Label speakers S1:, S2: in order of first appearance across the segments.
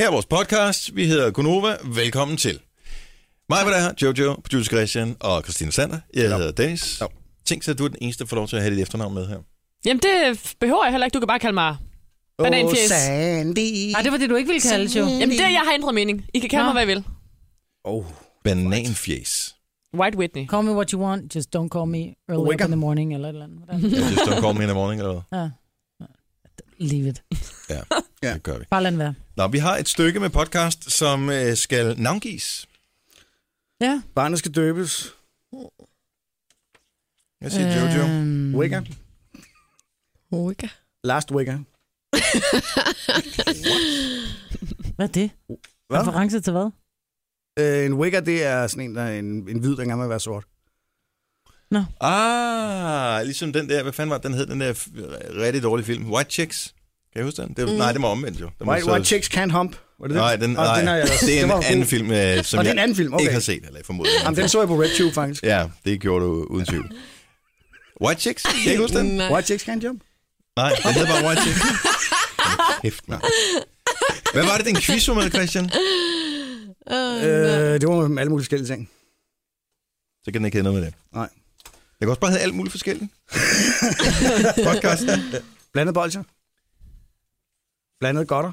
S1: Her er vores podcast. Vi hedder Gunova. Velkommen til. Mig var der her, Jojo, producer Christian og Christine Sander. Jeg hedder Dennis.
S2: Ja.
S1: Tænk så, at du er den eneste, der får lov til at have dit efternavn med her.
S3: Jamen, det behøver jeg heller ikke. Du kan bare kalde mig... Bananfjes.
S2: Sandy.
S4: Nej, det var det, du ikke ville kalde, jo.
S3: Jamen, det jeg har ændret mening. I kan kalde mig,
S4: Nå.
S3: hvad I vil.
S2: Oh.
S1: Bananfjes.
S3: White Whitney.
S4: Call me what you want, just don't call me early
S2: Wake
S4: up in
S2: up.
S4: the morning, eller et eller andet. Hvordan?
S1: Jeg synes, du kommer ind i morgen, eller hvad?
S4: Ja. Leave it.
S2: Ja.
S1: Det gør vi.
S4: Bare lad den være.
S1: Nå, vi har et stykke med podcast, som øh, skal navngives.
S4: Ja.
S2: Barnet skal døbes.
S1: Jeg
S2: Øh.
S1: siger Jojo.
S4: Øhm,
S2: Wigger.
S5: Oga.
S2: Last Wigger.
S4: Hvad er det?
S2: Hvad?
S4: Reference til hvad?
S2: Øh, en Wigger, det er sådan en, der er en, en hvid, der gerne vil være sort.
S1: Ah, ligesom den der, hvad fanden var den hed, den der f- rigtig dårlige film, White Chicks. Kan I huske den? Det, mm. Nej, det var omvendt jo. Den var
S2: White,
S1: så-
S2: white chicks can't hump. Var det det?
S1: Nej, den,
S2: Og
S1: nej.
S2: den har jeg,
S1: det er en
S2: den var
S1: anden
S2: god.
S1: film, øh, som
S2: Og det
S1: jeg
S2: er en anden film, okay.
S1: ikke har set, eller formodet.
S2: Jamen, den så jeg på RedTube, faktisk.
S1: Ja, det gjorde du uden tvivl. White Chicks? Kan I ikke huske den?
S5: Nej.
S2: White chicks can't jump.
S1: Nej, den hedder bare White Chicks. Hold Kæft, mand. Hvad var det, den quiz var med, Christian?
S5: Åh, nej.
S2: Øh, det var med alle mulige forskellige ting.
S1: Så kan den ikke hedde noget med det.
S2: Nej.
S1: Jeg kan også bare hedde alt muligt forskelligt. Podcast.
S2: Blandet bolcher. Blandet godter.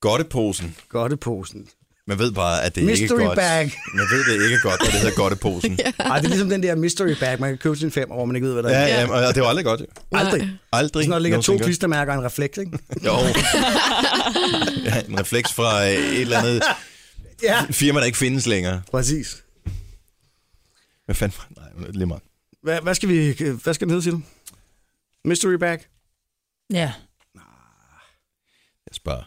S1: Godteposen.
S2: Godteposen.
S1: Man ved bare, at det ikke er
S2: Mystery
S1: godt.
S2: bag.
S1: Man ved, det ikke er godt, når det hedder godteposen. ja,
S2: Ej, det er ligesom den der mystery bag, man kan købe til en femmer, hvor man ikke ved, hvad det er.
S1: ja, ja, og det var aldrig godt. jo.
S2: Aldrig.
S1: Aldrig.
S2: Sådan, når der ligger to
S1: nogensinde godt.
S2: klistermærker og en refleks, ikke?
S1: Jo. ja, en refleks fra øh, et eller andet
S2: Ja.
S1: firma, der ikke findes længere.
S2: Præcis.
S1: Hvad fanden? var- Nej, lige meget.
S2: Hvad, hvad, skal vi, hvad skal den hedde, siger du? Mystery bag?
S4: Ja.
S1: Jeg sparer.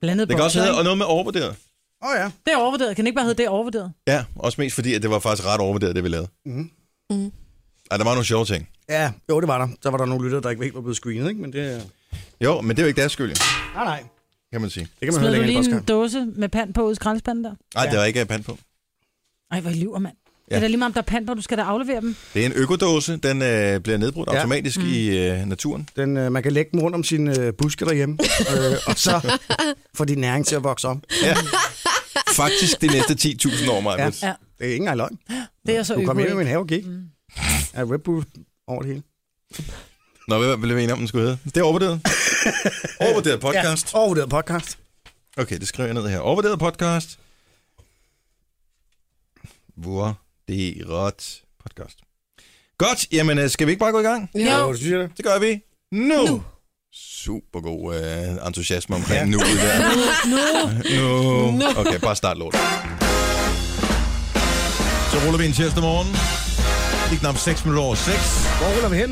S4: Blandet
S1: Det kan også
S4: bolcher,
S1: hedde,
S4: ikke?
S1: og noget med overvurderet.
S2: Åh oh, ja.
S4: Det er overvurderet. Kan det ikke bare hedde, det er overvurderet?
S1: Ja, også mest fordi, at det var faktisk ret overvurderet, det vi lavede.
S2: Mm-hmm.
S5: Mm.
S1: Ej, der var nogle sjove ting.
S2: Ja, jo, det var der. Der var der nogle lyttere, der ikke helt var blevet screenet, ikke? Men det... øh,
S1: Jo, men det er jo ikke deres skyld, jo,
S2: Nej, nej.
S1: kan man sige.
S2: Det kan man
S4: Smed
S2: høre
S4: du
S2: længere i
S4: lige en
S2: podcast.
S4: dåse med pand på ud i skraldespanden der?
S1: Nej,
S2: Ja.
S1: det var ikke øh, pant på.
S4: Ej, hvor I lyver, mand.
S1: Ja.
S4: Ja. Det er da lige meget, om der er pand på, du skal da aflevere dem.
S1: Det er en økodåse. Den øh, bliver nedbrudt
S2: Ja. Mhm.
S1: automatisk
S4: Mm.
S1: i øh, naturen.
S2: Den, øh, man kan lægge den rundt om sine øh, buske derhjemme, øh, og så få din næring til at vokse om.
S1: Ja. Faktisk de næste 10.000 år, Maja.
S2: Ja.
S1: Ja.
S4: Ja.
S2: Det er ikke engang løgn.
S4: Det er så
S2: Du kom
S4: øko,
S2: hjem i min
S4: ikke?
S2: have og gik.
S4: Mm.
S2: Er Red Bull over det hele.
S1: Nå, hvad blev vi enige om, den skulle hedde? Det er overvurderet. overvurderet podcast.
S2: Ja, overvurderet podcast.
S1: Okay, det skriver jeg ned her. Overvurderet podcast. Hvor det er ret podcast. Godt, jamen øh, skal vi ikke bare gå i gang?
S5: Jo.
S2: det synes jeg da.
S1: Det gør vi nu.
S5: Nu.
S1: nu. Super god øh, entusiasme omkring ja. nu. Der. nu. nu. Okay, bare start lort. Så ruller vi en tirsdag morgen. Det er knap 6 minutter over 6.
S2: Hvor ruller vi hen?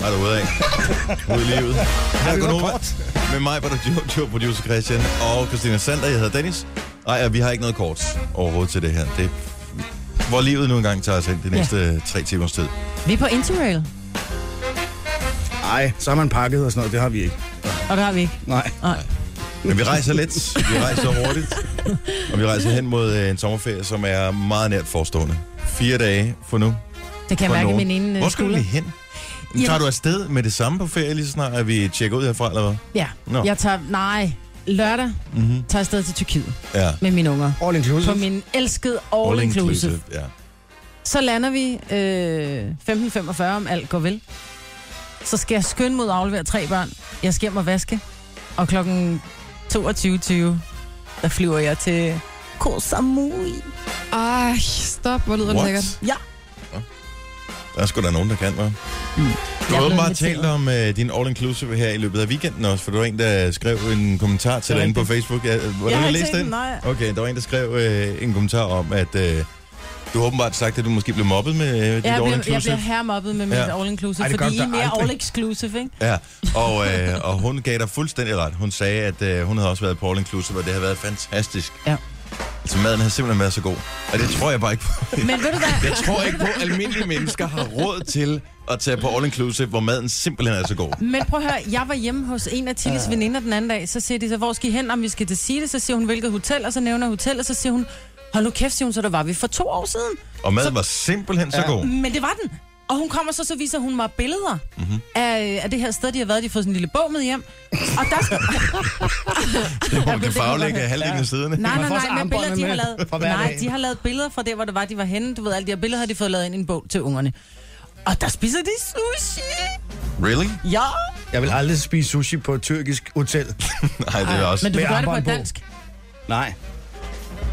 S1: Nej, du er ude af. Ude i livet. Her er
S2: det var
S1: Gunova.
S2: kort.
S1: Med mig var der Jojo, producer Christian og Christina Sander. Jeg hedder Dennis. Nej, og vi har ikke noget kort overhovedet til det her. Det er- hvor livet nu engang tager os hen de næste ja. tre timers tid.
S4: Vi er på Interrail,
S2: Nej, så har man pakket og sådan noget. Det har vi ikke.
S4: og det har vi ikke.
S2: Nej.
S1: Men vi rejser lidt, vi rejser hurtigt, og vi rejser hen mod øh, en sommerferie, som er meget nært forestående. Fire dage for nu.
S4: Det kan jeg
S1: for
S4: mærke i
S1: nogen.
S4: min ene øh,
S1: Hvor skal du
S4: skulder.
S1: lige hen? Jamen. Tager
S4: Jamen-
S1: du afsted med det samme på ferie, lige så snart at vi tjekker ud herfra, eller hvad?
S4: Ja,
S1: Nå.
S4: jeg tager, nej, lørdag
S1: Mm-hmm.
S4: tager jeg afsted til Tyrkiet
S1: Ja.
S4: med mine unger.
S2: All inclusive.
S4: På min elskede all, all inclusive. inclusive.
S1: Ja.
S4: Så lander vi øh, 15.45, om alt går vel. Så skal jeg skynde mod at aflevere tre børn. Jeg skal hjem og vaske. Og klokken 22.20, der flyver jeg til Koh Samui.
S5: Ej, stop, hvor lyder det
S1: What?
S5: lækkert.
S4: Ja.
S1: Nå. Der er sgu da nogen, der kan, hva'? Du
S4: Mm. Jeg
S1: har
S4: er blevet
S1: åbenbart
S4: inviteret.
S1: talt om øh, din all-inclusive her i løbet af weekenden også, for du var en, der skrev en kommentar til
S4: Det
S1: dig
S4: er
S1: inde på
S4: rigtigt.
S1: Facebook. Ja, hvordan
S4: Jeg har ikke
S1: læst
S4: set den, nej.
S1: Okay, der var en, der skrev øh, en kommentar om, at øh, du har åbenbart sagt, at du måske blev mobbet med øh, dit
S4: Jeg bliver, jeg
S1: all-inclusive.
S4: bliver hermobbet med mit
S1: Ja.
S4: ja. all inclusive,
S2: Ej, det gør
S4: fordi I
S2: du
S4: er
S2: da
S4: mere
S2: aldrig.
S4: all exclusive, ikke?
S1: Ja, og, øh, og hun gav dig fuldstændig ret. Hun sagde, at øh, hun havde også været på all-inclusive, og det havde været fantastisk.
S4: Ja.
S1: Altså, maden har simpelthen været så god. Og det tror jeg bare ikke på.
S4: Men ved du hvad?
S1: Jeg tror ikke på, at almindelige mennesker har råd til at tage på all-inclusive, hvor maden simpelthen er så god.
S4: Men prøv at høre, jeg var hjemme hos en af Tilles veninder den anden dag, så siger de så, hvor skal I hen, om vi skal til Sile, så siger hun, hvilket hotel, og så nævner hotel, og så siger hun, hold nu kæft, siger hun, så der var vi for to år siden.
S1: Og maden var simpelthen så god.
S4: Men det var den. Og hun kommer så, så viser hun mig billeder
S1: Mhm.
S4: af, af det her sted, de har været. De har fået sådan en lille bog med hjem. Og der skal...
S1: Det må man
S4: Ja, men
S1: kan
S4: det må
S1: faglægge
S4: man-
S1: halvdelen
S4: ja.
S1: af siderne.
S4: Nej,
S2: Man
S4: nej,
S2: får også
S4: nej, men
S2: armbåndet
S4: billeder, de har
S2: med
S4: lavet...
S2: fra hver
S4: Nej,
S2: dag.
S4: de har lavet billeder fra der, hvor det var, de var henne. Du ved, alle de her billeder har de fået lavet ind i en bog til ungerne. Og der spiser de sushi.
S1: Really?
S4: Ja.
S2: Jeg vil aldrig spise sushi på et tyrkisk hotel.
S1: Nej, det er også...
S4: Men du
S2: Med
S4: gør det på
S2: armbånd på.
S4: dansk.
S2: Nej.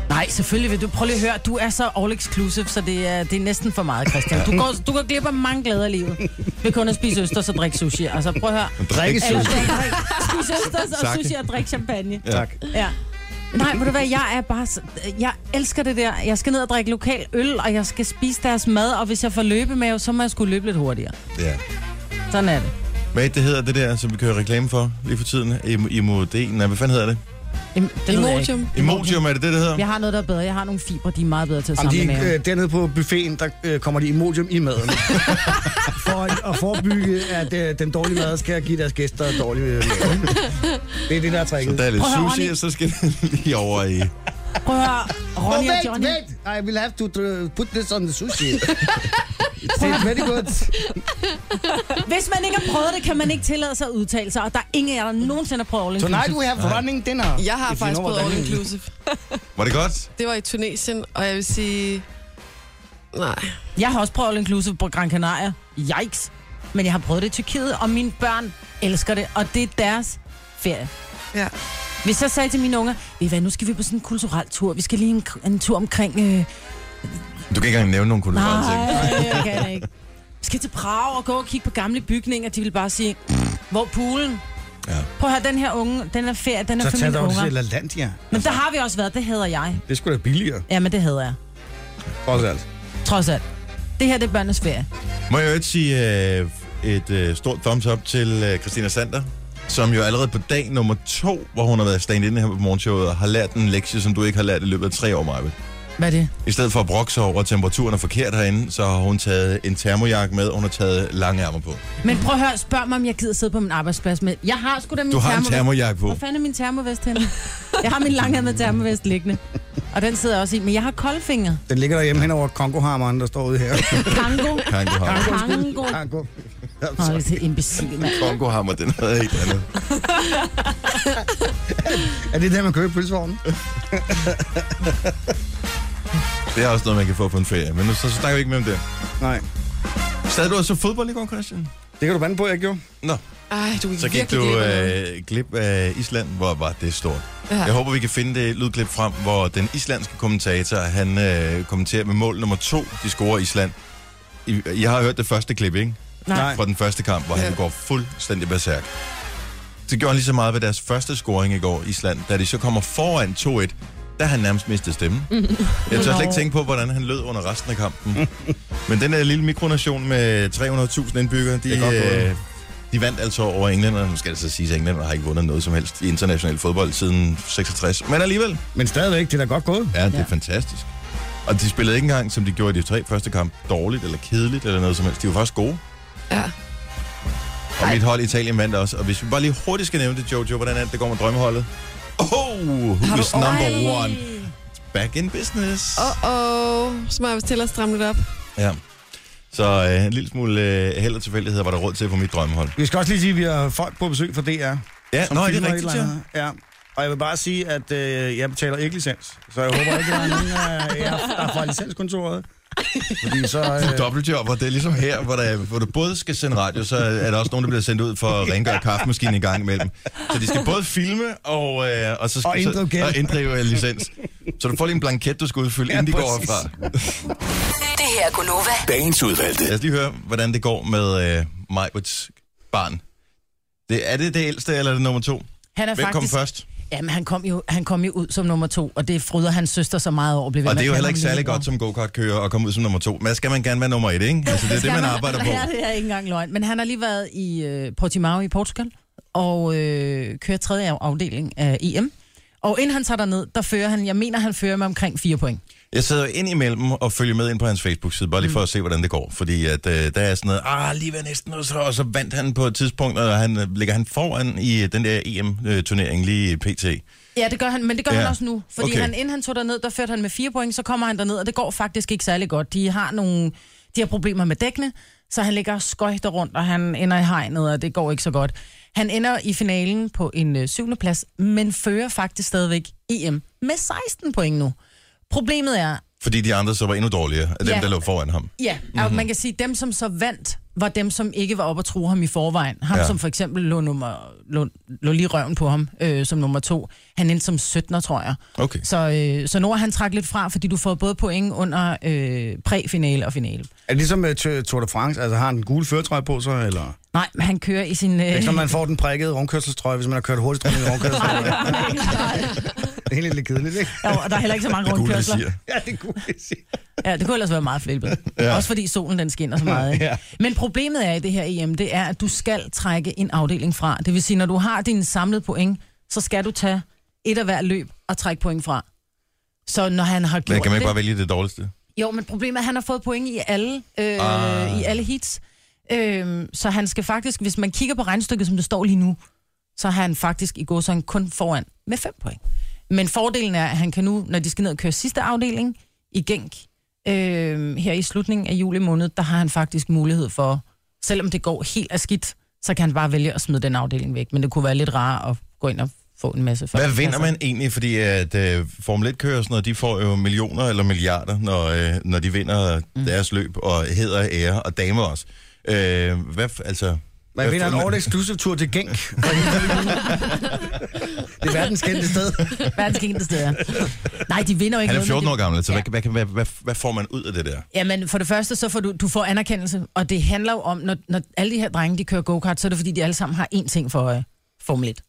S4: Nej, selvfølgelig vil du. Prøv lige at høre, du er så all exclusive, så det er, det er næsten for meget, Christian. Du går, du går glip af mange glæder i livet ved kun at spise østers og drikke sushi. Altså, prøv at høre.
S1: Drikke
S2: Drikkes-
S4: Eller,
S1: sushi.
S4: spise østers og
S1: Sake.
S4: sushi og drikke champagne.
S1: Ja.
S2: Tak.
S4: Ja. Nej, må du være, jeg er bare... så- Jeg elsker det der. Jeg skal ned og drikke lokal øl, og jeg skal spise deres mad, og hvis jeg får løbemave, så må jeg skulle løbe lidt hurtigere.
S1: Ja.
S4: Sådan er det.
S1: Hvad er det, det hedder det der, som vi kører reklame for lige for tiden? Im- Imodén? Nej, hvad fanden hedder det?
S4: Jamen, det ved jeg ikke.
S5: Emotium.
S1: Emotium, er det det, det hedder?
S4: Jeg har noget, der er bedre. Jeg har nogle fibre, de er meget bedre til at
S2: Om
S4: samle
S2: de,
S4: i maven.
S2: øh, dernede på buffeten, der øh, kommer de Imodium i maden. For at forebygge, at øh, den dårlige mad skal give deres gæster dårlig øh, mave. Det er det, der er
S1: Så
S2: tricket.
S1: der er lidt
S4: Prøv at høre,
S1: sushi,
S4: Ronny.
S1: og så skal det lige over i...
S4: Prøv at høre, Ronny og
S2: oh, wait,
S4: Johnny.
S2: wait. I will have to uh, put this on the sushi. It's very good.
S4: Hvis man ikke har prøvet det, kan man ikke tillade sig at udtale sig, og der er ingen af jer, der nogensinde har prøvet all
S2: Tonight
S4: inclusive.
S2: we have running dinner.
S5: Jeg har
S2: Hvis vi
S5: faktisk
S2: når
S5: prøvet all
S2: running.
S5: inclusive.
S1: Var det godt?
S5: Det var i Tunesien, og jeg vil sige... Nej.
S4: Jeg har også prøvet all inclusive på Gran Canaria. Yikes. Men jeg har prøvet det i Tyrkiet, og mine børn elsker det, og det er deres ferie.
S5: Ja.
S4: Hvis jeg sagde til mine unger, ved I hvad, nu skal vi på sådan en kulturel tur. Vi skal lige en, en tur omkring... Øh,
S1: Du kan ikke engang nævne nogen kulturelle ting.
S4: nej, jeg kan ikke. Vi skal til Prag og gå og kigge på gamle bygninger. De vil bare sige, hvor er poolen?
S1: Ja.
S4: Prøv at høre, den her unge, den er ferie, den er
S2: Så
S4: for
S2: tag
S4: mine
S2: dig over til
S4: unger.
S2: LaLandia.
S4: Men der har vi også været, det hedder jeg.
S2: Det skulle da billigere.
S4: Ja, men det hedder jeg.
S2: Trods alt.
S4: Trods alt. Det her, det er børnenes ferie.
S1: Må jeg jo ikke sige øh, et øh, stort thumbs up til øh, Christina Sander, som jo allerede på dag nummer to, hvor hun har været stand-in her på morgenshowet, har lært en lektie, som du ikke har lært i løbet af tre år, Maja.
S4: Hvad er det?
S1: I stedet for at brokke sig over, at temperaturen er forkert herinde, så har hun taget en termojakke med, og hun har taget lange ærmer på.
S4: Men prøv at høre, spørg mig, om jeg gider sidde på min arbejdsplads med. Jeg har sgu da min
S1: Du har en
S4: termovest.
S1: termojakke på.
S4: Hvor fanden er min termovest henne? jeg har min langærmede termovest liggende. Og den sidder jeg også i, men jeg har koldfinger.
S2: Den ligger derhjemme hen over kongohammeren, der står ude her.
S4: Kango.
S1: Kan du have?
S4: Kango.
S2: Kongo.
S4: Åh, det er så imbecil, mand.
S1: Kongohammer, den havde ikke andet.
S2: Er det der, man køber i pølsevognen?
S1: Det er også noget, man kan få på en ferie, men nu, så, så snakker vi ikke mere om det.
S2: Nej.
S1: Sad du også fodbold i går, Christian?
S2: Det kan du bande på, jeg gjorde.
S1: Nå,
S5: Ej, du gik
S1: så gik
S5: virkelig
S1: du
S5: glip af noget.
S1: øh, glip af Island, hvor var det stort.
S5: Ja.
S1: Jeg håber, vi kan finde det lydklip frem, hvor den islandske kommentator, han øh, kommenterer med mål nummer to, de scorer Island. I, jeg har hørt det første klip, ikke?
S2: Nej.
S1: Fra den første kamp, hvor ja. han
S5: Ja.
S1: går fuldstændig berserk. Det gjorde han lige så meget ved deres første scoring i går, Island. Da de så kommer foran 2-1, der har han nærmest mistet stemmen. Jeg tør slet ikke tænke på, hvordan han lød under resten af kampen. Men den der lille mikronation med 300.000 indbyggere, de,
S2: er godt gået.
S1: øh, de vandt altså over englænderne. Nu skal det så siges, at englænderne har ikke vundet noget som helst i international fodbold siden 66. Men alligevel,
S2: Men stadigvæk, det er da godt gået.
S1: ja, det er
S4: Ja.
S1: fantastisk. Og de spillede ikke engang, som de gjorde i de tre første kampe, dårligt eller kedeligt eller noget som helst. De var faktisk gode.
S5: Ja.
S1: Og mit hold Italien vandt også. Og hvis vi bare lige hurtigt skal nævne det, Jojo, hvordan er det, det går med drømmeholdet? Oh, who is number
S5: Ej.
S1: one? Back in business.
S5: Åh, så må jeg vist til at stramme lidt op.
S1: Ja. Så øh, en lille smule øh, held og tilfældigheder var der råd til på mit drømmehold.
S2: Vi skal også lige sige, at vi har folk på besøg fra DR.
S1: Ja,
S2: som
S1: nå, er
S2: filmer
S1: det
S2: et
S1: rigtigt,
S2: eller
S1: ja.
S2: andet. Ja. Og jeg vil bare sige, at øh, jeg betaler ikke licens. Så jeg håber ikke, at der er nogen af jer, der er fra licenskontoret. Fordi så...
S1: Øh.
S2: Øh,
S1: Dobbeltjob, og det er ligesom her, hvor, der, hvor du både skal sende radio, så er der også nogen, der bliver sendt ud for at rengøre kaffemaskinen en gang imellem. Så de skal både filme og, øh, og, så,
S2: Og inddrive
S1: så,
S2: gæld.
S1: og inddrive øh, licens. Så du får lige en blanket, du skal udfylde, ja,
S2: Ja,
S1: inden de går
S2: præcis.
S1: herfra.
S6: Det her er Gunova.
S7: Dagens udvalgte.
S1: Lad os lige høre, hvordan det går med øh, Majbrits barn. Det, er det det ældste, eller er det nummer to?
S4: Han er
S1: Hvem kom
S4: faktisk...
S1: først?
S4: Jamen, han kom, jo, han kom jo ud som nummer to, og det fryder hans søster så meget over. at blive ved
S1: Og
S4: med
S1: det er
S4: at
S1: jo heller
S4: kalde ham
S1: ikke særlig
S4: lillebror.
S1: godt som go-kart-kører at komme ud som nummer to. Men skal man gerne være nummer et, ikke? Altså, det er det, man arbejder på.
S4: Ja, det er ikke engang løgn. Men han har lige været i øh, Portimao i Portugal og øh, kører tredje afdeling af EM. Og inden han tager derned, der fører han, jeg mener, han fører med omkring 4 point.
S1: Jeg sidder jo ind imellem og følger med ind på hans Facebook-side, bare lige
S4: Mm.
S1: for at se, hvordan det går. Fordi at, øh, der er sådan noget, ah, lige ved næsten, og så, og så vandt han på et tidspunkt, og han øh, ligger han foran i øh, den der EM-turnering lige i PT.
S4: Ja, det gør han, men det gør
S1: Ja.
S4: ja. han også nu. Fordi
S1: Okay.
S4: okay. han, inden han tog derned, der førte han med 4 point, så kommer han derned, og det går faktisk ikke særlig godt. De har nogle, de har problemer med dækkene, Så han ligger og skøjter rundt, og han ender i hegnet, og det går ikke så godt. Han ender i finalen på en øh, syvende plads, men fører faktisk stadigvæk EM med 16 point nu. Problemet er,
S1: Fordi de andre så var endnu dårligere, af dem,
S4: Ja.
S1: der lå foran ham.
S4: Ja, mm-hmm. og
S2: Mhm.
S4: man kan sige, at dem, som så vandt, var dem, som ikke var oppe og true ham i forvejen. Ham,
S1: Ja.
S4: ja. som for eksempel lå, nummer, lå, lå lige røven på ham øh, som nummer to. Han endte som 17'er, tror jeg.
S1: Okay.
S4: Så, øh, så Nora, han trak lidt fra, fordi du får både point under øh, præfinale og finale.
S2: Er det ligesom øh, Tour- Tour de France? Altså har han en gul føretrøje på sig, eller?
S1: Øh.
S4: Nej, men han kører i sin...
S2: Det er
S4: Øh,
S2: ikke sådan, man får den prikkede rundkørselstrøje, hvis man har kørt hurtigt rundt i en rundkørselstrøje. det er egentlig lidt kedeligt, ikke?
S4: jo, og der er heller ikke så mange
S1: Det gule
S4: rundkørsler.
S1: visir.
S2: Ja, det kunne jeg sige.
S4: Ja, det kunne ellers være meget flippet. ja. Også fordi solen den skinner så meget. Ikke?
S2: Ja.
S4: ja. Men problemet er i det her EM, det er, at du skal trække en afdeling fra. Det vil sige, når du har dine samlede point, så skal du tage et af hver løb og trække point fra. Så når han har gjort
S1: Men kan man ikke bare
S4: det...
S1: vælge det dårligste?
S4: Jo, men problemet er, at han har fået point i alle, øh,
S1: Ah.
S4: ah. i alle hits. Øh, så han skal faktisk, hvis man kigger på regnstykket, som det står lige nu, så har han faktisk i går så han kun foran med 5 point. Men fordelen er, at han kan nu, når de skal ned og køre sidste afdeling i Genk, øh, her i slutningen af juli måned, der har han faktisk mulighed for, selvom det går helt af skidt, så kan han bare vælge at smide den afdeling væk. Men det kunne være lidt rarere at gå ind og få en masse
S1: Hvad
S4: førstepladser.
S1: vinder man egentlig? Fordi at øh, Formel 1 kører sådan noget, de får jo millioner eller milliarder, når, øh, når de vinder mm. deres løb, og hedder og ære, og damer også. Øh, hvad, f- altså,
S2: Man
S1: Hvad
S2: vinder en
S1: får man?
S2: all exclusive tur til Genk. det er verdens kendte sted.
S4: Verdens kendte steder. Nej, de vinder jo ikke
S1: han er
S4: noget, men
S1: 14
S4: de-
S1: år gammel, så
S4: Ja.
S1: hvad, hvad, kan- hvad, hvad, hvad får man ud af det der?
S4: Jamen, for det første, så får du, du får anerkendelse, og det handler jo om, når, når alle de her drenge, de kører go-kart, så er det fordi, de alle sammen har én ting for øje. Formel 1.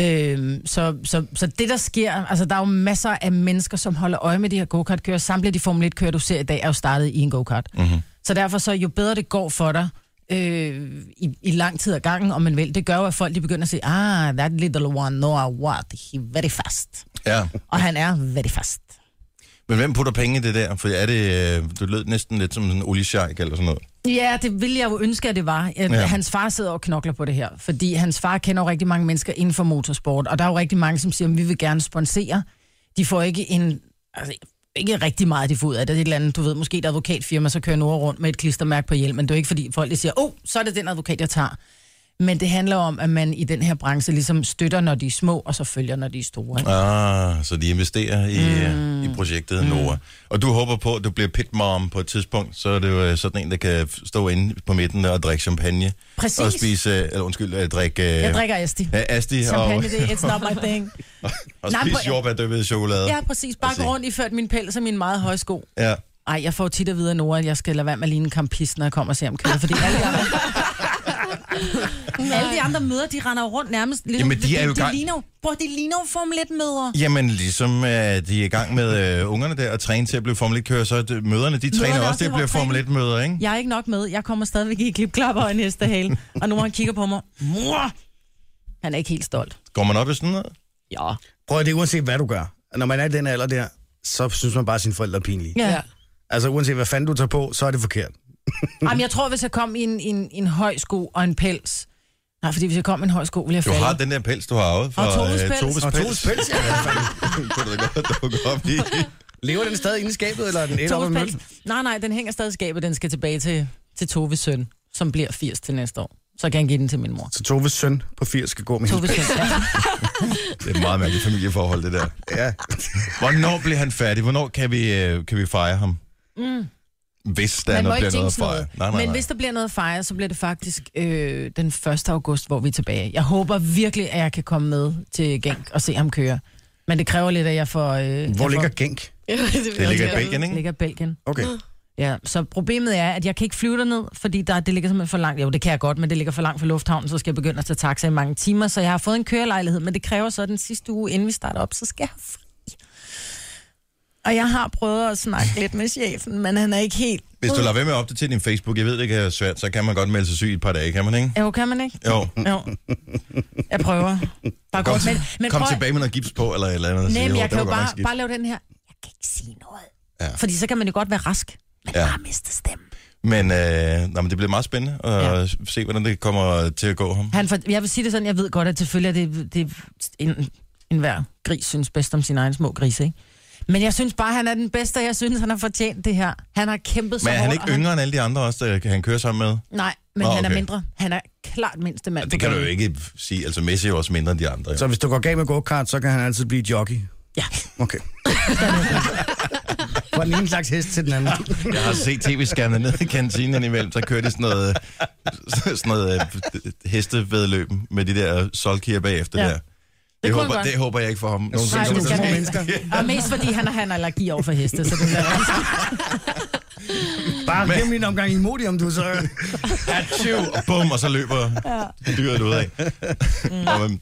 S4: Øhm, så, så, så det, der sker, altså der er jo masser af mennesker, som holder øje med de her go-kart-kører. Samtlige de Formel 1-kører, du ser i dag, er jo startet i en go-kart.
S1: Mhm.
S4: Mm-hmm. Så derfor så, jo bedre det går for dig, øh, i, i lang tid ad gangen, om man vil, det gør jo, at folk de begynder at sige, ah, that little one, no, what, he very fast.
S1: Ja.
S4: Og han er very fast.
S1: Men hvem putter penge i det der? For er det, øh, du lød næsten lidt som sådan en oliesjejk eller sådan noget.
S4: Ja, det ville jeg jo ønske, at det var. At
S1: Ja.
S4: ja. Hans far sidder og knokler på det her, fordi hans far kender jo rigtig mange mennesker inden for motorsport, og der er jo rigtig mange, som siger, at vi vil gerne sponsere. De får ikke en... Altså, ikke rigtig meget, de får ud af det. Det er et eller andet, du ved, måske et advokatfirma, så kører Nora rundt med et klistermærke på hjelmen. Det er jo ikke, fordi folk lige siger, åh, oh, så er det den advokat, jeg tager. Men det handler om, at man i den her branche ligesom støtter, når de er små, og så følger, når de er store. ikke?
S1: Ah, så de investerer i, mm. i projektet mm. Nora. Og du håber på, at du bliver pitmom på et tidspunkt, så er det jo øh, sådan en, der kan stå inde på midten og drikke champagne.
S4: Præcis.
S1: Og spise, øh, eller undskyld, øh, drikke... øh,
S4: Jeg drikker Asti.
S1: Ja, Asti og,
S4: Champagne, det er it's not my thing.
S1: og
S4: Nej,
S1: spise
S4: på-
S1: jordbærdyppet chokolade.
S4: Ja, præcis. Bare
S1: Altså-
S4: gå rundt i ført min pels og min meget høje sko.
S1: ja.
S4: Ej, jeg får jo tit at vide af Nora, at jeg skal lade være med at ligne en kampist, når jeg kommer og ser om kører, fordi alle de andre... alle de andre møder, de render jo rundt nærmest... Ligesom,
S1: Jamen, de er jo
S4: de,
S1: gang-
S4: ligner jo, bror, de ligner jo Formel 1-møder.
S1: Jamen, ligesom øh, de er i gang med øh, ungerne der og træne til at blive Formel 1-kører, så er det, møderne, de træner
S4: Møderne
S1: også
S4: også,
S1: til at
S4: de
S1: blive
S4: har
S1: Formel
S4: træning.
S1: 1-møder, ikke?
S4: Jeg er ikke nok med. Jeg kommer stadigvæk i klipklapper og en hestehale. Og nu han kigger på mig. Mor! Han er ikke helt stolt.
S1: Går man op i sådan noget?
S3: Ja.
S2: Prøv at det er uanset hvad du gør. Når man er i den alder der, så synes man bare, at sine forældre er pinlige.
S4: Ja.
S3: ja.
S4: ja.
S2: Altså uanset hvad fanden du tager på, så er det forkert.
S4: Jamen, jeg tror, hvis jeg kom i en, en, en høj sko og en pels... Nej, fordi hvis jeg kom i en høj sko, ville jeg
S1: Du
S4: falde.
S1: har den der pels, du har arvet fra
S4: Og Tobes pels.
S1: Tobes
S2: Og
S1: pels.
S2: Toves pels, ja. hvad fanden?
S1: Det kunne du da godt dukke op i.
S2: Lever den stadig inde i skabet, eller er den et op ad
S4: Toves
S2: møllen?
S4: pels. Nej, nej, den hænger stadig i skabet. Den skal tilbage til, til Toves søn, som bliver 80 til næste år. Så kan han give den til min mor.
S2: Så Toves søn på 80 skal gå med
S4: Toves
S2: hende.
S4: søn, ja.
S1: Det er et meget mærkeligt familieforhold, det der.
S2: Ja.
S1: Hvornår bliver han færdig? Hvornår kan vi, øh, kan vi fejre ham? Mm. Hvis der
S4: Man må
S1: noget,
S4: ikke
S1: bliver noget at
S4: jinx
S1: fejre.
S4: noget.
S1: Nej, nej,
S4: Men
S1: nej.
S4: hvis der bliver noget at fejre, så bliver det faktisk øh, den 1. august, hvor vi er tilbage. Jeg håber virkelig, at jeg kan komme med til Genk og se ham køre. Men det kræver lidt, at jeg får...
S2: Hvor
S4: Øh, jeg
S2: ligger
S4: får,
S2: Genk?
S5: det,
S1: Det ligger i Belgien, ikke?
S4: ligger i Belgien.
S2: Okay.
S4: Ja, så problemet er, at jeg kan ikke flyve derned, fordi der, det ligger simpelthen for langt. Jo, det kan jeg godt, men det ligger for langt fra lufthavnen, så skal jeg begynde at tage taxa i mange timer. Så jeg har fået en kørelejlighed, men det kræver så den sidste uge, inden vi starter op, så skal jeg have fri. Og jeg har prøvet at snakke lidt med chefen, men han er ikke helt...
S1: Hvis du lader være med at opdatere din Facebook, jeg ved, det kan være svært, så kan man godt melde sig syg i et par dage, kan man ikke?
S4: Jo, kan man ikke?
S1: Jo.
S4: Jo. Jeg prøver. Bare
S1: Kom,
S4: godt. Men, men
S1: kom
S4: prøv,
S1: tilbage med noget gips på, eller et eller andet. og sige,
S4: Nej, men
S1: "Åh,
S4: jeg
S1: det
S4: kan
S1: var
S4: jo
S1: godt nok
S4: bare,
S1: skidt."
S4: bare lave den her. Jeg kan ikke sige noget.
S1: Ja.
S4: Ja. Fordi så kan man jo godt være rask. Men
S1: Ja.
S4: ja. bare miste stemmen.
S1: Men, øh, nej, men det bliver meget spændende at ja. se, hvordan det kommer til at gå ham.
S4: Han for, jeg vil sige det sådan, jeg ved godt, at selvfølgelig er det, det en, en hver gris synes bedst om sine egne små grise, ikke? Men jeg synes bare, han er den bedste, og jeg synes, han har fortjent det her. Han har kæmpet så
S1: Men er han
S4: hårdt,
S1: ikke
S4: og
S1: yngre end alle de andre også, der han kører sammen med?
S4: Nej, men
S1: Nå,
S4: han er
S1: okay.
S4: mindre. Han er klart mindste mand.
S1: Det kan du jo ikke sige. Altså, Messi er jo også mindre end de andre. Jo.
S2: Så hvis du går galt med go-kart, så kan han altid blive jockey.
S4: Ja.
S2: Okay. Fra den ene slags hest til den anden.
S1: Jeg har set tv-skærmene ned i kantinen imellem, så kører de sådan noget, sådan noget øh, hestevedløb med de der solkier bagefter ja.
S4: Ja.
S1: der. Det, det,
S4: kunne
S1: håber,
S4: han godt.
S1: det håber jeg ikke for ham. Nogen
S4: Nej, det skal
S2: små
S4: han
S2: mennesker.
S4: ikke. Og mest fordi han har han har allergi over for heste, så det er
S2: Bare gennem min omgang i Modium, du så.
S1: og bum, og så løber dyret ud af. Mm.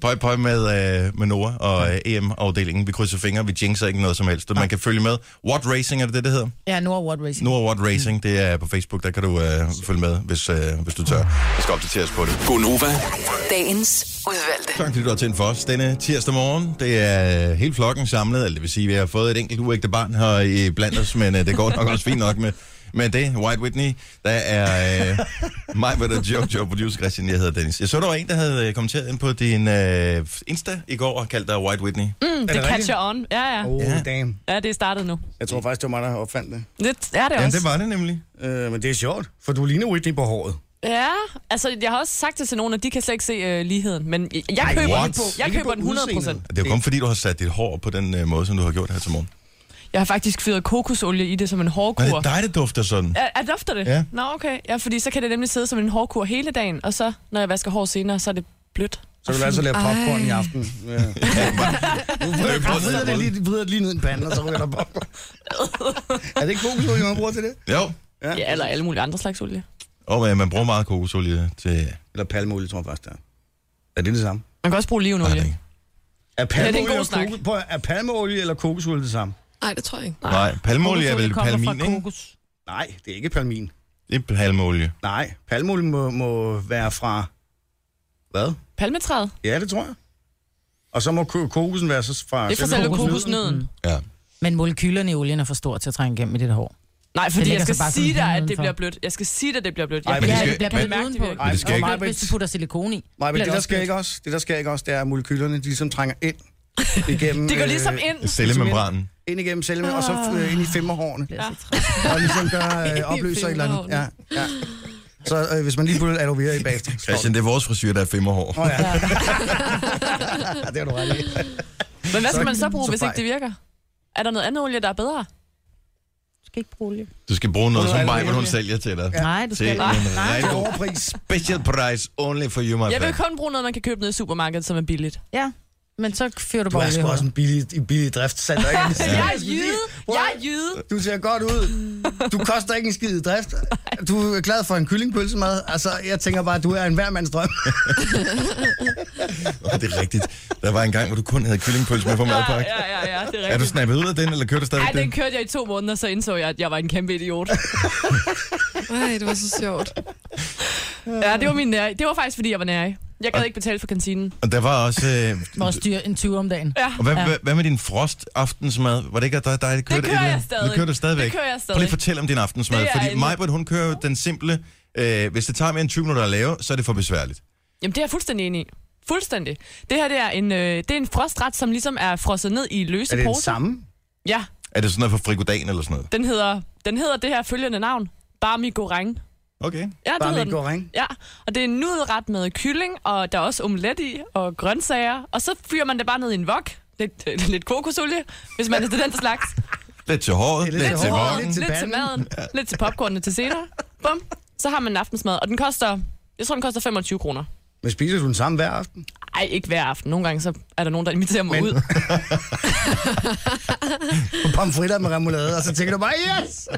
S1: Pøj, pøj med, øh, med Nora og øh, EM-afdelingen. Vi krydser fingre, vi jinxer ikke noget som helst. Man kan følge med. What Racing er det det, det hedder?
S4: Ja, Nord World Racing.
S1: Nora What Racing, det er på Facebook. Der kan du øh, følge med, hvis, øh, hvis du tør. Jeg skal opdateres på det.
S7: Gonova,
S6: Dagens udvalgte.
S1: Tak fordi du har tændt for os denne tirsdag morgen. Det er øh, hele flokken samlet, eller det vil sige, at vi har fået et enkelt uægte barn her i blandt os, men øh, det går nok også fint nok med, med det. White Whitney, der er øh, mig, hvad der Jojo, producer Christian, jeg hedder Dennis. Jeg så, der var en, der havde øh, kommenteret ind på din øh, Insta i går og kaldt dig White Whitney.
S3: Mm, det
S2: rigtigt?
S3: catcher on. Ja, ja.
S2: Oh,
S1: Ja.
S2: damn.
S3: Ja, det er startet nu.
S2: Jeg tror faktisk, det var mig, der opfandt det.
S3: Det er det
S1: Ja,
S3: også.
S1: det var det nemlig.
S2: Øh, men det er sjovt, for du ligner Whitney på håret.
S3: Ja, altså jeg har også sagt det til nogen, at de kan slet ikke se øh, ligheden. Men jeg, jeg køber
S1: what?
S3: den på. Jeg
S2: Ikke
S3: køber
S2: på
S3: den 100
S2: udseendet.
S1: Det er jo kun fordi, du har sat dit hår på den øh, måde, som du har gjort her til morgen.
S3: Jeg har faktisk fyret kokosolie i det som en
S1: Men det
S3: hårkur.
S1: er dig, der dufter sådan.
S3: Er, er dufter det?
S1: Ja.
S3: Nå, okay. Ja, fordi så kan det nemlig sidde som en hårkur hele dagen, og så, når jeg vasker hår senere, så er det blødt.
S2: Så vil du altså lave popcorn i aften. Ja. Nu vrider-
S1: Løb rundt i
S2: vrider det
S1: rullen.
S2: lige- vrider det lige ned i en pande, og så ryger der popcorn. er det ikke kokosolie, man bruger til det?
S1: Jo,
S2: Ja.
S3: Ja, eller alle mulige andre slags olie.
S1: og øh, man bruger meget kokosolie til...
S2: Eller palmeolie, tror jeg faktisk, det er. Er det det samme?
S3: Man kan også bruge
S1: Nej,
S3: olivenolie.
S1: det er ikke.
S2: Er
S3: det er en
S2: palmeolie,
S3: god
S2: og
S3: snak.
S2: koko- prøv at- er palmeolie eller kokosolie det samme?
S5: Nej, det tror jeg ikke.
S1: Nej, palmeolie er vel palmin, ikke?
S2: Nej, det er ikke palmin.
S1: Det er palmeolie.
S2: Nej, palmeolie må, må være fra... Hvad?
S3: Palmetræet.
S2: Ja, det tror jeg. Og så må ko- kokosen være så fra...
S3: Det er for selve kokosnøden.
S4: Mm.
S1: Ja.
S4: Men molekylerne i olien er for stor til at trænge igennem i dit hår.
S3: Nej, fordi jeg
S4: ligger
S3: skal
S4: så bare som
S3: sige dig,
S4: huden
S3: at det
S4: udenfor.
S3: bliver blødt. Jeg skal sige dig, at det bliver blødt.
S2: Ej,
S3: Jeg
S1: men
S3: kan
S1: det
S4: Ja,
S1: skal-
S4: det bliver
S1: men-
S4: puttet
S3: mærke det
S4: udenpå.
S3: virkelig.
S1: Men det skal
S4: Og
S1: ikke-
S4: meget, Hvis du putter silikon i.
S2: Nej, men
S4: Bliver
S2: det,
S4: det
S2: der
S4: også
S2: sker
S4: blødt?
S2: ikke også, det der sker ikke også, det er, at molekylerne de ligesom trænger ind igennem...
S3: Det går ligesom
S2: øh,
S3: ind.
S1: Cellemembranen.
S2: Ind igennem cellen, og så øh, ind i femmerhårene.
S4: Bliver så
S2: Og ligesom gør øh, opløser et eller andet. Ja, ja. Så øh, hvis man lige putter aloe vera i bagefter. så står det.
S1: Christian, det er vores frisyr, der er femmerhår.
S2: Åh oh, ja. ja. det har du ret i.
S3: Men hvad skal man så bruge,
S2: så
S3: hvis ikke
S2: fejl.
S3: det virker? Er der noget andet olie, der er bedre?
S4: Du skal ikke bruge olie.
S1: Du skal bruge noget,
S2: Prøv
S1: som
S2: at-
S1: Maja, hun sælger til dig.
S4: Nej, du skal
S1: Til en
S4: ikke. Nej.
S2: Til
S1: rigtig
S2: overpris.
S1: special price only for you, my
S3: Jeg vil
S1: friend.
S3: kun bruge noget, man kan købe nede i supermarkedet, som er billigt.
S4: Ja, men så fyrer du
S2: Du
S4: bare
S2: er
S4: olie. i
S2: sgu også
S4: håret.
S2: en billig, en billig driftscenter, ikke?
S3: Jeg er jyde! Jeg er jyde!
S2: Du ser godt ud. Du koster ikke en skid i drift. Du er glad for en kyllingpølsemad. Altså, jeg tænker bare, du er en hvermands drøm.
S1: Åh, det er rigtigt. Der var en gang, hvor du kun havde kyllingpølse med på
S3: Ja,
S1: madpakke.
S3: ja, ja, ja, det er
S1: Er du
S3: rigtigt.
S1: snappet ud af den, eller kører du
S3: Ej,
S1: stadig
S3: den
S1: den?
S3: kørte jeg i to måneder, så indså jeg, at jeg var en kæmpe idiot.
S5: Nej, det var så sjovt.
S3: Ja, det var min nære. Det var faktisk, fordi jeg var nære. Jeg gad ikke betale for kantinen.
S1: Og der var også... Øh,
S4: Må også dyr en 20 om dagen.
S3: Ja,
S1: og hvad,
S4: Ja.
S1: hvad, hvad med din frost aftensmad? Var det ikke dig, der kørte?
S3: kører jeg
S1: et eller andet?
S3: stadig.
S1: Det kører du stadigvæk.
S3: Det kører jeg stadig.
S1: Prøv lige at fortælle om din aftensmad,
S3: Det er
S1: fordi
S3: en-
S1: Majbert, hun kører jo den simple... Øh, hvis det tager mere end 20 minutter at lave, så er det for besværligt.
S3: jamen det er jeg fuldstændig enig i. Fuldstændig. Det her det er, en, øh, det er en frostret, som ligesom er frosset ned i løse
S2: Er det den
S3: poser.
S2: samme?
S3: Ja,
S1: Er det sådan noget for frikodagen eller sådan noget?
S3: den hedder, den hedder det her følgende navn. Barmi Goreng.
S1: Okay.
S3: Ja, det
S2: Bare
S3: hedder
S2: med
S3: den.
S2: goreng.
S3: Ja, og det er en nudelret med kylling, og der er også omelet i, og grøntsager. Og så fyrer man det bare ned i en vok. Lidt, øh, lidt kokosolie, hvis man er til den slags.
S1: Lidt til håret,
S2: Lidt
S1: lidt,
S2: til
S1: til
S2: håret,
S1: vognen.
S2: lidt til
S3: lidt til
S2: panden.
S3: maden, lidt til popcornene til senere. Bum. Så har man en aftensmad, og den koster, jeg tror, den koster 25 kroner.
S2: Men spiser du den samme hver aften?
S3: Ej, ikke hver aften. Nogle gange så er der nogen, der inviterer mig
S2: Men-
S3: ud.
S2: På pomfritter med remoulade, og så tænker du bare, yes!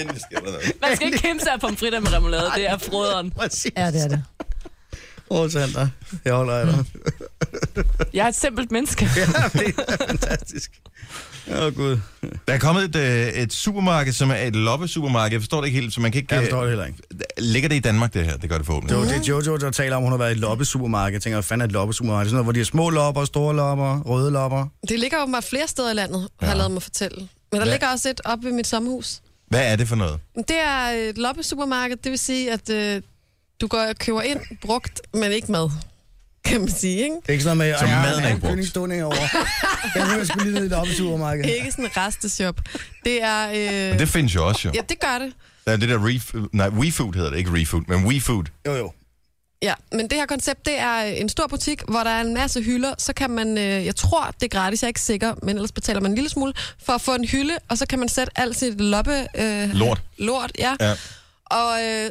S1: Endelig sker der noget.
S3: Man skal ikke kæmpe sig af pomfritter med remoulade. Det er frøderen.
S2: Præcis.
S4: Ja, det er det.
S2: Åh, Sandra, jeg holder af dig.
S3: Jeg er et simpelt menneske.
S2: Ja, det er fantastisk. Åh, oh, Gud.
S1: Der er kommet et, øh, et supermarked, som er et loppesupermarked. Jeg forstår det ikke helt, så man kan ikke...
S2: Jeg forstår det heller ikke.
S1: øh, Ligger det i Danmark, det her? Det gør det
S2: Det
S1: forhåbentlig.
S2: var det, Jojo, der taler om, hun har været i et loppesupermarked. Jeg tænker, hvad fanden er et loppesupermarked? Det er sådan noget, hvor de har små lopper, store lopper, røde lopper.
S5: Det ligger åbenbart flere steder i landet, har jeg lavet mig fortælle. Men der
S1: Hvad?
S5: ligger også et op ved mit sommerhus.
S1: Hvad er det for noget?
S5: Det er et loppesupermarked, det vil sige, at øh, du går og køber ind brugt, men ikke mad. kan man sige, ikke?
S2: Det er ikke sådan noget med, at
S1: Så
S2: jeg
S1: maden er
S2: har en
S1: ikke brugt.
S2: køling stående herovre. Jeg kunne sgu lige ned i det oppe i supermarkedet.
S5: Det er ikke sådan en resteshop. Det er... Øh...
S1: Men det findes jo også jo.
S5: Ja, det gør det.
S1: Der er det der refood, nej, WeFood hedder det, ikke ReFood, men WeFood.
S2: Jo, jo.
S5: Ja, men det her koncept, det er øh, en stor butik, hvor der er en masse hylder. Så kan man, øh, jeg tror, det er gratis, jeg er ikke sikker, men ellers betaler man en lille smule for at få en hylde, og så kan man sætte alt sit loppe... Øh,
S1: Lort.
S5: Lort, ja.
S1: Ja.
S5: Og, øh,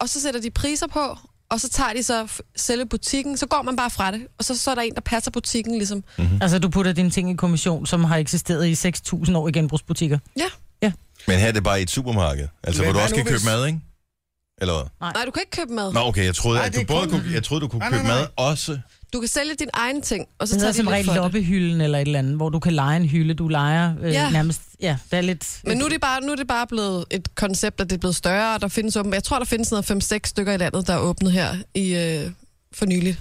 S5: og så sætter de priser på, og så tager de så f- selve butikken, så går man bare fra det, og så, så er der en, der passer butikken ligesom.
S4: Altså, du putter dine ting i kommission, som har eksisteret i 6.000 år i genbrugsbutikker.
S5: Ja.
S1: Men her er det bare i et supermarked, altså
S2: Men
S1: hvor du
S2: hvad
S1: også
S2: nu,
S1: kan købe
S2: hvis-
S1: mad, ikke? Eller hvad?
S5: Nej, du kan ikke købe mad.
S1: Nå, okay, jeg troede,
S2: Nej,
S1: at
S2: det
S1: du
S2: er
S1: både
S2: kun-
S1: kunne, jeg troede, du kunne
S2: Nej,
S1: købe
S2: nej,
S1: mad også.
S5: Du kan sælge din egen ting, og så
S4: Det hedder
S5: tager de
S4: som
S5: lidt
S4: regel
S5: for det.
S4: loppehylden eller et eller andet, hvor du kan lege en hylde. Du leger øh,
S5: Ja.
S4: ja. nærmest... Ja, det er lidt...
S5: Men nu er, det bare, nu er det bare blevet et koncept, at det er blevet større, og der findes åben... Jeg tror, der findes noget 5-6 stykker i landet, der er åbnet her i, øh, for nylig.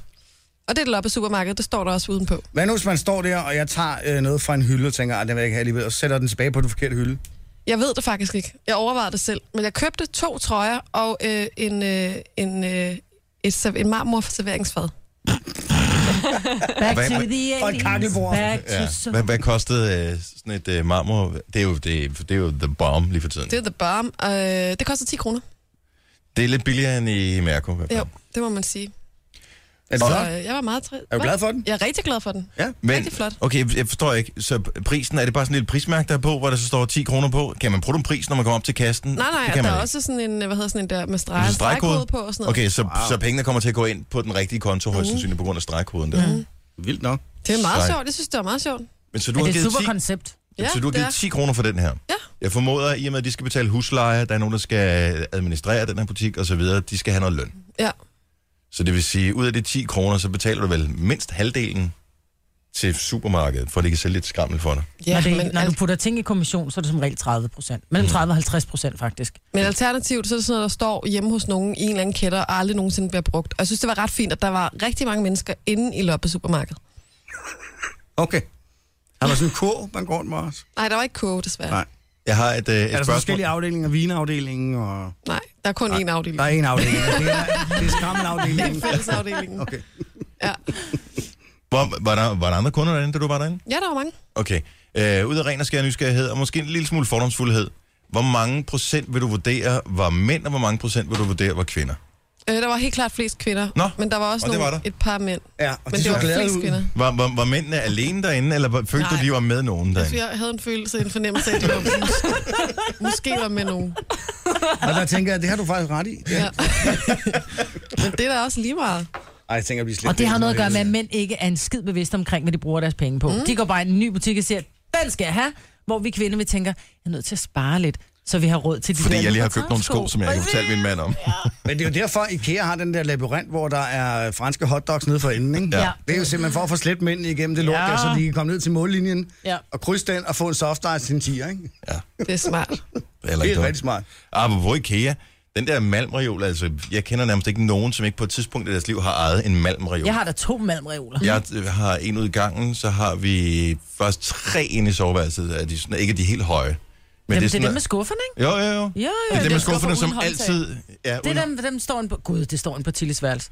S5: Og det er det i supermarkedet, det står der også udenpå.
S2: Hvad nu, hvis man står der, og jeg tager øh, noget fra en hylde og tænker, at den vil jeg ikke have alligevel, og så sætter jeg den tilbage på den forkerte hylde?
S5: Jeg ved det faktisk ikke. Jeg overvejede det selv. Men jeg købte to trøjer og øh, en, øh, en, øh, et, serv- en marmorserveringsfad.
S4: Back
S1: Hvad-
S4: to the
S2: Og et
S4: 80's,
S2: kakkelbord.
S4: Back to...
S1: Ja. Hvad, hvad kostede øh, sådan et øh, marmor? Det er, jo, det, det er jo the bomb lige for tiden.
S5: Det er The Bomb. Øh, det koster 10 kroner.
S1: Det er lidt billigere end i Mærko.
S5: Jo, det må man sige.
S2: Er det
S5: Så
S2: flot?
S5: øh, jeg var meget træ...
S2: Er du glad for den?
S5: Jeg er rigtig glad for den.
S1: Men,
S5: Rigtig flot.
S1: okay, jeg forstår ikke. Så prisen, er det bare sådan et lille prismærke, der er på, hvor der så står 10 kroner på? Kan man bruge den pris, når man kommer op til kassen?
S5: Nej, nej,
S1: det
S5: og
S1: kan
S5: der
S1: man
S5: er
S1: ikke.
S5: også sådan en, øh, hvad hedder sådan en der med
S1: Det er
S5: streg,
S1: en stregkode.
S5: stregkode på og sådan noget. Mm.
S1: Okay, så, wow. så pengene kommer til at gå ind på den rigtige konto, højst sandsynligt på grund af stregkoden der. Mm.
S2: Vildt nok.
S5: Det er meget
S1: Streg.
S5: sjovt, jeg synes, det var meget sjovt.
S1: Men så du
S4: Er
S1: har
S4: det et
S1: givet
S4: super
S1: 10
S4: koncept?
S1: Ja,
S5: Ja,
S1: så du har
S5: det
S1: givet
S5: er.
S1: 10 kroner for den her?
S5: Ja.
S1: Jeg formoder, at i og med, at de skal betale husleje, der er nogen, der skal administrere den her butik osv., de skal have noget løn.
S5: Ja.
S1: Så det vil sige, ud af de 10 kroner, så betaler du vel mindst halvdelen til supermarkedet, for at de kan sælge lidt skrammel for dig.
S5: Ja,
S4: Ja, når, det,
S5: men,
S4: men, når
S5: al-
S4: du
S1: altså-
S4: putter ting i kommission, så er det som regel 30 procent.
S1: Mm.
S4: Mellem 30 og 50 procent, faktisk.
S5: men alternativt, så er det sådan noget, der står hjemme hos nogen i en eller anden kætter, og aldrig nogensinde bliver brugt. Og jeg synes, det var ret fint, at der var rigtig mange mennesker inde i loppe supermarkedet.
S2: Okay. Har man sådan en kurv, man går rundt med os?
S5: Nej, der var ikke koge, desværre.
S2: Nej.
S5: Nej,
S1: Jeg har et, øh, et
S2: Er der så
S1: spørgsmål.
S2: forskellige afdelinger? Vinafdelingen og...
S5: Nej der er kun én afdeling.
S2: Der er en afdeling. Det er, det er skrammelafdelingen.
S5: Fællesafdelingen.
S2: Okay.
S5: Ja.
S1: Hvor, var, der, var der andre kunder derinde, da du var derinde?
S5: ja, der var mange.
S1: Okay. Øh, ud af ren og skær nysgerrighed, og måske en lille smule fordomsfuldhed. Hvor mange procent vil du vurdere var mænd, og hvor mange procent vil du vurdere var kvinder?
S5: Øh, der var helt klart flest kvinder,
S1: Nå,
S5: men der var også
S1: og det
S5: nogle,
S1: var der.
S5: et par mænd.
S2: Ja, og
S5: Men
S2: de
S5: det
S2: så
S5: var
S2: glade
S5: flest
S2: ud.
S5: kvinder.
S1: Var, var, var mændene alene derinde, eller var- følte du,
S5: Nej.
S1: de var med nogen derinde?
S5: Så Altså, jeg havde en følelse, en fornemmelse af, at det var måske var med nogen.
S2: Og der tænker jeg, det har du faktisk ret i. Ja.
S5: Ja. Men det er da også lige meget.
S2: Ej, jeg tænker, at vi slet
S4: Og det har noget at gøre med, at mænd ikke er en skid bevidst omkring, hvad de bruger deres penge på. Mm. De går bare i en ny butik og siger, den skal jeg have, hvor vi kvinder, vi tænker, jeg er nødt til at spare lidt, så vi har råd til de
S1: Fordi
S4: der
S1: jeg lige har
S4: nye
S1: købt nogle sko,
S4: træsko."
S1: som jeg ikke har fortalt min mand om.
S2: Men det er jo derfor, IKEA har den der labyrint, hvor der er franske hotdogs nede for enden, ikke?
S4: Ja.
S2: Det er jo simpelthen for at få slet mændene igennem det lort
S4: Ja.
S2: der, så de kan komme ned til mållinjen
S4: Ja.
S2: og krydse den og få en soft ice til en tiger, ikke?
S5: Det er smart.
S1: Det er, heller ikke
S2: Det
S1: Ah,
S2: er
S1: dumt.
S2: rigtig smart.
S1: Apropos IKEA, den der malmreol, altså jeg kender nærmest ikke nogen, som ikke på et tidspunkt i deres liv har ejet en malmreol.
S4: Jeg har da to malmreoler.
S1: Jeg øh, har en ud i gangen, så har vi først tre inde i soveværelset, af de, sådan, ikke de helt høje. Men
S4: Jamen, det er
S1: sådan,
S4: dem med skufferne, ikke?
S1: Jo, jo, jo.
S4: jo,
S1: det er dem
S4: det er
S1: med skufferne,
S3: skuffer
S1: som
S3: uden håndtag.
S1: altid... Ja,
S4: Det
S1: uden-
S4: er dem, dem står en på... Gud, det står en på Tilles værelse.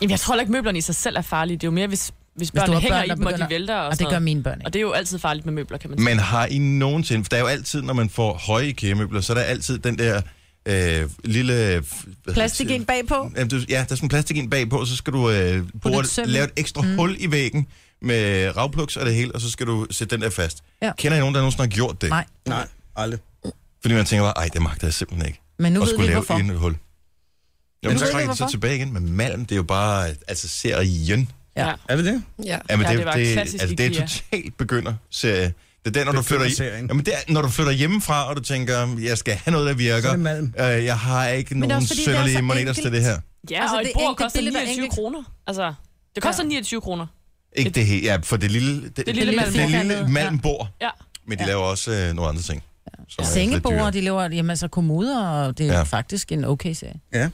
S3: Jamen, jeg tror heller ikke, møblerne i sig selv er farlige. Det er jo mere, hvis, hvis
S4: Hvis du
S3: børnene
S4: har
S3: hænger
S4: børn,
S3: i
S4: der
S3: dem, og de
S4: begynder-
S3: vælter og,
S4: Og
S3: sådan
S4: det gør
S3: noget.
S4: mine børn
S3: Og
S4: ikke.
S3: Ah, det er jo altid farligt med møbler, kan man sige.
S1: Men har I nogensinde... For der er jo altid, når man får høje IKEA-møbler, så er der altid den der øh, lille...
S4: Plastik ind bagpå.
S1: Jamen, du, ja, der er sådan en plastik ind bagpå, og så skal du øh, bore,
S4: et søm i.
S1: lave et ekstra mm. hul i væggen med ravpluks og det hele, og så skal du sætte den der fast.
S4: Ja.
S1: Kender I nogen, der nogensinde har gjort det?
S4: Nej,
S2: Nej, aldrig.
S1: Fordi man tænker bare, ej, det magter jeg simpelthen ikke.
S4: men nu
S1: og
S4: ved vi
S1: skulle lave
S4: hvorfor.
S1: et hul. Jo, men
S4: ved
S1: så
S4: vi
S1: trækker det så
S4: hvorfor.
S1: tilbage igen med malm. Det er jo bare, øh, altså, serien.
S4: Ja.
S2: Er vi det?
S5: Ja.
S1: Ja, men
S3: Ja,
S1: det,
S3: det var
S1: det,
S3: klassisk
S1: altså, det er
S3: IKEA.
S1: totalt begynderserie. Det er der, når
S2: Det
S1: du
S2: er
S1: flytter,
S2: begynderserien.
S1: jamen, det er, når du flytter hjemmefra, og du tænker, jeg skal have noget, der virker.
S2: Så er det malm.
S1: Øh, jeg har ikke
S4: det er
S1: nogen
S4: også fordi, det er
S1: sønderlige
S4: så
S1: moneters til
S4: enkelt.
S1: det her.
S3: Ja, altså,
S4: Altså,
S3: og et
S4: det er
S3: bord
S4: enkelt,
S3: koster
S4: billeder er
S3: 29
S4: enkelt.
S3: kroner. Altså, det koster 29 kroner.
S1: Ikke det helt, ja, for det lille, det, det
S3: lille
S1: det, det
S3: malm.
S1: lille malmbord.
S3: Ja.
S1: Men de laver også øh, nogle andre ting. som er lidt
S4: Sengebord,
S1: dyrere.
S4: de laver jamen, altså kommoder, og det er
S1: Ja.
S4: ja. faktisk en okay serie.
S2: Ja.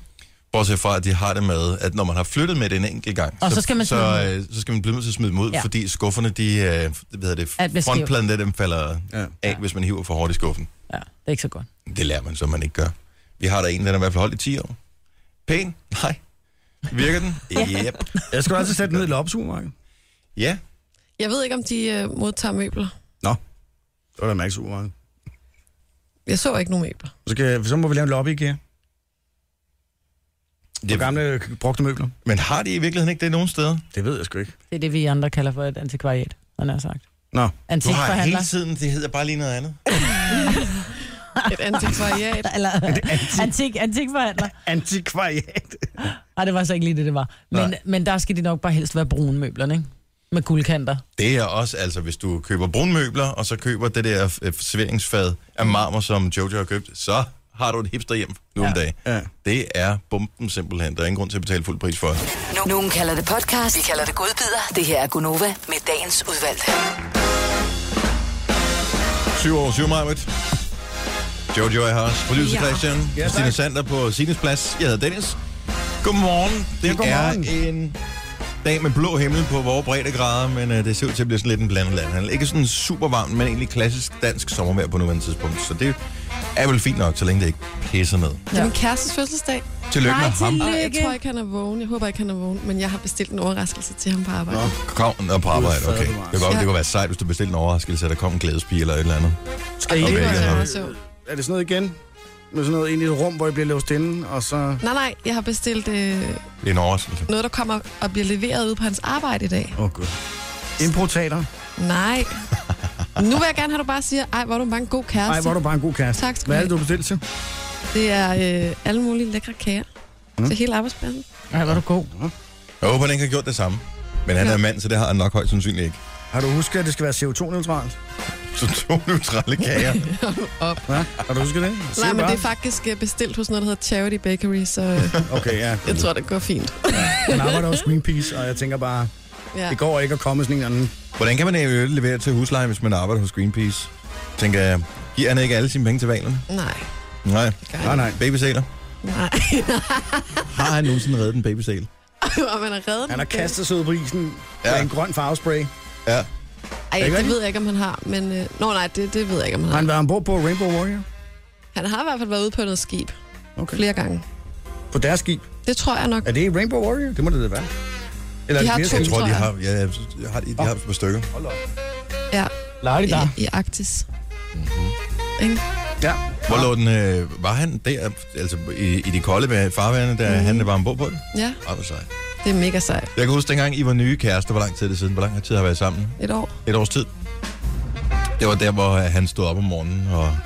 S1: Bortset fra, at de har det med, at når man har flyttet med det en enkelt gang,
S4: Og så skal man smide
S1: så,
S4: dem
S1: øh, så skal man blive nødt til at smide dem ud, ja.
S4: Ja.
S1: fordi skufferne, de, øh, hvad hedder
S4: At
S1: det,
S4: hvis de-
S1: frontpladen der, dem falder
S2: Ja.
S1: af, hvis man hiver for hårdt i skuffen.
S4: Ja, det er ikke så godt.
S1: Det lærer man så, man ikke gør. Vi har der en, den er i hvert fald holdt i 10 år. Pæn? Nej. Virker den? Yep.
S2: Jeg skal altid sætte den ned i loppesugermarkedet.
S1: Ja.
S5: Jeg ved ikke, om de øh, modtager møbler.
S2: Nå, det var da mærke supermarked.
S5: Jeg så ikke nogen møbler.
S2: Så, kan, så må vi lave en lobby, IKEA. Det
S1: Det-
S2: gamle øh, brugte møbler.
S1: Men har de i virkeligheden ikke det nogen steder?
S2: Det ved jeg sgu ikke.
S4: Det er det, vi andre kalder for et antikvariat, han har sagt.
S2: Nå,
S1: Du har
S4: Antikforhandler.
S1: hele tiden, det hedder bare lige noget andet.
S5: Et antikvariat.
S4: Eller, antik, antikforhandler.
S2: antikvariat.
S4: Nej, det var så ikke lige det, det var. Men,
S2: Nej.
S4: men der skal de nok bare helst være brune møblerne, ikke? Med guldkanter.
S1: Det er også, altså hvis du køber brunmøbler, og så køber det der øh, serveringsfad af marmor, som Jojo har købt, så har du et hipster hjem nu om ja. dagen.
S2: Ja.
S1: Det er bomben simpelthen. Der er ingen grund til at betale fuld pris for det.
S6: Nu- Nogen kalder det podcast, vi kalder det godbider. Det her er Gunova med dagens udvalgte.
S1: 7 år, 7 Marmit. Jojo er her også. Producer
S4: Ja.
S1: Christian. Ja, Christine Sander på Sines Plads. Jeg hedder Dennis. Godmorgen. Det ja,
S2: godmorgen.
S1: er en dag med blå himmel på vores breddegrader, men øh, det ser ud til at blive sådan lidt en blandet land. Ikke sådan super varmt, men egentlig klassisk dansk sommervejr på nuværende tidspunkt. Så det er vel fint nok, så længe det ikke pisser ned.
S5: Det er min kærestes fødselsdag,
S1: Tillykke
S4: Nej,
S1: med ham.
S5: og jeg
S4: Lykke.
S5: tror ikke, han er vågen. Jeg håber ikke, han er vågen, men jeg har bestilt en overraskelse til ham på arbejde. Nå.
S1: Kom og på arbejde, okay.
S2: fader,
S1: Det
S2: du var.
S1: kunne, godt,
S5: Ja.
S1: det kunne være sejt, hvis du bestilte en overraskelse, at der kom en glædespige eller et eller andet.
S2: Skal I
S1: Okay,
S2: ikke-
S1: ja.
S5: Det var
S1: har vi.
S5: meget sjovt.
S2: Er det sådan noget igen? Med sådan noget ind i et rum, hvor I bliver låst inde, og så...
S5: Nej, nej, jeg har bestilt øh,
S1: Det er en overraskelse.
S5: noget, der kommer og bliver leveret ud på hans arbejde i dag.
S2: Åh, oh, gud. Importater.
S5: Nej. Nu vil jeg gerne have, at du bare siger, ej, hvor er du bare en god kæreste.
S2: Nej, hvor er du bare en god kæreste.
S5: Tak skal
S2: Hvad er
S5: du
S2: det, du har bestilt til?
S5: Det er øh, alle mulige lækre kager mm. til hele arbejdspladsen.
S4: Ja, var du god.
S1: Jeg håber, han ikke har gjort det samme. Men han
S5: Ja.
S1: er mand, så det har han nok højst sandsynligt ikke.
S2: Har du husket, at det skal være CO2-neutralt?
S1: Så to neutrale kager.
S2: Ja? Har du husket det? Sig
S5: Nej, men
S2: bare.
S5: det er faktisk øh, bestilt hos noget, der hedder Charity Bakery, så øh,
S2: Okay, ja.
S5: jeg tror, det går fint.
S2: Han arbejder hos Greenpeace, og jeg tænker bare,
S5: Ja.
S2: det går ikke at komme sådan en eller anden...
S1: Hvordan kan man i øvrigt levere til husleje, hvis man arbejder hos Greenpeace? Tænker jeg, giver han ikke alle sine penge til valerne?
S5: Nej,
S1: Nej.
S5: det gør
S2: Nej,
S5: jeg
S2: nej.
S1: Babysæler?
S5: nej.
S1: Har han nogensinde reddet en babysæl?
S5: Og man er reddet.
S2: Han har kastet sig ud på isen
S1: Ja.
S2: ja. med en grøn farvespray.
S1: Ja.
S5: Ej,
S2: ikke
S5: det
S2: rigtigt?
S5: ved jeg ikke, om han har, men... Øh, nå, nej, det, det ved jeg ikke, om han
S2: Har
S5: har.
S2: han været ombord på Rainbow Warrior?
S5: Han har i hvert fald været ude på noget skib
S2: Okay.
S5: flere gange.
S2: På deres skib.
S5: Det tror jeg nok.
S2: Er det Rainbow Warrior? Det må det da være. Eller
S5: De
S2: er
S5: har
S2: det
S5: to.
S1: Jeg
S2: skibe?
S1: tror,
S5: Tror
S1: de
S5: jeg.
S1: har, ja, jeg har, de, de har et par stykker.
S2: Hold op.
S5: Ja,
S2: Lad det der.
S5: i, i Arktis. Mm-hmm.
S2: Ja.
S1: Hvor lå den, øh, var han der, altså i, i de kolde vejr- farvande, da mm. han var ombord på det?
S5: Ja,
S1: Ej, hvor sejt.
S5: det er mega sejt.
S1: Jeg kan huske, dengang I var nye kærester, hvor lang tid er det siden? Hvor lang tid har I været sammen?
S5: Et år.
S1: Et års tid. Det var der, hvor øh, han stod op om morgenen og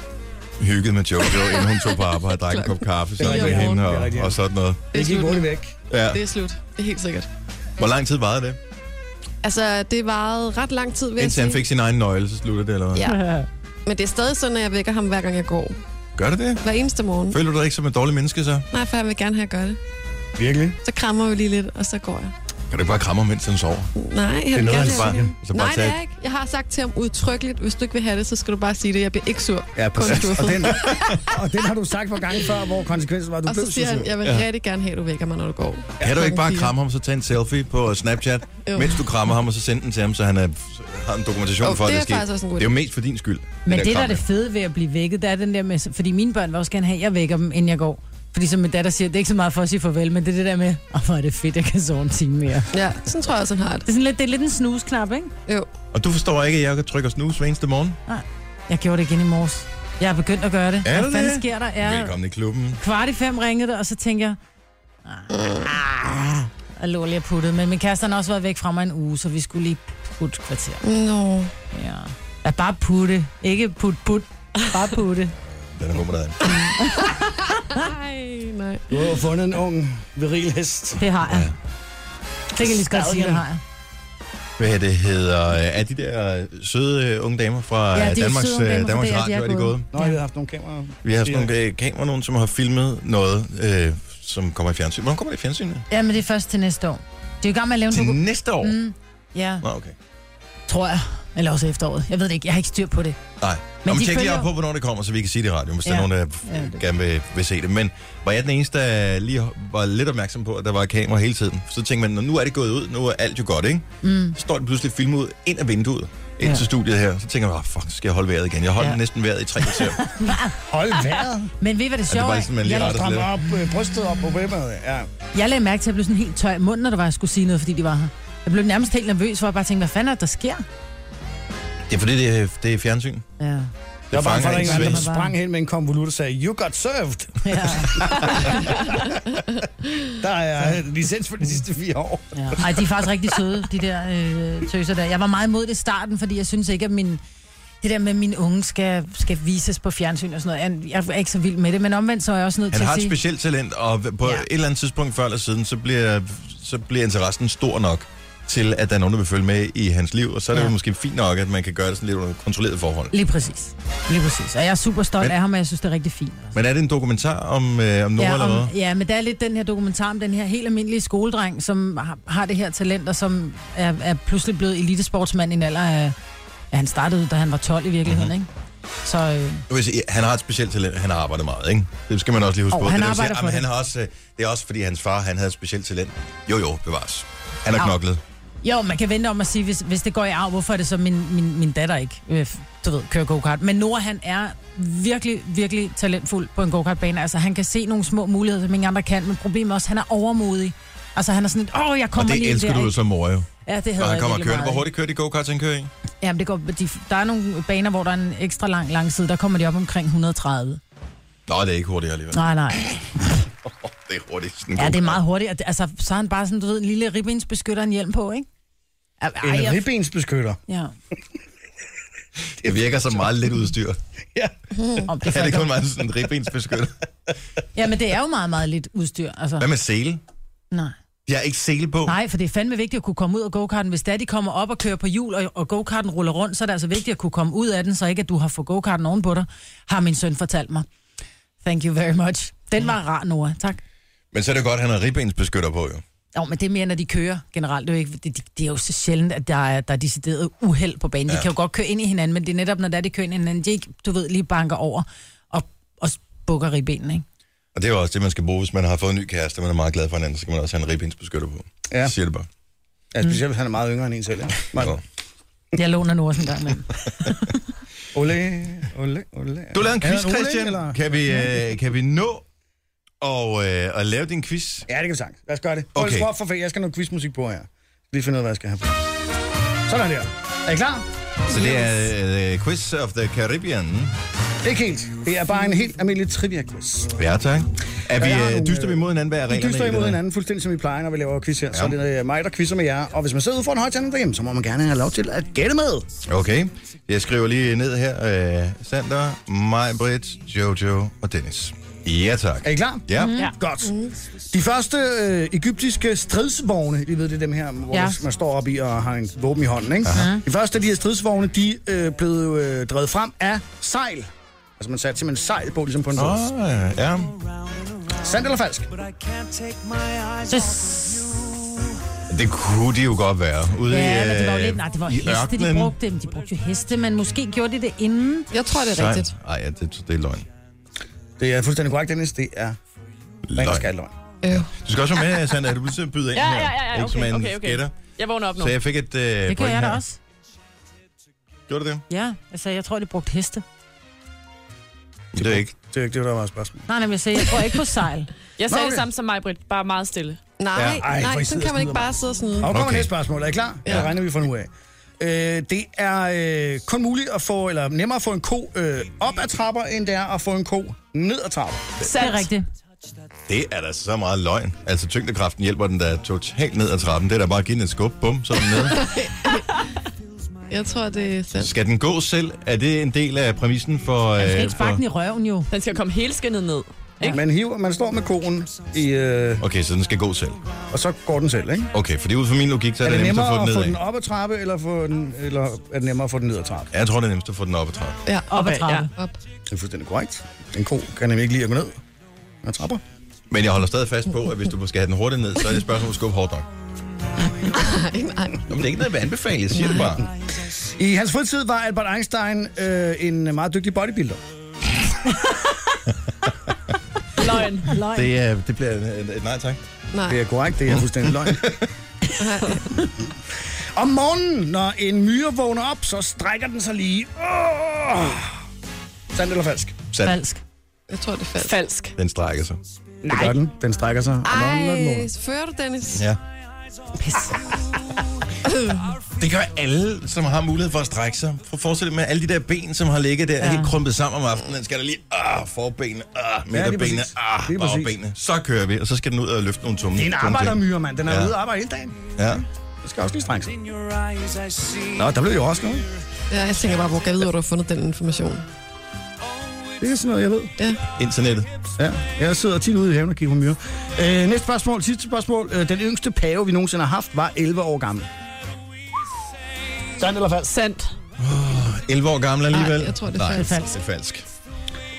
S1: hyggede med Jojo, inden hun tog på arbejde og drak en kop kaffe sammen med
S5: Klokken fire om
S1: hende
S2: morgenen. Det er
S1: og,
S2: rigtigt, ja.
S1: og sådan noget.
S5: Det er
S2: Det gik
S5: slut. nu.
S2: hurtigt væk.
S1: Ja.
S5: Det er slut. Det er helt sikkert.
S1: Hvor lang tid varede det?
S5: Altså, det varede ret lang tid, vil jeg
S1: Indtil han
S5: sige.
S1: fik sin egen nøgle, så slutter det, eller hvad?
S5: Ja. Men det er stadig sådan, at jeg vækker ham, hver gang jeg går.
S1: Gør det det?
S5: Hver eneste morgen.
S1: Føler du dig ikke som et dårligt menneske, så?
S5: Nej, for jeg vil gerne have, at gøre det.
S2: Virkelig?
S5: Så krammer vi lige lidt, og så går jeg.
S1: Kan du ikke bare kramme ham, mens han sover?
S5: Nej, jeg
S1: noget,
S5: vil gerne
S1: han
S5: have
S1: bare-
S5: det.
S1: altså bare
S5: Nej, det
S1: tage-
S5: er jeg ikke. Jeg har sagt til ham udtrykkeligt, hvis du ikke vil have det, så skal du bare sige det. Jeg bliver ikke sur.
S2: Ja,
S5: Kun
S2: præcis. Og
S5: skuffet.
S2: den, og den har du sagt for gange før, hvor konsekvensen var, at du
S5: Og
S2: blev
S5: så siger han, jeg vil
S1: Ja.
S5: rigtig gerne have, at du vækker mig, når du går.
S1: Kan du ikke bare
S5: Klokken
S1: kramme ham, så tage en selfie på Snapchat,
S5: Jo.
S1: mens du krammer ham, og så sende den til ham, så han er, har en dokumentation
S5: Jo,
S1: for, at
S5: det
S1: det
S5: er
S1: er sket?
S5: faktisk også en god
S1: Det er jo mest for din skyld.
S4: Men det, der er
S1: kram
S4: det fede ved at blive vækket, det er den der med... Fordi mine børn vil også gerne have, at jeg vækker dem, inden jeg går. Fordi som min datter siger, det er ikke så meget for at sige farvel, men det er det der med, åh, hvor er det fedt, jeg kan sove en time mere. Det
S5: Ja, sådan tror jeg også, han har det.
S4: er, sådan lidt, det er lidt en snusknap, ikke?
S5: Jo.
S1: Og du forstår ikke, at jeg kan trykke og snuse hver eneste morgen?
S4: Jeg gjorde det igen i morges. Jeg er begyndt at gøre det.
S1: Er
S4: Hvad
S1: du
S4: fanden
S1: det?
S4: sker der?
S1: Ja.
S4: Er
S1: Velkommen i klubben.
S4: kvart i fem ringede det, og så tænkte jeg... "Ah, Og lå lige og puttede. Men min kæreste han har også været væk fra mig en uge, så vi skulle lige putte et kvarter.
S5: Nå.
S4: Ja. ja bare putte. Ikke put put. Bare putte.
S1: Den er god med dig.
S5: Nej, nej.
S2: Du har jo fundet en ung, viril hest.
S4: Det har jeg. Det kan jeg lige så godt sige, det har jeg.
S1: Hvad det hedder, øh, er de der øh, søde øh, unge damer fra
S4: Ja,
S1: ja,
S4: de er
S1: Danmarks,
S4: søde unge damer
S1: damer
S4: fra
S1: Danmarks
S4: DR, de
S1: Radio,
S4: er
S1: er de
S4: gået.
S1: gået?
S2: Nå, jeg har haft nogle kameraer.
S1: Vi har sådan
S2: Ja.
S1: nogle øh, kameraer, nogen, som har filmet noget, øh, som kommer i fjernsyn. Hvornår kommer det i fjernsynet?
S4: Ja, men det er først til næste år. Det er jo i gang med at lave en
S1: Til
S4: dokumentar.
S1: næste år?
S4: Mm, ja,
S1: Nå, okay.
S4: tror jeg. Eller også efteråret. Jeg ved det ikke. Jeg har ikke styr på det.
S1: Nej. Men Nå, men
S4: de
S1: tjek lige
S4: følger-
S1: op på, hvornår det kommer, så vi kan sige det i radioen, hvis ja.
S4: Ja.
S1: der er nogen, der
S4: Ja,
S1: ja,
S4: det-
S1: gerne vil, vil se det. Men var jeg den eneste, der lige var lidt opmærksom på, at der var kamera hele tiden? Så tænkte man, "Nå, nu er det gået ud, nu er alt jo godt, ikke?
S4: Mm.
S1: Så står det pludselig film ud ind af vinduet. ind
S4: Ja.
S1: til studiet her, så tænker jeg, oh, fuck, skal jeg holde vejret igen? Jeg holdt
S4: Ja.
S1: ja. næsten vejret i tre kvarter.
S2: Hold vejret.
S4: Men ved I, hvad det
S1: det ligesom er
S4: sjove
S1: bare
S4: er?
S1: sådan, man lige
S2: Jeg
S1: retter sig
S2: strammer
S1: lidt.
S2: op, øh, brystet op på bæmmeret. Ja.
S4: Jeg lagde mærke til, at jeg blev sådan helt tør i munden, når det var, at jeg skulle sige noget, fordi de var her. Jeg blev nærmest helt nervøs, hvor jeg bare tænkte, hvad fanden er det, der sker?
S1: Det er fordi, det er, det er fjernsyn.
S4: Ja.
S2: Jeg var bange for, at der
S1: ikke
S2: ikke var nogen,
S1: svag.
S2: der sprang hen med en konvolut og sagde, you got served.
S4: ja.
S2: Der er øh, licens for de sidste fire år.
S4: ja. Ej, de er faktisk rigtig søde, de der øh, tøser der. Jeg var meget imod det i starten, fordi jeg synes ikke, at min, det der med, at mine unge skal, skal vises på fjernsyn og sådan noget, jeg er ikke så vild med det, men omvendt så er jeg også nødt
S1: Han
S4: til
S1: har
S4: at
S1: et
S4: sige...
S1: specielt talent, og på
S4: Ja.
S1: ja. et eller andet tidspunkt før eller siden, så bliver, så bliver interessen stor nok til, at der er nogen, der vil følge med i hans liv, og så er det
S4: Ja.
S1: ja. jo måske fint nok, at man kan gøre det sådan lidt under kontrolleret forhold.
S4: Lige præcis. Lige præcis. Og jeg er super stolt
S1: Men-
S4: af ham, og jeg synes, det er rigtig fint.
S1: Men er det en dokumentar om, øh, om Nora
S4: ja,
S1: eller hvad?
S4: om, ja, men der er lidt den her dokumentar om den her helt almindelige skoledreng, som har, har det her talent, og som er, er pludselig blevet elitesportsmand i en alder af... Ja, han startede, da han var 12 i virkeligheden,
S1: Mhm.
S4: mm-hmm. ikke? Så øh,
S1: Jeg vil sige, han har et specielt talent, han har arbejdet meget, ikke? Det skal man også lige huske
S4: Jo,
S1: på.
S4: han
S1: det, der vil
S4: arbejder for
S1: jamen,
S4: det.
S1: Han har også, øh, det er også fordi, hans far han havde et specielt talent. Jo, jo, bevares. Han
S4: Au.
S1: har knoklet.
S4: jo, man kan vente om at sige, hvis, hvis det går i arv, hvorfor er det så min, min, min datter ikke, øh, du ved, kører go-kart. Men Nora, han er virkelig, virkelig talentfuld på en go-kartbane. Altså, han kan se nogle små muligheder, som ingen andre kan, men problemet er også, han er overmodig. Altså, han er sådan lidt, åh, jeg
S1: Og
S4: kommer
S1: det
S4: lige ind
S1: elsker
S4: der,
S1: du jo
S4: ikke?
S1: som mor, jo.
S4: Ja, det
S1: Når
S4: havde
S1: han
S4: jeg
S1: kommer
S4: virkelig
S1: kørende. Hvor
S4: meget.
S1: hurtigt kører de go-karts, han kører i?
S4: Jamen, det går, de, der er nogle baner, hvor der er en ekstra lang, lang side. Der kommer de op omkring 130.
S1: Nå, det er ikke hurtigt alligevel.
S4: Nej, nej.
S1: Det er hurtigt. Sådan en
S4: Ja, det er
S1: go-kart.
S4: meget hurtigt. Og det- Altså, så har han bare sådan, du ved, en lille ribbensbeskytter en hjelm på, ikke? Ej,
S2: En
S4: jeg-
S2: ribbensbeskytter.
S4: Ja.
S1: Det virker som meget lidt udstyr.
S2: Ja.
S4: Om det
S1: Ja, det er kun
S4: ja,
S1: meget sådan en ribbensbeskytter.
S4: ja, men det er jo meget, meget lidt udstyr. Altså.
S1: Hvad med sele?
S4: Nej.
S1: Jeg har ikke sele på.
S4: nej, for det er fandme vigtigt at kunne komme ud af go-karten. Hvis der de kommer op og kører på hjul, og, og go-karten ruller rundt, så er det altså vigtigt at kunne komme ud af den, så ikke at du har fået go-karten ovenpå dig, har min søn fortalt mig. Thank you very much. Den var rar, Nora. Tak.
S1: Men så er det jo godt, at han har ribbensbeskytter på, jo.
S4: Jo, men det er mere, når de kører generelt. Det er, jo ikke, det, det- det er jo så sjældent, at der er, der er decideret uheld på banen. Ja. De
S1: Ja.
S4: kan jo godt køre ind i hinanden, men det er netop, når der er, de kører ind i hinanden, de ikke, du ved, lige banker over og, og bukker ribbenene, ikke?
S1: Og det er jo også det, man skal bruge, hvis man har fået en ny kæreste, og man er meget glad for hinanden, så kan man også have en ribbensbeskytter på.
S2: Ja.
S1: Så siger det bare.
S2: ja, specielt hvis han er meget yngre end en selv. Ja. Men,
S1: Jo.
S4: Jeg låner nu også en gang med.
S2: ole, ole, ole.
S1: Du lavede en
S2: Er der
S1: quiz,
S2: ole,
S1: Christian.
S2: eller?
S1: Kan vi, øh, kan vi nå og, øh, at lave din quiz?
S2: Ja, det kan vi sagt. Lad os gøre det. Okay.
S1: Okay.
S2: Hold op for fag. Jeg skal have noget quizmusik på her. Lige finde ud af, hvad jeg skal have på. Sådan der. Er I klar?
S1: Så det er øh, Quiz of the Caribbean.
S2: Ikke helt. Det er bare en helt almindelig trivia-quiz.
S1: Ja, tak. Er
S2: Jeg har
S1: vi,
S2: nogle,
S1: øh, dyster vi mod hinanden? Hvad er
S2: Vi
S1: reglerne?
S2: dyster
S1: i det
S2: imod
S1: der?
S2: hinanden fuldstændig som vi plejer, når vi laver quiz her. Ja. Så
S1: Ja.
S2: er det øh, mig, der quizzer med jer. Og hvis man sidder ude for en højtaler derhjemme, så må man gerne have lov til at gætte med.
S1: Okay. Jeg skriver lige ned her. Øh, Sander, mig, Britt, Jojo og Dennis. Ja, tak.
S2: Er I klar?
S1: Ja.
S4: Mhm.
S3: Ja.
S2: Godt. De første øh, egyptiske stridsvogne, I ved det er dem her, hvor
S4: Ja.
S2: ja. man står op i og har en våben i hånden, ikke? De første af de her stridsvogne, de øh, blev øh, drevet frem af sejl. Altså man satte simpelthen sejl på, ligesom på en båd.
S1: Åh, ja.
S2: Sandt eller falsk?
S4: Så,
S1: Det kunne de jo godt være. Ude
S4: ja,
S1: i,
S4: men det var jo
S1: øh,
S4: lidt... Nej, det var
S1: i
S4: jo heste, de
S1: ørkenen.
S4: brugte dem. De brugte jo heste, men måske gjorde de det inden.
S5: Jeg tror, det er rigtigt.
S1: Nej, ej, ja, det, det er løgn.
S2: Det er fuldstændig korrekt, Dennis. Det er rent og skat
S1: løgn.
S2: løgn.
S5: Øh.
S1: Du skal også være med, Sander. Du bliver simpelthen byde ind
S3: Ja,
S1: her.
S3: ja, ja, ja,
S1: Ikke som
S3: okay,
S1: en
S3: okay, okay.
S1: gætter.
S3: Jeg vågner op nu.
S1: Så jeg fik et øh,
S4: Det gjorde
S1: point
S4: jeg da
S1: her.
S4: også.
S1: Gjorde du det?
S4: Ja, altså jeg tror, de brugte heste.
S1: Det er ikke.
S2: Det er ikke det, der var spørgsmålet.
S4: Nej, nej, men jeg sagde, jeg tror ikke på sejl.
S3: Jeg sagde
S2: Nå, okay.
S3: det samme som mig, Britt. Bare meget stille.
S5: Nej,
S1: Ja.
S5: ja.
S1: Ej,
S2: hvor I
S5: nej,
S2: sidder
S5: sådan kan man
S2: og
S5: ikke bare sidde og sådan...
S2: Og nu kommer
S1: Okay.
S2: næste spørgsmål. Er I klar? Ja.
S1: Ja.
S2: Det regner vi fra nu af. Øh, det er øh, kun muligt at få, eller nemmere at få en ko øh, op ad trapper, end det er at få en ko ned ad trapper.
S4: Det er rigtigt.
S1: Det er da så meget løgn. Altså, tyngdekraften hjælper den da totalt ned ad trappen. Det er da bare at give den et skub. Bum, så er den nede.
S5: Jeg tror, det er sandt.
S1: Skal den gå selv? Er det en del af præmissen for...
S4: Man skal
S1: øh,
S4: ikke sparke
S1: for-
S4: den i røven jo.
S3: Den skal komme hele skinnet ned.
S2: Ikke? Man hiver, man står med koen, i, øh,
S1: Okay, så den skal gå selv.
S2: og så går den selv, ikke?
S1: Okay, fordi ud fra min logik, så er,
S2: Er det
S1: nemmest
S2: nemmere at få
S1: nedad.
S2: den op ad trappe, eller, få den, eller er det nemmere at få den ned ad trappe?
S1: Ja, jeg tror, det er nemmest at få den op ad trappen.
S5: Ja,
S4: Op ad
S3: Okay,
S4: trappen.
S5: op.
S2: Det er fuldstændig korrekt. En ko kan nemlig ikke lide at gå ned ad trapper.
S1: Men jeg holder stadig fast på, at hvis du skal have den hurtigt ned, så er det et spørgsmål om at skubbe hårdt nok.
S5: Nej, nej.
S1: Nå, men det er ikke noget, jeg vil anbefale. Jeg siger det bare.
S2: I hans fritid var Albert Einstein øh, en meget dygtig bodybuilder.
S3: Løgn.
S4: Løgn.
S1: Det, øh, det bliver et, et nej tak.
S5: Nej.
S2: Det er korrekt, det er fuldstændig løgn. Om morgenen, når en myre vågner op, så strækker den sig lige. Oh! Sandt eller falsk?
S1: Sand,
S4: Falsk.
S5: Jeg tror, det er falsk.
S3: Falsk.
S1: den strækker sig.
S2: Nej. Det gør den. Den strækker sig. Om morgenen, når den vågner.
S5: Ej, fører du, Dennis?
S1: Ja.
S4: Pis.
S1: Det gør alle, som har mulighed for at strække sig. For forestil dig med alle de der ben, som har ligget der, ja. helt krympet sammen om aftenen. Den skal der lige, ah, forbenene, ah, midterbenene,
S2: præcis.
S1: ah,
S2: Lige præcis.
S1: bagbenene. Så kører vi, og så skal den ud og løfte nogle tunge.
S2: Det er en
S1: tunge ting.
S2: arbejdermyre, mand. Den er
S1: Ja.
S2: ja. ude og arbejde hele dagen.
S1: Ja.
S2: Det skal også lige strække sig. Nå, der blev jo også noget.
S5: Ja, jeg tænker bare, hvor kan jeg vide, hvor du har fundet den information?
S2: Det er sådan noget, jeg ved.
S1: Internettet.
S2: Ja, jeg sidder tit ude i haven og kigger på myrer. Øh, næste spørgsmål, sidste spørgsmål. Øh, den yngste pave, vi nogensinde har haft, var 11 år gammel. Sandt eller falsk?
S3: Sandt.
S1: 11 år gammel alligevel.
S5: Nej, jeg tror, det er
S1: Nej,
S5: falsk.
S1: Det er falsk.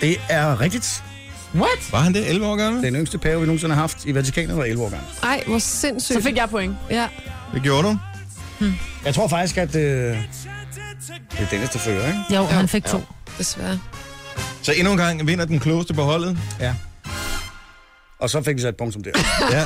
S2: Det er rigtigt.
S3: What?
S1: Var han det, 11 år gammel?
S2: Den yngste pave, vi nogensinde har haft i Vatikanet, var 11 år gammel.
S5: Ej, hvor sindssygt.
S3: Så fik jeg point.
S5: Ja.
S1: Det gjorde du.
S2: Jeg tror faktisk, at øh, det er Dennis, der fører, ikke?
S4: Jo, han fik to.
S5: Desværre.
S1: Så endnu en gang vinder den klogeste på holdet.
S2: Ja. Og så fik vi sat punktum der.
S1: Ja.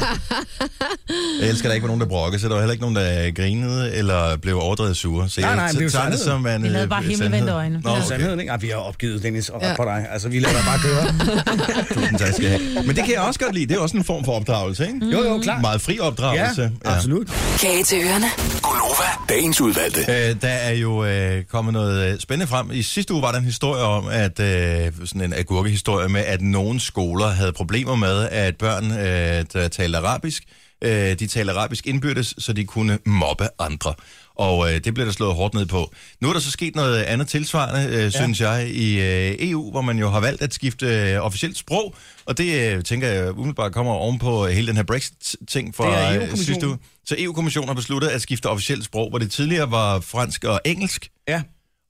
S1: Jeg elsker, at der ikke var nogen, der brokkede, så der var heller ikke nogen, der grinede eller blev overdrevet sure. Så
S2: Nej,
S1: jeg
S2: nej, men det er jo
S1: tager det
S2: sandheden.
S1: som en
S4: Vi havde
S1: øh,
S4: bare
S1: sandhed.
S4: himmelvendte øjne.
S1: Nå,
S2: Okay.
S1: okay.
S2: Sandheden, ikke? Ej, vi har opgivet, Dennis, og
S5: Ja.
S2: ret på dig. Altså, vi lader dig bare køre.
S1: Tusind tak skal I have. Men det kan jeg også godt lide. Det er også en form for opdragelse, ikke?
S2: Jo, jo, klar.
S1: Meget fri opdragelse.
S2: Ja, absolut.
S6: Kage til ørerne.
S7: Gunova, dagens udvalgte.
S1: Øh, der er jo øh, kommet noget øh, spændende frem. I sidste uge var der en historie om, at øh, sådan en agurkehistorie med, at nogle skoler havde problemer med, at børn, øh, der talte arabisk, øh, de talte arabisk indbyrdes, så de kunne mobbe andre. Og øh, det blev der slået hårdt ned på. Nu er der så sket noget andet tilsvarende, øh, synes jeg, i øh, EU, hvor man jo har valgt at skifte øh, officielt sprog, og det øh, tænker jeg umiddelbart kommer ovenpå øh, hele den her Brexit-ting
S2: Det
S1: fra
S2: er E
S1: øh,
S2: EU-kommissionen.
S1: sidste uge. Så EU-kommissionen har besluttet at skifte officielt sprog, hvor det tidligere var fransk og engelsk,
S2: Ja,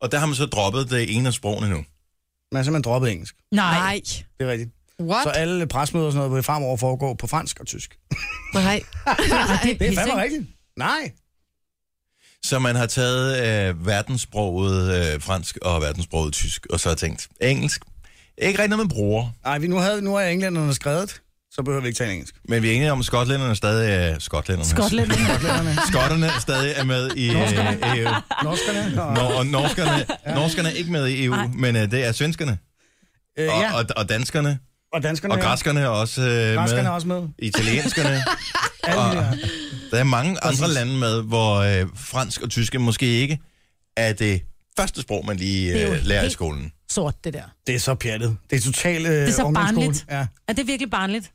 S1: og der har man så droppet det ene af sprogene nu.
S2: man har simpelthen droppet engelsk.
S4: Nej.
S5: Nej.
S2: Det er rigtigt.
S5: What?
S2: Så alle presmøder og sådan noget vil fremover foregå på fransk og tysk.
S5: Nej.
S2: Det er
S4: Pis,
S2: fandme
S4: ikke?
S2: rigtigt. Nej.
S1: Så man har taget øh, verdenssproget øh, fransk og verdenssproget tysk, og så har tænkt, engelsk, ikke rigtig noget, man bruger,
S2: Nej, vi nu, havde, nu er englænderne skrevet, så behøver vi ikke tale engelsk.
S1: men vi er enige om, at skotlænderne stadig er skotlænderne.
S4: Skotland.
S2: Englænderne,
S1: Skotterne stadig er med i øh, EU.
S2: norskerne og,
S1: Nå, og norskerne, norskerne er ikke med i EU,
S4: Nej.
S1: men øh, det er svenskerne,
S2: øh,
S1: og,
S2: ja,
S1: og, og danskerne,
S2: og danskerne.
S1: og græskerne er også øh,
S2: græskerne er
S1: med.
S2: også med.
S1: Italienskerne.
S2: Alle de der.
S1: Der er mange andre lande med, hvor øh, fransk og tysk måske ikke er det første sprog, man lige
S4: Det er jo
S1: øh, lærer i
S4: helt-
S1: skolen.
S4: Sort, det der.
S2: Det er så pjattet. Det er totalt øh,
S4: er så
S2: ungdomsskole.
S4: barnligt.
S2: Ja.
S4: Er det virkelig barnligt?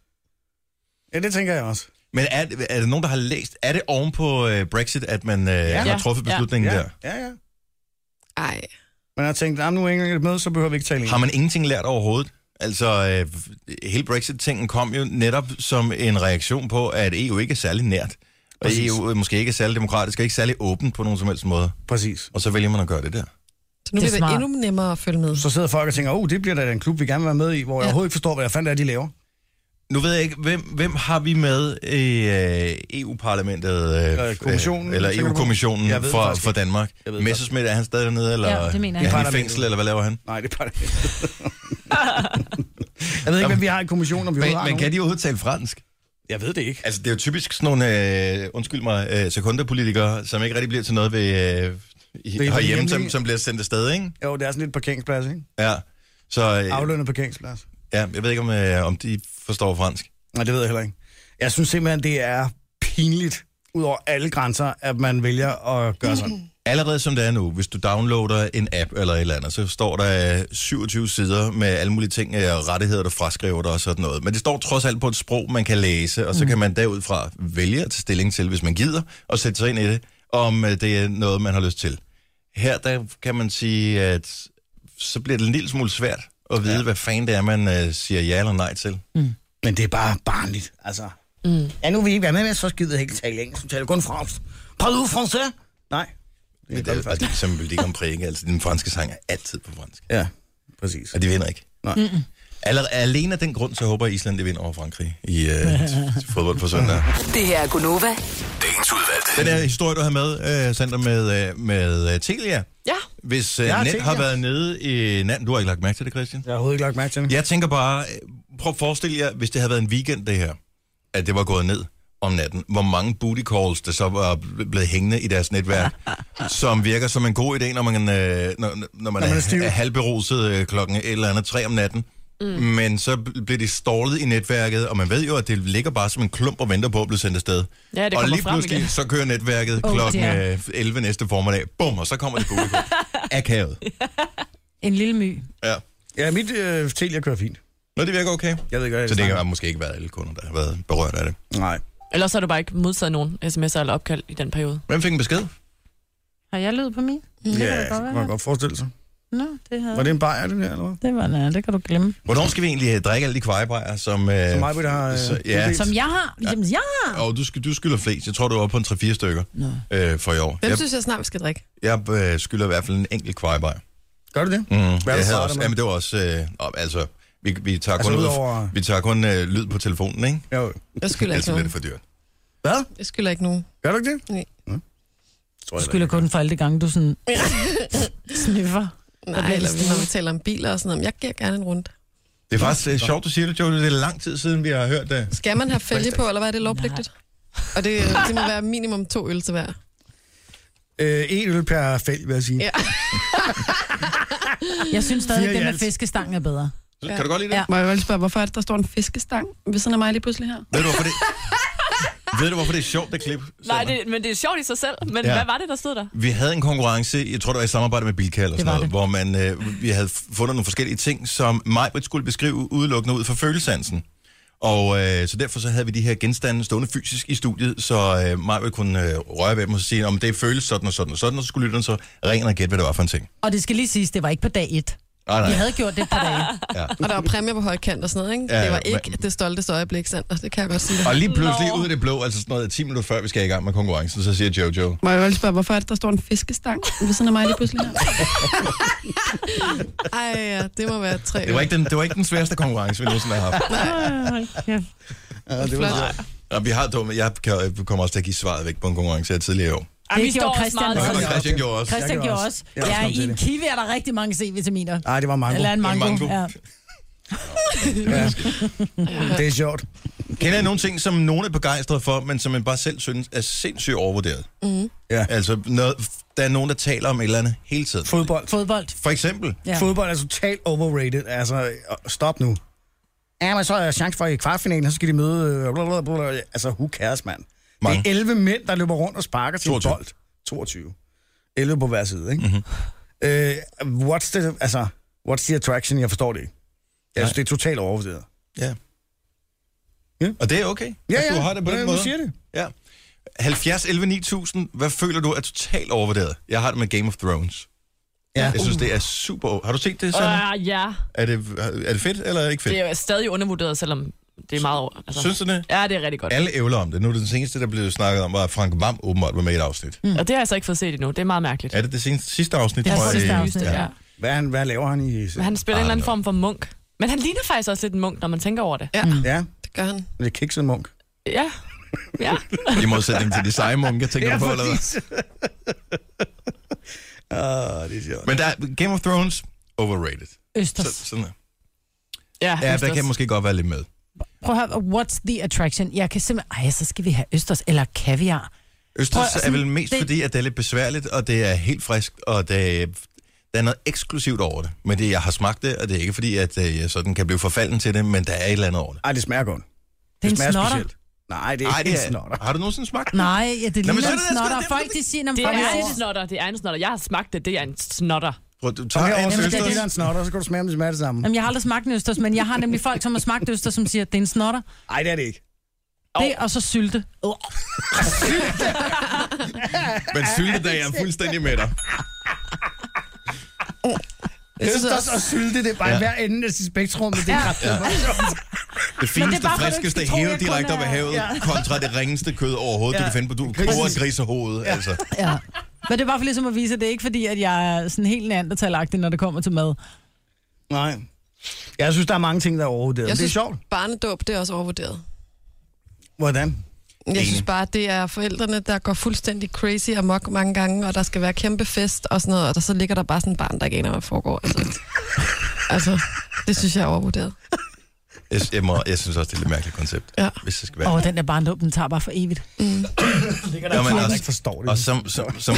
S2: ja, det tænker jeg også.
S1: Men er, det- er der nogen, der har læst, er det oven på øh, Brexit, at man øh, ja. har truffet
S3: Ja.
S1: beslutningen
S2: Ja,
S1: ja. der?
S2: ja, ja.
S5: Ej.
S2: Man har tænkt, at nu er engang med, så behøver vi ikke tale
S1: Har
S2: engelsk.
S1: man ingenting lært overhovedet? Altså, øh, hele Brexit-tingen kom jo netop som en reaktion på, at EU ikke er særlig nært. Og
S2: Præcis.
S1: EU måske ikke er særlig demokratisk og ikke særlig åben på nogen som helst måde.
S2: Præcis.
S1: Og så vælger man at gøre det der.
S5: Så nu
S4: Det er
S5: bliver det
S4: smart.
S5: endnu nemmere at følge med.
S2: Så sidder folk og tænker, oh, det bliver da en klub, vi gerne vil være med i, hvor jeg
S5: Ja.
S2: overhovedet ikke forstår, hvad jeg fandt er, de laver.
S1: Nu ved jeg ikke, hvem, hvem har vi med i øh, EU-parlamentet?
S2: Øh, kommissionen,
S1: Eller
S2: tænker du på?
S1: EU-kommissionen
S2: Jeg ved det
S1: for,
S2: faktisk
S1: for
S2: ikke.
S1: Danmark?
S2: Jeg ved det
S1: Messerschmidt, er han stadig dernede? Eller
S4: Ja, det mener
S1: er
S4: jeg.
S1: han i
S2: Parlamentet.
S1: fængsel, eller hvad laver han?
S2: Nej, det er bare det. jeg ved ikke, hvem vi har i kommissionen, om vi overhovedet har
S1: Men, men
S2: nogen.
S1: kan de overhovedet tale fransk?
S2: Jeg ved det ikke.
S1: Altså, det er jo typisk sådan nogle, øh, undskyld mig, øh, sekunderpolitikere, som ikke rigtig bliver til noget ved, øh, i-
S2: Ved
S1: herhjemme, som,
S2: hjemlige-
S1: som bliver sendt afsted, ikke?
S2: Jo, det er sådan lidt parkeringsplads, ikke?
S1: Ja. Så øh,
S2: Aflønnet parkeringsplads.
S1: ja, jeg ved ikke, om, øh, om de forstår fransk.
S2: Nej, det ved jeg heller ikke. Jeg synes simpelthen, det er pinligt, ud over alle grænser, at man vælger at
S4: Mm.
S2: gøre sådan.
S1: Allerede som det er nu, hvis du downloader en app eller et eller andet, så står der øh, 27 sider med alle mulige ting øh, og rettigheder, der fraskriver dig og sådan noget. Men det står trods alt på et sprog, man kan læse,
S2: Mm.
S1: og så kan man derudfra vælge at tage stilling til, hvis man gider, og sætte sig ind i det, om øh, det er noget, man har lyst til. Her der kan man sige, at så bliver det en lille smule svært at vide, ja. hvad fanden det er, man øh, siger ja eller nej til.
S2: Men det er bare barnligt, altså. Mm. Ja, nu vil I ikke være med, men så skider jeg ikke tale engelsk. Så taler jeg kun fransk. Parle français? Nej.
S1: Men det er jo bare som Melodi Grand Prix, ikke? Altså, den franske sang er altid på fransk.
S2: Ja, præcis.
S1: Og de vinder ikke.
S2: Nej.
S1: Allerede, alene af den grund, så håber jeg, Island det vinder over Frankrig i øh, fodbold på søndag.
S6: Det her er Gunova.
S7: Dagens udvalgte.
S1: Den her historie, du har med, øh, Sandra, med, øh, med øh, Telia.
S3: Ja.
S1: Hvis øh,
S2: Ja,
S1: Net
S2: Telia.
S1: har været nede i natten, du har ikke lagt mærke til det, Christian?
S2: Jeg har overhovedet ikke lagt mærke til det.
S1: Jeg tænker bare, øh, prøv at forestille jer, hvis det havde været en weekend, det her, at det var gået ned, om natten, hvor mange booty calls, der så var blevet hængende i deres netværk, som virker som en god idé, når man, øh, når, når man,
S2: man er
S1: er,
S2: stiv.
S1: er halvberuset øh, klokken et eller andet tre om natten. Mm. Men så bl- bliver de stålet i netværket, og man ved jo, at det ligger bare som en klump og venter på at blive sendt afsted.
S3: Ja, det
S1: og
S3: kommer
S1: lige
S3: frem
S1: pludselig,
S3: igen.
S1: så kører netværket
S4: Oh,
S1: oh, klokken
S4: dear.
S1: øh, 11 næste formiddag. Bum, og så kommer det booty calls. Akavet.
S4: En lille my.
S1: Ja.
S2: Ja, mit øh, Telia kører fint.
S1: Nå, det virker okay.
S2: Jeg ved godt,
S1: Så det har måske ikke været alle kunder, der har været berørt af det.
S2: Nej.
S3: Ellers har du bare ikke modtaget nogen sms'er eller opkald i den periode.
S1: Hvem fik en besked?
S4: Har jeg lyd på min?
S2: Ja,
S4: da
S2: det
S4: godt
S2: kan man
S4: være.
S2: godt forestille sig.
S4: Nå, det havde
S2: Var det en bajer, det der, eller hvad?
S4: Det var, nej, det kan du glemme.
S1: Hvornår skal vi egentlig øh, drikke alle de kvejebrejer, som... Øh,
S2: Som Majbrit har, øh,
S1: så, ja,
S2: uddelt?
S4: Som jeg har. Jamen, jeg har.
S1: og du, skal, du skylder flest. Jeg tror, du er oppe på en 3-4 stykker
S4: Nå.
S1: øh, for i år.
S5: Hvem
S1: Jeg,
S5: synes jeg snart, vi skal drikke?
S1: jeg øh, skylder i hvert fald en enkelt kvejebajer.
S2: Gør du det?
S1: Mm,
S2: du
S1: jeg
S2: startet
S1: havde også,
S2: med?
S1: jamen, det var også... Øh, op, altså, vi, vi tager
S2: Altså
S1: kun, ud,
S2: udover-
S1: vi tager kun øh, lyd på telefonen, ikke?
S2: Jo.
S5: Jeg skylder
S1: Ellers
S5: ikke
S1: bliver det altså
S5: nogen.
S1: for dyrt.
S2: Hvad?
S5: Jeg skylder ikke nogen.
S2: Gør du ikke det?
S5: Nej.
S2: Mm. Tror
S4: Du
S2: jeg da
S4: skylder
S2: ikke.
S4: kun for alle de gange, du sådan sniffer.
S5: Nej,
S4: bliver
S5: eller
S4: det
S5: ligesom, når vi taler om biler og sådan noget. men Jeg giver gerne en rundt.
S1: Det er faktisk øh, sjovt, du siger det, Jojo. Det er lang tid siden, vi har hørt det.
S5: Skal man have fælge på, eller hvad er det lovpligtigt? Og det, det må være minimum to øl til hver.
S2: Øh, en øl per fælg, vil jeg sige.
S5: Ja.
S4: Jeg synes stadig,
S2: Fire i
S4: det med
S1: altså-
S2: alt.
S4: fiskestangen er bedre.
S1: Kan du godt lide det?
S4: Ja.
S8: Må jeg godt lige spørge, hvorfor er det, der står en fiskestang ved siden af mig lige pludselig her?
S1: Ved du, hvorfor det... Ved du, hvorfor det er sjovt, det klip?
S3: Nej, det, men det er sjovt i sig selv. Men
S1: Ja.
S3: ja. hvad var det, der stod der?
S1: Vi havde en konkurrence, jeg tror det var i samarbejde med Bilka eller sådan
S4: var
S1: noget, det. hvor man, øh, vi havde fundet nogle forskellige ting, som Majbrit skulle beskrive udelukkende ud fra følelsansen. Og øh, så derfor så havde vi de her genstande stående fysisk i studiet, så øh, Majbrit kunne øh, røre ved dem og så sige, om det føles sådan og sådan og sådan, og så skulle lytteren så ringe og gætte, hvad det var for en ting.
S4: Og det skal lige siges, det var ikke på dag et.
S1: Nej,
S4: Vi
S1: nej.
S4: havde gjort det på dag et.
S5: Og der var præmier på højkant og sådan noget, ikke?
S1: Ja,
S5: Det var
S1: men-
S5: ikke det stolteste øjeblik, Sander. Det kan jeg godt sige dig.
S1: Og lige pludselig ud af det blå, altså sådan noget 10 minutter før vi skal i gang med konkurrencen, så siger Jojo,
S8: Må jeg godt lige spørge, hvorfor er det, der står en fiskestang ved siden af mig lige pludselig her?
S5: Ej, ja, det må være tre øl.
S1: det var ikke den, det var ikke den sværeste konkurrence, vi nogensinde har haft.
S2: Ja, det var
S5: Flot.
S2: sjovt.
S1: Og vi har dumme, jeg kan- jeg kommer også til at give svaret væk på en konkurrence her tidligere i år.
S3: Ej, vi
S4: gjorde
S3: står også
S4: Christian
S3: meget
S1: Og
S4: også.
S3: sådan.
S1: Christian gjorde også. Ah,
S4: Christian
S2: gjorde
S4: gjorde
S2: også.
S4: også.
S2: Jeg er også
S4: Ja,
S2: kommet
S4: i
S2: til
S4: en
S2: det.
S4: kiwi er der rigtig mange C-vitaminer.
S2: Nej, det var mango.
S4: Eller en mango.
S1: mango.
S4: Ja.
S2: Ja. Det er sjovt.
S1: Kender I nogle ting, som nogen er begejstret for, men som man bare selv synes er sindssygt overvurderet?
S4: Mm.
S2: Ja.
S1: Altså, noget, der er nogen, der taler om et eller andet hele tiden. For,
S2: Fodbold.
S4: Fodbold.
S1: for eksempel,
S4: Ja.
S2: Fodbold er totalt overrated. Altså, øh, stop nu. Ja, men så er der chance for i kvartfinalen, så skal de møde... øh, Blablabla. Altså, who cares, mand?
S1: Mange.
S2: Det er 11 mænd, der løber rundt og sparker til
S1: 22.
S2: 22. bold. 22. 11 på hver side,
S1: Mhm.
S2: ikke? Mm-hmm. Uh, what's the... Altså, what's the attraction? Jeg forstår det ikke. Jeg synes, det er totalt overvurderet.
S1: ja.
S2: Ja.
S1: Og det er okay, ja, at du har det på
S2: ja,
S1: den
S2: du
S1: måde.
S2: siger det.
S1: Ja. 70, 11, 9000, hvad føler du er totalt overvurderet? Jeg har det med Game of Thrones.
S2: Ja. Uh.
S1: Jeg synes, det er super... over- Har du set det, Sanne?
S3: Øh, ja,
S1: Er det, er det fedt, eller er det ikke fedt?
S3: det er jo stadig undervurderet, selvom det er meget over. Altså.
S1: Synes du det?
S3: Ja, det er rigtig godt.
S1: Alle ævler om det. Nu er det den seneste, der blev snakket om, var at Frank Vam åbenbart var med i et afsnit. Mm.
S3: Og det har jeg så ikke fået set endnu. Det er meget mærkeligt.
S1: Er det det seneste, sidste afsnit?
S4: Det er
S1: tror jeg,
S4: sidste
S1: det-
S4: afsnit, ja.
S2: Hvad, han, hvad laver han i...
S3: Men han spiller
S1: Ah,
S3: en eller anden
S1: no.
S3: form for munk. Men han ligner faktisk også lidt en munk, når man tænker over det.
S5: Ja,
S2: Ja,
S5: det gør han.
S2: det er kikset munk.
S3: Ja. Ja.
S1: I modsætning til de seje munke, tænker du på, eller hvad?
S2: Åh, Ah, det er sjovt.
S1: Men der er Game of Thrones, overrated. Så,
S4: Østers.
S1: sådan der.
S3: Ja,
S1: Ja, der
S3: Østers.
S1: kan jeg måske godt være lidt med.
S4: Prøv at høre, what's the attraction? Jeg kan simpelthen... Ej, så skal vi have østers eller kaviar. Prøv at-
S1: Østers er vel mest det...
S4: det-
S1: fordi, at det er lidt besværligt, og det er helt frisk, og det, der er noget eksklusivt over det. Men det, jeg har smagt det, og det er ikke fordi, at øh, jeg sådan kan blive forfalden til det, men der er et eller andet over det.
S2: Ej, det smager godt.
S4: Det er en
S2: smager
S4: snotter.
S2: specielt. Nej, det er
S1: Ej,
S2: ikke
S1: det
S2: en snotter.
S1: er, har du nogensinde smagt den?
S4: Nej, ja, det
S1: Nå, men så er det
S4: ligner en
S1: da sgu
S4: snotter.
S1: det,
S4: Folk,
S1: fordi-
S4: de siger, at
S3: Det
S4: folk
S3: er
S4: er
S3: en snotter, det er en snotter. Jeg har smagt det, det er en snotter.
S1: Prøv, du
S2: Så
S1: tager
S2: herovre,
S1: en
S2: så
S4: det er
S2: skal
S1: østers.
S2: der en snotter, og så kan du smage, om det smager det samme.
S4: Jamen, jeg har aldrig smagt en østers, men jeg har nemlig folk, som har smagt østers, som siger, at det er en snotter.
S2: Nej, det er det ikke.
S4: Det og så sylte. Oh.
S1: Men syltedag er fuldstændig med dig.
S2: Østers og sylte, det er bare
S1: Ja.
S2: ja. hver ende af sit spektrum. Det er ret. Ja.
S1: Det fineste, det
S4: bare, for du ikke
S1: friskeste
S4: skal tro,
S1: hæve
S4: jeg kun
S1: direkte op af
S4: er-
S1: havet, ja. kontra det ringeste kød overhovedet, ja. du kan finde på. Du koger et grisehoved, ja. altså.
S4: Ja. Men det er bare for ligesom at vise, at det er ikke fordi, at jeg er sådan helt neandertalagtig, når det kommer til mad.
S2: Nej. Jeg synes, der er mange ting, der er overvurderet.
S5: Jeg
S2: Det er
S5: synes,
S2: sjovt.
S5: barnedåb, det er også overvurderet.
S2: Hvordan?
S5: Jeg
S1: Enig.
S5: synes bare, det er forældrene, der går fuldstændig crazy amok mange gange, og der skal være kæmpe fest og sådan noget, og der, så ligger der bare sådan en barn, der ikke aner, hvad der foregår. Altså, altså det synes jeg er overvurderet.
S1: Jeg, jeg, må, jeg synes også, det er et lidt mærkeligt koncept,
S5: Ja.
S1: hvis det skal være.
S4: Åh, oh, den der barndom, den tager bare for evigt.
S2: Det kan
S1: Nå, men
S2: der
S1: også-
S2: ikke forstår det.
S1: altså, Og som, som, som,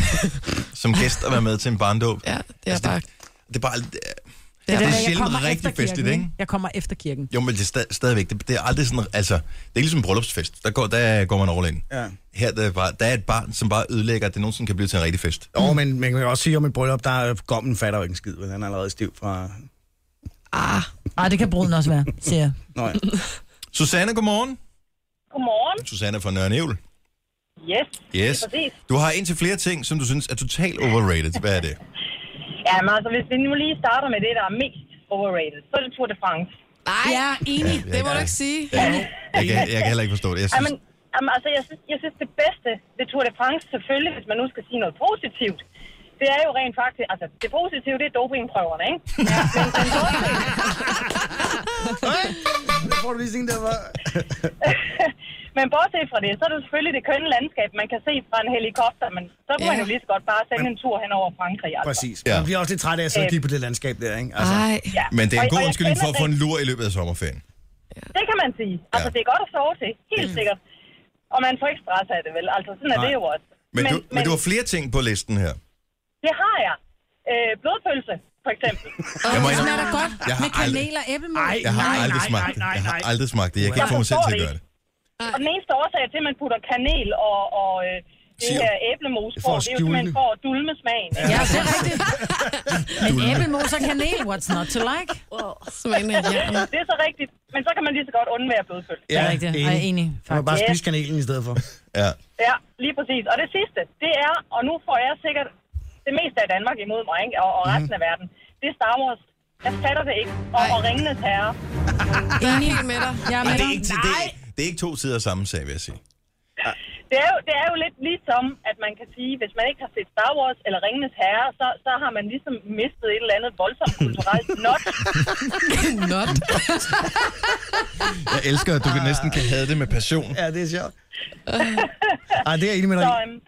S1: som gæst at være med til en barndåb,
S5: Ja, det er
S1: Altså, det-
S5: bare...
S1: det er bare... Det er, det
S4: Det
S1: er
S4: der, jeg
S1: sjældent
S4: kommer
S1: rigtig
S4: efter kirken,
S1: festligt, ikke?
S4: Jeg kommer efter kirken.
S1: Jo, men det er stad, stadigvæk, det, det er aldrig sådan, altså, det er ikke ligesom en bryllupsfest. Der går, der går man all in.
S2: Ja.
S1: Her der er, bare, der er et barn, som bare ødelægger, at det nogensinde kan blive til en rigtig fest.
S2: Jo, men man kan jo også sige om et bryllup, der er gommen fatter jo ikke en skid, men han er allerede stiv fra...
S5: Ah,
S4: Ej, det kan bruden også være, siger jeg.
S2: Nå ja.
S1: Susanne, godmorgen.
S9: Godmorgen.
S1: Susanne fra Nørre Nævl.
S9: Yes,
S1: Yes.
S9: præcis.
S1: Du har en til flere ting, som du synes er totalt overrated. Hvad er det?
S9: Ja, men altså, hvis vi nu lige starter med det, der er mest overrated, så er det Tour de France.
S5: nej,
S4: Jeg
S5: ja.
S4: er enig.
S5: det må du ikke sige.
S1: Jeg kan, jeg kan heller ikke forstå det. Jeg synes,
S9: Jamen, jamen, altså, jeg synes, jeg synes det bedste ved Tour de France, selvfølgelig, hvis man nu skal sige noget positivt, det er jo rent faktisk, altså det positive, det er dopingprøverne, ikke? Ja, men den doping,
S2: Der får du lige sådan en, der var...
S9: men bortset fra det, så er det selvfølgelig det kønne landskab, man kan se fra en helikopter, men så kunne
S5: Ja.
S9: man jo lige så godt bare sende en tur hen over Frankrig. Altså.
S2: Præcis.
S1: Ja.
S2: Ja. Man bliver også lidt træt af at sidde og
S9: Øh.
S2: kigge på det landskab der, ikke?
S1: altså.
S2: Altså,
S5: Nej,
S9: Ja.
S1: men det er en
S9: Og- og
S1: god
S9: jeg
S1: undskyldning for at
S9: kender
S1: få en lur i løbet af sommerferien.
S9: Det kan man sige. Altså,
S1: Ja. Mm.
S9: ja. det er godt at sove til. Helt sikkert. Og man får ikke stress af det, vel? Altså, sådan er
S2: Nej.
S9: det jo også.
S1: Men, men, du, men, men du har flere ting på listen her.
S9: det har jeg. Øh, blodpølse, for eksempel.
S1: Jeg må
S4: Det
S1: indrømme-
S4: smager da godt
S1: Jeg har
S4: med kanel
S1: aldrig-
S4: og æblemos.
S2: Ej,
S1: Jeg har
S2: nej,
S1: aldrig
S2: nej,
S1: smagt det.
S2: nej, nej,
S1: Jeg har
S2: nej.
S1: aldrig smagt det. Jeg kan ikke
S9: Jeg
S1: få mig selv
S9: forstår
S1: til at
S9: det
S1: gøre det.
S9: og den eneste årsag til, at man putter kanel og, og øh, det
S1: Siger-
S9: her æblemos
S2: at
S9: på, det er jo simpelthen
S2: skjule.
S9: for at dulme smagen. Ja.
S4: Ja, det er rigtigt. Men æblemos og kanel, what's not to like?
S5: smagen af jern.
S9: Det er så rigtigt. Men så kan man lige så godt undvære blodpølse.
S4: Det er rigtigt. Ej, jeg er enig,
S2: Man må
S4: faktisk.
S2: bare spise kanelen i stedet for.
S1: Ja.
S9: Ja, lige præcis. Og det sidste, det er, og nu får jeg sikkert det meste af Danmark imod mig, ikke? Og, og resten af verden, det er Star Wars. Jeg fatter det ikke. Og, og Ringenes Herre.
S5: Jeg er helt med dig.
S4: Jeg er
S1: Men
S4: med
S1: det er,
S4: dig.
S1: ikke, det, er- det er ikke to sider af samme sag, vil jeg sige.
S9: Det er, jo, det er jo lidt ligesom, at man kan sige, hvis man ikke har set Star Wars eller Ringenes Herre, så, så har man ligesom mistet et eller andet voldsomt kulturelt not.
S5: Not.
S1: Jeg elsker, at du
S4: Ah.
S1: kan næsten kan have det med passion.
S2: Ja, det er sjovt. Ej, det er jeg enig med dig
S9: Så
S2: i.
S9: øhm,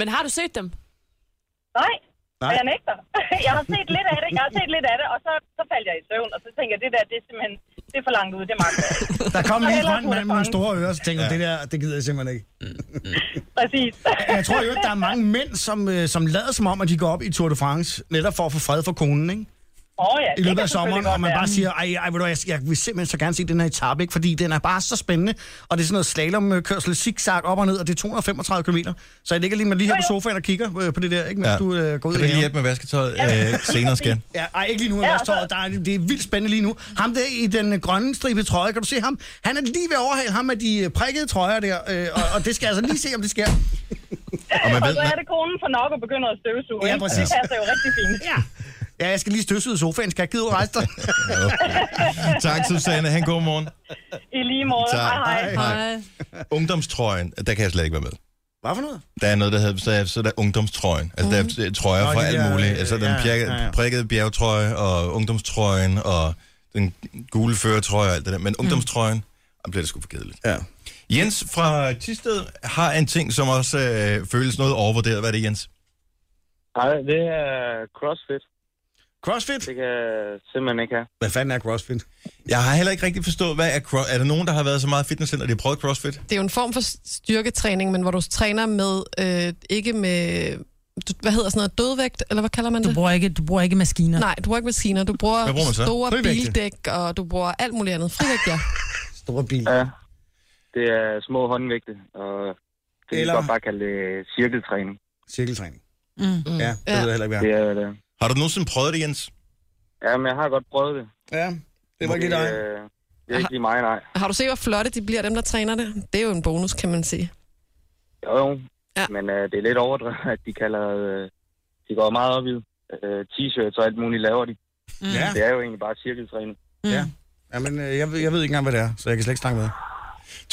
S3: Men har du set dem?
S9: nej,
S2: Nej.
S9: og jeg nægter. Jeg har set lidt af det, jeg har set lidt af det, og så, så faldt jeg i søvn, og så tænker jeg, det der, det er simpelthen, det er for langt ud, det magter jeg ikke.
S2: Der kom en lille
S9: Ellers
S2: grøn
S9: kunne
S2: mand
S9: jeg
S2: med nogle
S9: fange.
S2: store ører, så tænkte jeg,
S1: Ja.
S2: det der, det gider jeg simpelthen ikke.
S9: Præcis.
S2: Jeg tror jo, at der er mange mænd, som, øh, som lader som om, at de går op i Tour de France, netop for at få fred for konen, ikke?
S9: Åh ja,
S2: I
S9: det
S2: løbet
S9: kan
S2: af sommeren,
S9: selvfølgelig godt
S2: og man bare
S9: være.
S2: siger, ej, ej, ved du, hvad, jeg, jeg vil simpelthen så gerne se den her etape, ikke? fordi den er bare så spændende, og det er sådan noget slalomkørsel, zigzag op og ned, og det er 235 km. Så jeg ligger lige med lige her på sofaen og kigger øh, på det der, ikke? mens
S1: Ja.
S2: ja. du øh, går
S1: Kan
S2: ud i
S1: du lige
S2: haven.
S1: hjælpe med vasketøjet øh, senere, skat?
S2: Ja, ej, ikke lige nu med
S9: Ja,
S2: ja,
S9: og så-
S2: Der er, det er vildt spændende lige nu. Ham der i den øh, grønne stribe trøje, kan du se ham? Han er lige ved at overhale ham med de øh, prikkede trøjer der, øh, og, og, det skal jeg altså lige se, om det sker.
S1: Og man
S9: Og
S1: ved,
S9: så er det konen for nok og begynder at støvsuge.
S2: Ja,
S9: ikke?
S2: præcis.
S9: Det passer jo rigtig fint.
S2: Ja. Ja, jeg skal lige støvsuge sofaen. Skal jeg gide ud og rejse dig?
S1: Tak, Susanne. Han god morgen.
S9: I lige måde.
S1: Tak.
S9: Hej, hej.
S1: Hej. Ungdomstrøjen, der kan jeg slet ikke være med.
S2: Hvad for noget?
S1: Der er noget, der hedder, så er, så er der ungdomstrøjen. Altså, der er øh, trøjer
S2: Mhm. Nå,
S1: fra
S2: de der,
S1: alt muligt.
S2: øh,
S1: Altså, den
S2: ja,
S1: pjerke,
S2: ja, ja.
S1: prikkede bjergetrøje, og ungdomstrøjen, og den gule føretrøje, og alt det der.
S2: Mhm.
S1: Men ungdomstrøjen, der bliver det sgu for kedeligt.
S2: Ja.
S1: Jens fra Tisted har en ting, som også øh, føles noget overvurderet. Hvad er det, Jens?
S9: Hej, det er CrossFit.
S2: Crossfit?
S9: kan simpelthen ikke have.
S2: Hvad fanden er CrossFit?
S1: Jeg har heller ikke rigtig forstået, hvad er, cro- er der nogen, der har været så meget i fitnesscenter, at de har prøvet CrossFit?
S5: Det er jo en form for styrketræning, men hvor du træner med, øh, ikke med, du, hvad hedder sådan noget, dødvægt, eller hvad kalder man
S4: Du
S5: det?
S4: bruger ikke, du bruger ikke maskiner.
S5: Nej, du bruger ikke maskiner, du bruger,
S1: Hvad bruger man så?
S5: store
S2: Frivægte.
S5: bildæk, og du bruger alt muligt andet. Frivægt, ja.
S2: Store bil.
S9: Ja, det er små håndvægte, og
S2: kan vi Eller- godt
S9: bare kalde det cirkeltræning.
S2: Cirkeltræning.
S4: Mm.
S2: Ja, det
S5: Ja.
S2: ved jeg heller ikke, hvad
S9: er det.
S1: Har du nogensinde prøvet det, Jens?
S9: Ja, men jeg har godt prøvet det.
S2: er. Ja, det var ikke lige dig.
S9: Det er ikke lige mig, nej.
S5: Har du set, hvor flotte de bliver, dem der træner det? Det er jo en bonus, kan man sige.
S9: Jo, jo.
S5: Ja.
S9: Ja. Men øh, det er lidt overdrevet, at de kalder... Øh, de går meget op i øh, t-shirts og alt muligt laver de.
S2: Ja,
S9: Det er jo egentlig bare cirkeltræning.
S2: ja. ja men øh, jeg, ved- jeg ved ikke engang, hvad det er, så jeg kan slet ikke snakke med dig.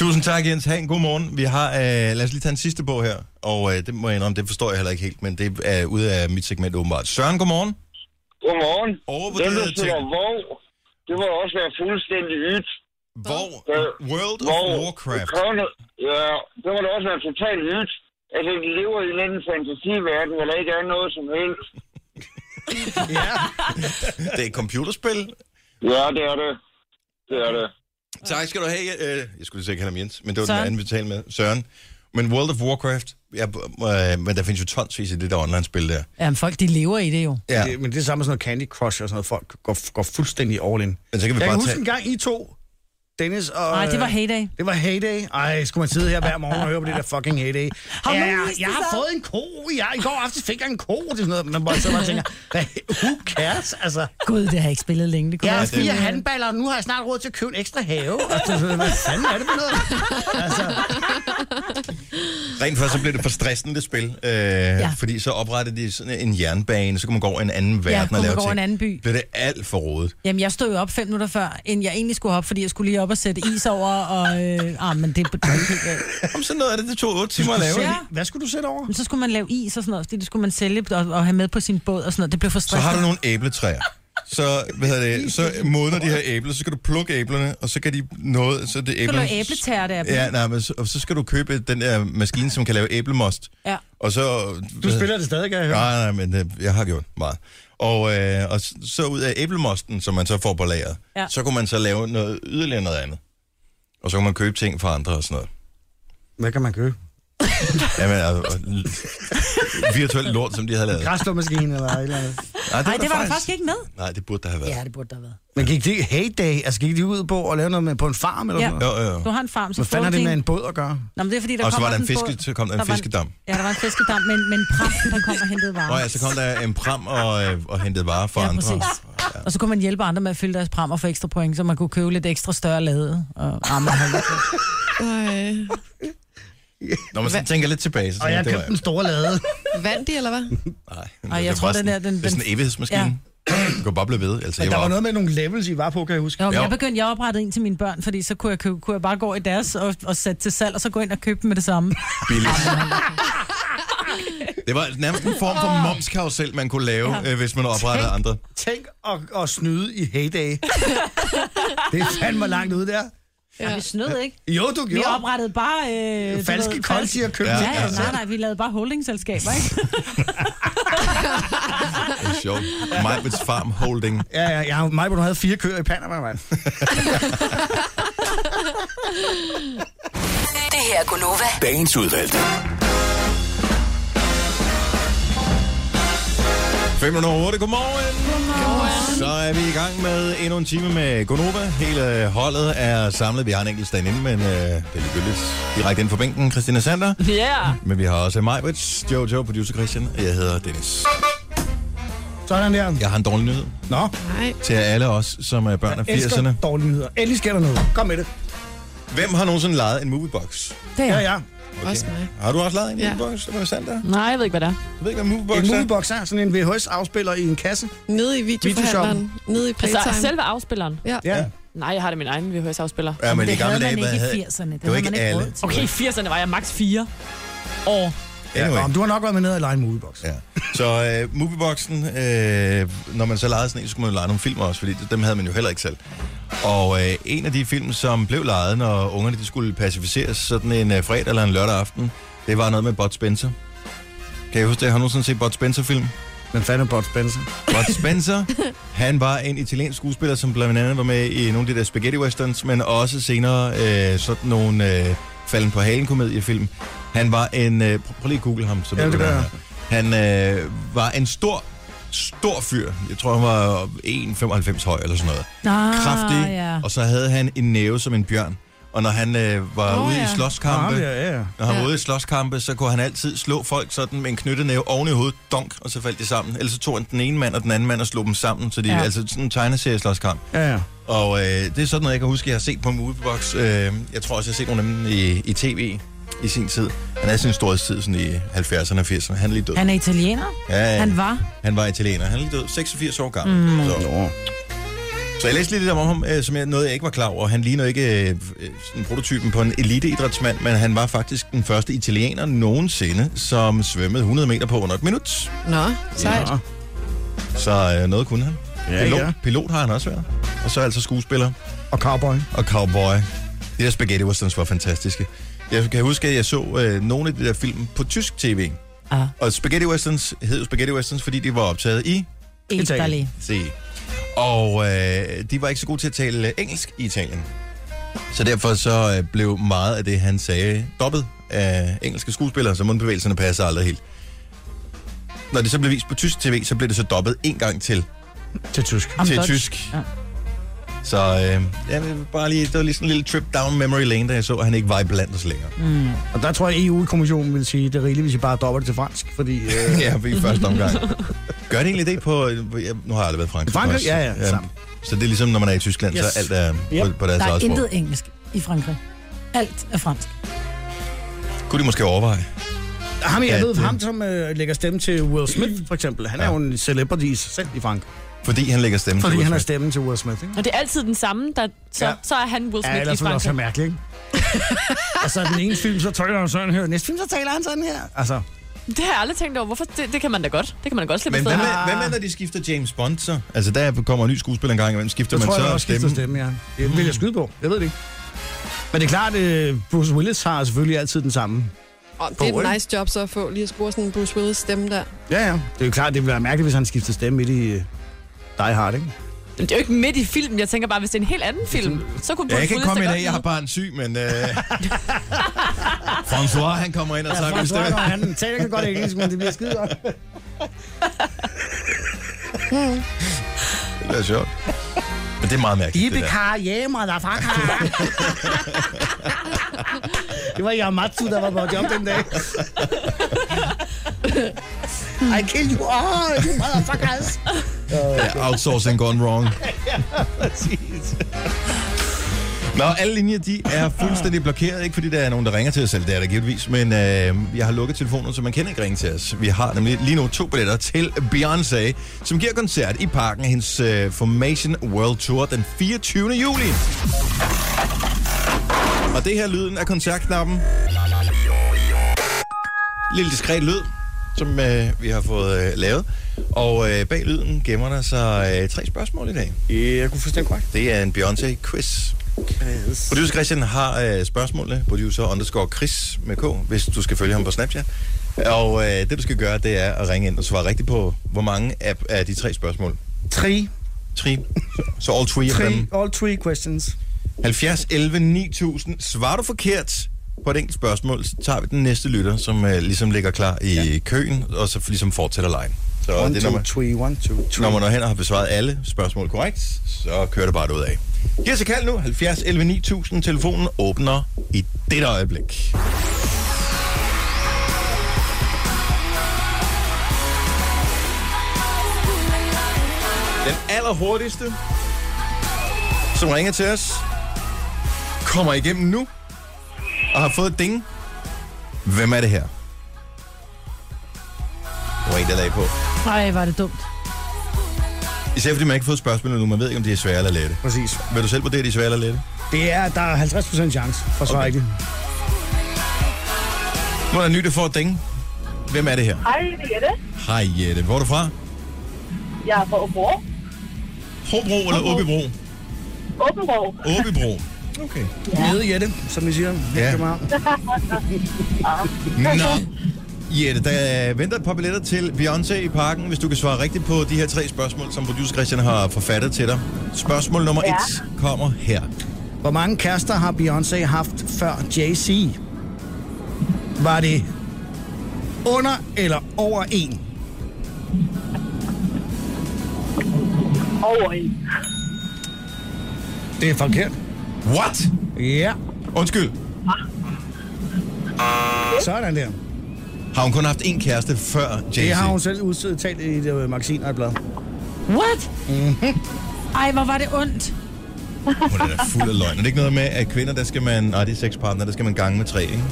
S1: Tusind tak, Jens. Ha' en god morgen. Vi har, øh, lad os lige tage en sidste på her, og øh, det må jeg indrømme, det forstår jeg heller ikke helt, men det er ude af mit segment åbenbart. Søren, godmorgen.
S9: Godmorgen.
S1: Overvurderede Den, der ting. sidder
S9: vov, det må også være fuldstændig ydt.
S1: Hvor,
S9: Øh,
S1: World of
S9: Hvor-
S1: Warcraft.
S9: Kravene, ja, det må da også være totalt nyt. Altså, de lever i en eller anden fantasiverden, hvor der ikke er noget som helst.
S1: Det er et computerspil.
S9: Ja, det er det.
S10: det er det.
S1: Tak skal du have. Øh, jeg skulle sige, at ham Jens, men det var Søren.
S10: Søren.
S1: den anden, vi talte med. Søren. Men World of Warcraft, ja, øh, men der findes jo tonsvis i det der online-spil der.
S4: Jamen, folk de lever i det jo.
S1: Ja.
S2: Det, men det er samme med sådan noget Candy Crush og sådan noget. Folk går, går fuldstændig all in.
S1: Men så kan vi
S2: jeg
S1: bare
S2: kan huske
S1: tage-
S2: en gang I to, Dennis og...
S4: Nej, det var Heyday.
S2: Det var Heyday. Ej, skulle man sidde her hver morgen og høre på det der fucking Heyday.
S4: Har
S2: ja,
S4: nogen
S2: jeg,
S4: vist det
S2: har
S4: så?
S2: fået en ko. Jeg, I går aftes fik jeg en ko. Det er sådan noget, man bare sidder og tænker, hvad, who cares? Altså,
S4: Gud, det har jeg ikke spillet længe. Det kunne
S2: jeg har
S4: også
S2: fire
S4: være.
S2: handballer, og nu har jeg snart råd til at købe en ekstra have. Altså, hvad fanden er det for noget? Altså,
S1: Rent faktisk så blev det for stressende, det spil. Øh, ja. Fordi så oprettede de sådan en jernbane, så kunne man gå over i en anden verden
S4: kunne
S1: og
S4: man
S1: lave
S4: gå over
S1: ting.
S4: en anden by.
S1: Blev det alt for rodet.
S4: Jamen, jeg stod jo op fem minutter før, end jeg egentlig skulle op, fordi jeg skulle lige op og sætte is over, og... Øh, ah, men det er på
S1: Om sådan noget af det, det tog 8 timer at lave.
S4: Ja.
S1: Ja.
S2: Hvad skulle du sætte over?
S4: Men så skulle man lave is og sådan noget, fordi det skulle man sælge og, og have med på sin båd og sådan noget. Det blev for
S1: Så
S4: stressende.
S1: har du nogle æbletræer. Så, hvad hedder det, så modner de her æbler, så skal du plukke æblerne, og så kan de noget, så det
S4: Så kan du
S1: æblerne...
S4: lave æbletærte af dem.
S1: Ja, nej, men så, og så skal du købe den der maskine, som kan lave æblemost.
S4: Ja.
S1: Og så...
S2: Du spiller det stadig, kan jeg høre.
S1: Nej, nej, men øh, jeg har gjort meget. Og, øh, og s- så ud af æblemosten, som man så får på lageret,
S4: Ja.
S1: ja. så kunne man så lave noget yderligere noget andet. Og så kunne man købe ting fra andre og sådan noget.
S2: Hvad kan man købe?
S1: Jamen, altså, virtuelt lort, som de havde lavet.
S2: Græsslåmaskine eller et eller andet.
S4: Nej, det var der faktisk ikke med.
S1: Nej, det burde der have været.
S4: Ja, det burde der have været.
S2: Men gik de Heyday? Altså, gik de ud på at lave noget med, på en farm eller
S4: Ja.
S2: sådan noget?
S1: Jo, jo, jo.
S4: Du har en farm, så
S2: Hvad fanden har
S4: får
S2: det
S4: du
S2: med
S4: din-
S2: en båd at gøre?
S4: Nå, men det er fordi, der
S1: Og så
S4: kommer
S1: var der en
S4: også
S1: fiske-
S4: båd.
S1: så kom der en fiskedam.
S4: Ja, der var en fiskedam, men, men præsten, der kom og hentede varer.
S1: Nå ja, så kom der en pram og, øh, og hentede varer for
S4: Ja,
S1: andre.
S4: præcis. Og så kunne man hjælpe andre med at fylde deres prammer for ekstra point, så man kunne købe lidt ekstra større lade. Og rammer
S1: Når man sådan tænker lidt tilbage, så tænker jeg, det var...
S2: store lade.
S5: Vandt de, eller hvad?
S1: Nej,
S4: Ej, jeg
S1: det er
S4: tror,
S1: bare
S4: den
S1: sådan-
S4: er- den-
S1: Det er sådan en
S4: den-
S1: evighedsmaskine. Du kan bare blive ved. Altså,
S2: Men
S1: jeg
S2: der var
S1: var
S2: noget med nogle levels, I var på, kan jeg huske.
S4: Jo, men
S1: Jo.
S4: jeg begyndte, jeg oprettede en til mine børn, fordi så kunne jeg, købe, kunne jeg bare gå over i deres og, og sætte til salg, og så gå ind og købe dem med det samme.
S1: billigt. Det var nærmest en form for momskarusel, man kunne lave,
S4: Ja.
S1: ja. øh, hvis man oprettede
S2: Tænk.
S1: andre.
S2: Tænk at, at snyde i heyday. det er fandme langt ude der.
S4: Ja. Vi snød, ikke?
S2: Jo, du
S4: Vi
S2: gjorde.
S4: oprettede bare... Øh, du
S2: Falske
S4: ved,
S2: konti og købte
S4: Ja,
S1: det
S4: ja,
S1: selv.
S4: nej, nej, vi lavede bare holdingselskaber, ikke?
S1: Det er sjovt. Majbets Farm Holding.
S2: Ja, ja, jeg har mig, hvor du havde fire køer i Panama, mand.
S6: Det her er Gunova.
S7: Dagens udvalgte.
S1: 508, godmorgen. godmorgen. Så er vi i gang med endnu en time med Gonova. Hele holdet er samlet. Vi har en enkelt stand inde, men øh, det er ligegyldigt. Direkte ind for bænken, Christina Sander.
S3: Yeah.
S1: Men vi har også Majbrits, Jojo, producer Christian, og jeg hedder Dennis.
S2: Sådan der.
S1: Jeg har en dårlig nyhed
S2: Nå,
S5: Nej.
S1: til alle os, som er børn af
S2: elsker
S1: 80'erne.
S2: dårlige nyheder. Endelig sker der noget. Kom med det.
S1: Hvem har nogensinde lejet en moviebox?
S4: Det
S2: Ja,
S4: er.
S2: ja.
S1: Okay.
S5: Også mig.
S1: Har du også lejet en
S5: Ja.
S1: moviebox? Hvad er Sander?
S3: Nej, jeg ved ikke, hvad det er.
S1: Jeg ved ikke, hvad moviebox
S2: En
S1: er.
S2: moviebox er sådan en VHS-afspiller i en kasse.
S5: Nede i videoforhandleren. Nede i
S3: Altså,
S5: Playtime.
S3: selve afspilleren?
S2: Ja.
S3: Nej, jeg har det min egen VHS-afspiller.
S1: Ja, men i
S4: det
S1: gamle
S4: havde
S1: dage,
S4: man
S1: hvad
S4: ikke
S1: havde...
S4: i 80'erne.
S1: Det
S4: Det,
S1: var
S4: havde man
S1: ikke
S4: ikke
S1: alle.
S4: råd til.
S3: Okay, i 80'erne var jeg max 4 år.
S1: Anyway.
S2: Nå, men du har nok været med ned og lege en moviebox.
S1: Ja. Så øh, movieboxen, øh, når man så lejede sådan en, så skulle man jo leje nogle film også, fordi dem havde man jo heller ikke selv. Og øh, en af de film, som blev lejet, når ungerne de skulle pacificeres sådan en øh, fredag eller en lørdag aften, det var noget med Bud Spencer. Kan I huske det? Har du nogensinde set Bud Spencer-film?
S2: Men fanden Bot Spencer.
S1: Bud Spencer, han var en italiensk skuespiller, som blandt andet var med i nogle af de der spaghetti westerns, men også senere øh, sådan nogle øh, falden på halen komediefilm. Han var en... Øh, pr- prøv lige at google ham, så
S2: Ja,
S1: ved du,
S2: det
S1: hvad
S2: gør
S1: han er. Han øh, var en stor, stor fyr. Jeg tror, han var 1,95 høj eller sådan noget.
S4: Ah,
S1: Kraftig,
S4: ja.
S1: og så havde han en næve som en bjørn. Og når han øh, var
S5: Nå,
S1: ude i
S5: ja.
S1: slåskampe,
S2: Ja, ja, ja.
S1: når han var
S5: Ja.
S1: ude i slåskampe, så kunne han altid slå folk sådan med en knyttenæve oven i hovedet, donk, og så faldt de sammen. Ellers så tog han den ene mand og den anden mand og slog dem sammen, så de
S4: Ja.
S1: ja. altså sådan en tegneserieslåskamp.
S2: Ja, ja.
S1: Og øh, det er sådan noget, jeg kan huske, jeg har set på en moviebox. Øh, jeg tror også, jeg har set nogle af dem i, i tv i sin tid. Han havde sin storhedstid sådan i 70'erne og 80'erne. Han er lige død.
S4: Han er italiener.
S1: ja,
S4: Han var.
S1: han var italiener. Han er lige død, 86 år gammel. Mm. Så. så jeg læste lidt om ham, øh, som jeg, noget jeg ikke var klar over. Han ligner ikke øh, øh, sådan prototypen på en eliteidrætsmand, men han var faktisk den første italiener nogensinde, som svømmede 100 meter på under et minut.
S5: Nå, sejt.
S2: Ja.
S1: Så øh, noget kunne han.
S2: Ja,
S1: pilot,
S2: ja.
S1: pilot har han også været. Og så altså skuespiller
S2: Og cowboy.
S1: og cowboy. De der spaghetti westerns var fantastiske. Jeg kan huske, at jeg så øh, nogle af de der film på tysk tv.
S4: Ah.
S1: Og spaghetti westerns hed jo spaghetti westerns, fordi de var optaget i
S4: Italien.
S1: Se. Og øh, de var ikke så gode til at tale øh, engelsk i Italien. Så derfor så øh, blev meget af det, han sagde, dobbet af engelske skuespillere, så mundbevægelserne passer aldrig helt. Når det så blev vist på tysk tv, så blev det så dobbet en gang til.
S2: Til tysk.
S1: Am Til Deutsch. tysk.
S4: Ja.
S1: Så øh, ja, men bare lige, det var lige sådan en lille trip down memory lane, da jeg så, at han ikke var blandt os længere.
S2: Mm. Og der tror jeg, at EU-kommissionen vil sige, at det er rigeligt, hvis I bare dropper det til fransk, fordi... Øh,
S1: ja, i første omgang. Gør det egentlig det på... ja, Nu har jeg aldrig været i Frankrig.
S2: Frankrig?
S1: også.
S2: Ja, ja, samme.
S1: Så det er ligesom, når man er i Tyskland, yes.
S2: Yes.
S1: så alt er på,
S2: Yep.
S1: på deres
S4: Der er
S1: eget sprog.
S4: intet engelsk i Frankrig. Alt er fransk.
S1: Kunne de måske overveje?
S2: Ham, jeg
S1: Ja,
S2: ved,
S1: det-
S2: ham som øh, lægger stemme til Will Smith, for eksempel, han er jo en celebrity i sig selv i Frank.
S1: Fordi han lægger stemme
S2: Fordi
S1: til
S2: han er
S1: Will
S2: stemmen til Will Smith, ikke?
S3: Og det er altid den samme, der, så,
S2: Ja.
S3: ja. så er han Will
S2: Ja,
S3: Smith ja, i
S2: ellers vil det også være
S3: Frankrig.
S2: mærkeligt, ikke? altså, den ene film, så taler han sådan her, næste film, så taler han sådan her. Altså,
S3: Det har jeg aldrig tænkt over. Hvorfor? Det, det kan man da godt. Det kan man da godt slippe
S1: Men
S3: afsted
S1: hvad
S3: med.
S1: med, hvad med, når de skifter James Bond så? Altså, der kommer en ny skuespiller en gang, hvem skifter
S2: så
S1: man
S2: tror jeg,
S1: så
S2: han også skifter stemme, ja. Det vil jeg skyde på, jeg ved det ikke. Men det er klart, øh, Bruce Willis har selvfølgelig altid den samme.
S5: Og det er
S2: På, ikke?
S5: et nice job så at få lige at score sådan en Bruce Willis stemme der.
S2: Ja, ja. Det er jo klart, det ville være mærkeligt, hvis han skiftede stemme midt i øh, Die Hard, ikke?
S3: Men det er jo ikke midt i filmen. Jeg tænker bare, hvis det er en helt anden film, så kunne
S1: Ja,
S3: Bruce
S1: jeg kan ikke
S3: Willis
S1: komme
S3: da
S1: ind
S3: godt
S1: af, jeg har
S3: vide.
S1: bare en syg, men... Øh... François, han kommer ind og tager min stemme.
S2: han taler ikke godt engelsk, men det bliver skide godt.
S1: Det er sjovt. Men det er meget mærkeligt, det der.
S2: Ibikar, yeah, motherfucker. det var Yamatsu, der var på job den dag. I kill you all, you motherfuckers.
S1: Ja, outsourcing gone wrong.
S2: Præcis.
S1: Nå, alle linjer, de er fuldstændig blokeret. Ikke fordi der er nogen, der ringer til os, eller det er der givetvis, men øh, jeg har lukket telefonen, så man kan ikke ringe til os. Vi har nemlig lige nu to billetter til Beyoncé, som giver koncert i parken af hendes øh, Formation World Tour den 24. juli. Og det her er lyden af koncertknappen. Lille diskret lyd, som øh, vi har fået øh, lavet. Og øh, bag lyden gemmer der sig øh, tre spørgsmål i dag.
S2: Jeg kunne fuldstændig korrekt.
S1: Det er en Beyoncé-quiz. Producer Christian har øh, spørgsmålene. Producer underscore Chris med K, hvis du skal følge ham på Snapchat. Og øh, det, du skal gøre, det er at ringe ind og svare rigtigt på, hvor mange af, af de tre spørgsmål.
S2: Tre.
S1: Tre. Så all three af
S2: Tre.
S1: dem.
S2: All three questions.
S1: 70, 11, 9000. Svarer du forkert på et enkelt spørgsmål, så tager vi den næste lytter, som øh, ligesom ligger klar i ja. køen, og så ligesom fortsætter lejen. Så
S2: One,
S1: det er nummer...
S2: two, three. One, two, three.
S1: Når man når hen og har besvaret alle spørgsmål korrekt, så kører det bare ud af. Giv os et kald nu, 70 11 9000. Telefonen åbner i dette øjeblik. Den allerhurtigste, som ringer til os, kommer igennem nu og har fået et ding. Hvem er det her? Der var en, der lagde på.
S4: Nej, var det dumt.
S1: Især fordi man ikke har fået spørgsmål nu, man ved ikke, om de er svære eller lette.
S2: Præcis.
S1: Vil du selv vurdere, de er svære eller lette?
S2: Det er, der er 50% chance for at svare
S1: Okay.
S2: rigtigt.
S1: Nu er der en ny, der får et ding. Hvem er det her?
S9: Hej, det er det.
S1: Hej Jette. Hvor er du fra?
S9: Jeg er fra Åbenrå.
S1: Hobro eller Åbibro?
S9: Åbenrå.
S1: Åbibro. Okay.
S2: Nede Jette, som vi siger.
S1: Ja.
S2: Ja.
S1: Nå. Jette, der venter et par billetter til Beyoncé i parken, hvis du kan svare rigtigt på de her tre spørgsmål, som producer Christian har forfattet til dig. Spørgsmål nummer
S9: Ja.
S1: et kommer her.
S2: Hvor mange kærester har Beyoncé haft før Jay-Z? Var det under eller over en?
S9: Over i.
S2: Det er forkert.
S1: What?
S2: Ja,
S1: Undskyld.
S2: sådan der.
S1: Har hun kun haft én kæreste før Jay-Z?
S2: Det har hun selv udtalt i et øh, magasin og et blad.
S4: What? Ej, hvor var det ondt.
S1: Hun er da fuld af løgn. Er det ikke noget med, at kvinder, der skal man... Nej, det er sexpartner, der skal man gange med tre, ikke?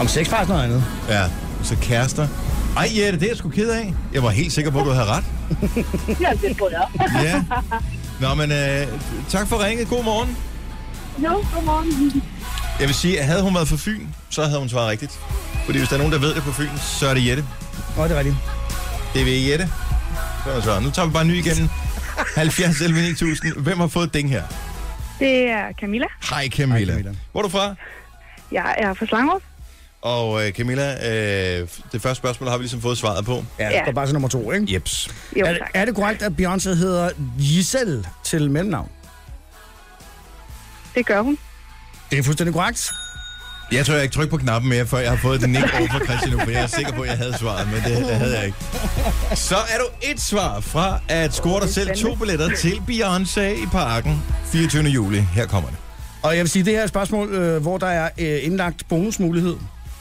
S2: Om sex faktisk noget andet.
S1: Ja, så kærester. Ej, Jette, det er jeg sgu ked af. Jeg var helt sikker på, at du havde ret.
S9: Ja, det tror jeg.
S1: Ja. Nå, men øh, tak for ringet. God morgen.
S9: Jo, godmorgen.
S1: Jeg vil sige, at havde hun været fra Fyn, så havde hun svaret rigtigt. Fordi hvis der er nogen, der ved det på Fyn, så er det Jette.
S2: Nå, det er rigtigt.
S1: Det er ved Jette. Så er det svaret. Nu tager vi bare en ny igennem. 70 11 9000. Hvem har fået ding her?
S9: Det er Camilla.
S1: Hej Camilla.
S2: Hej, Camilla.
S1: Hvor er du fra?
S9: Jeg er fra Slangrup.
S1: Og øh, Camilla, øh, det første spørgsmål har vi ligesom fået svaret på.
S2: Ja, det går bare til nummer to, ikke?
S1: Jeps.
S2: Jo, er, er det korrekt, at Beyoncé hedder Giselle til mellemnavn?
S9: Det gør hun.
S2: Det er fuldstændig korrekt.
S1: Jeg tror, jeg ikke trykker på knappen mere, før jeg har fået den nik over fra Christian for jeg er sikker på, at jeg havde svaret, men det, det havde jeg ikke. Så er du et svar fra at score dig selv to billetter til Beyoncé i parken 24. juli. Her kommer det.
S2: Og jeg vil sige, det her er et spørgsmål, øh, hvor der er øh, indlagt bonusmulighed.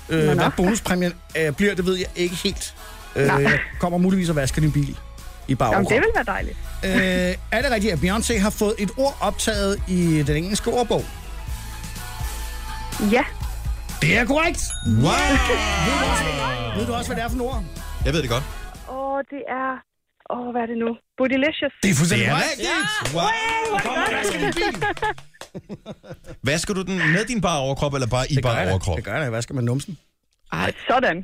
S2: Øh, hvad bonuspræmien øh, bliver, det ved jeg ikke helt. Øh,
S9: Nej.
S2: jeg kommer muligvis at vaske din bil i bare
S9: Jamen, det vil være dejligt.
S2: Øh, er det rigtigt, at Beyoncé har fået et ord optaget i den engelske ordbog?
S9: Ja,
S2: Det er korrekt!
S1: Wow!
S2: Ved du også, ved du også hvad det er for et ord?
S1: Jeg ved det godt.
S9: og det er... Åh, hvad er det nu? Bootylicious.
S2: Det er fuldstændig
S1: Det er
S2: korrekt!
S1: rigtigt! Wow! Vasker du den med din bare overkrop, eller bare i
S2: Det gør
S1: bare
S2: jeg da.
S1: overkrop?
S2: Det gør jeg da. Hvad skal man numsen?
S9: Sådan.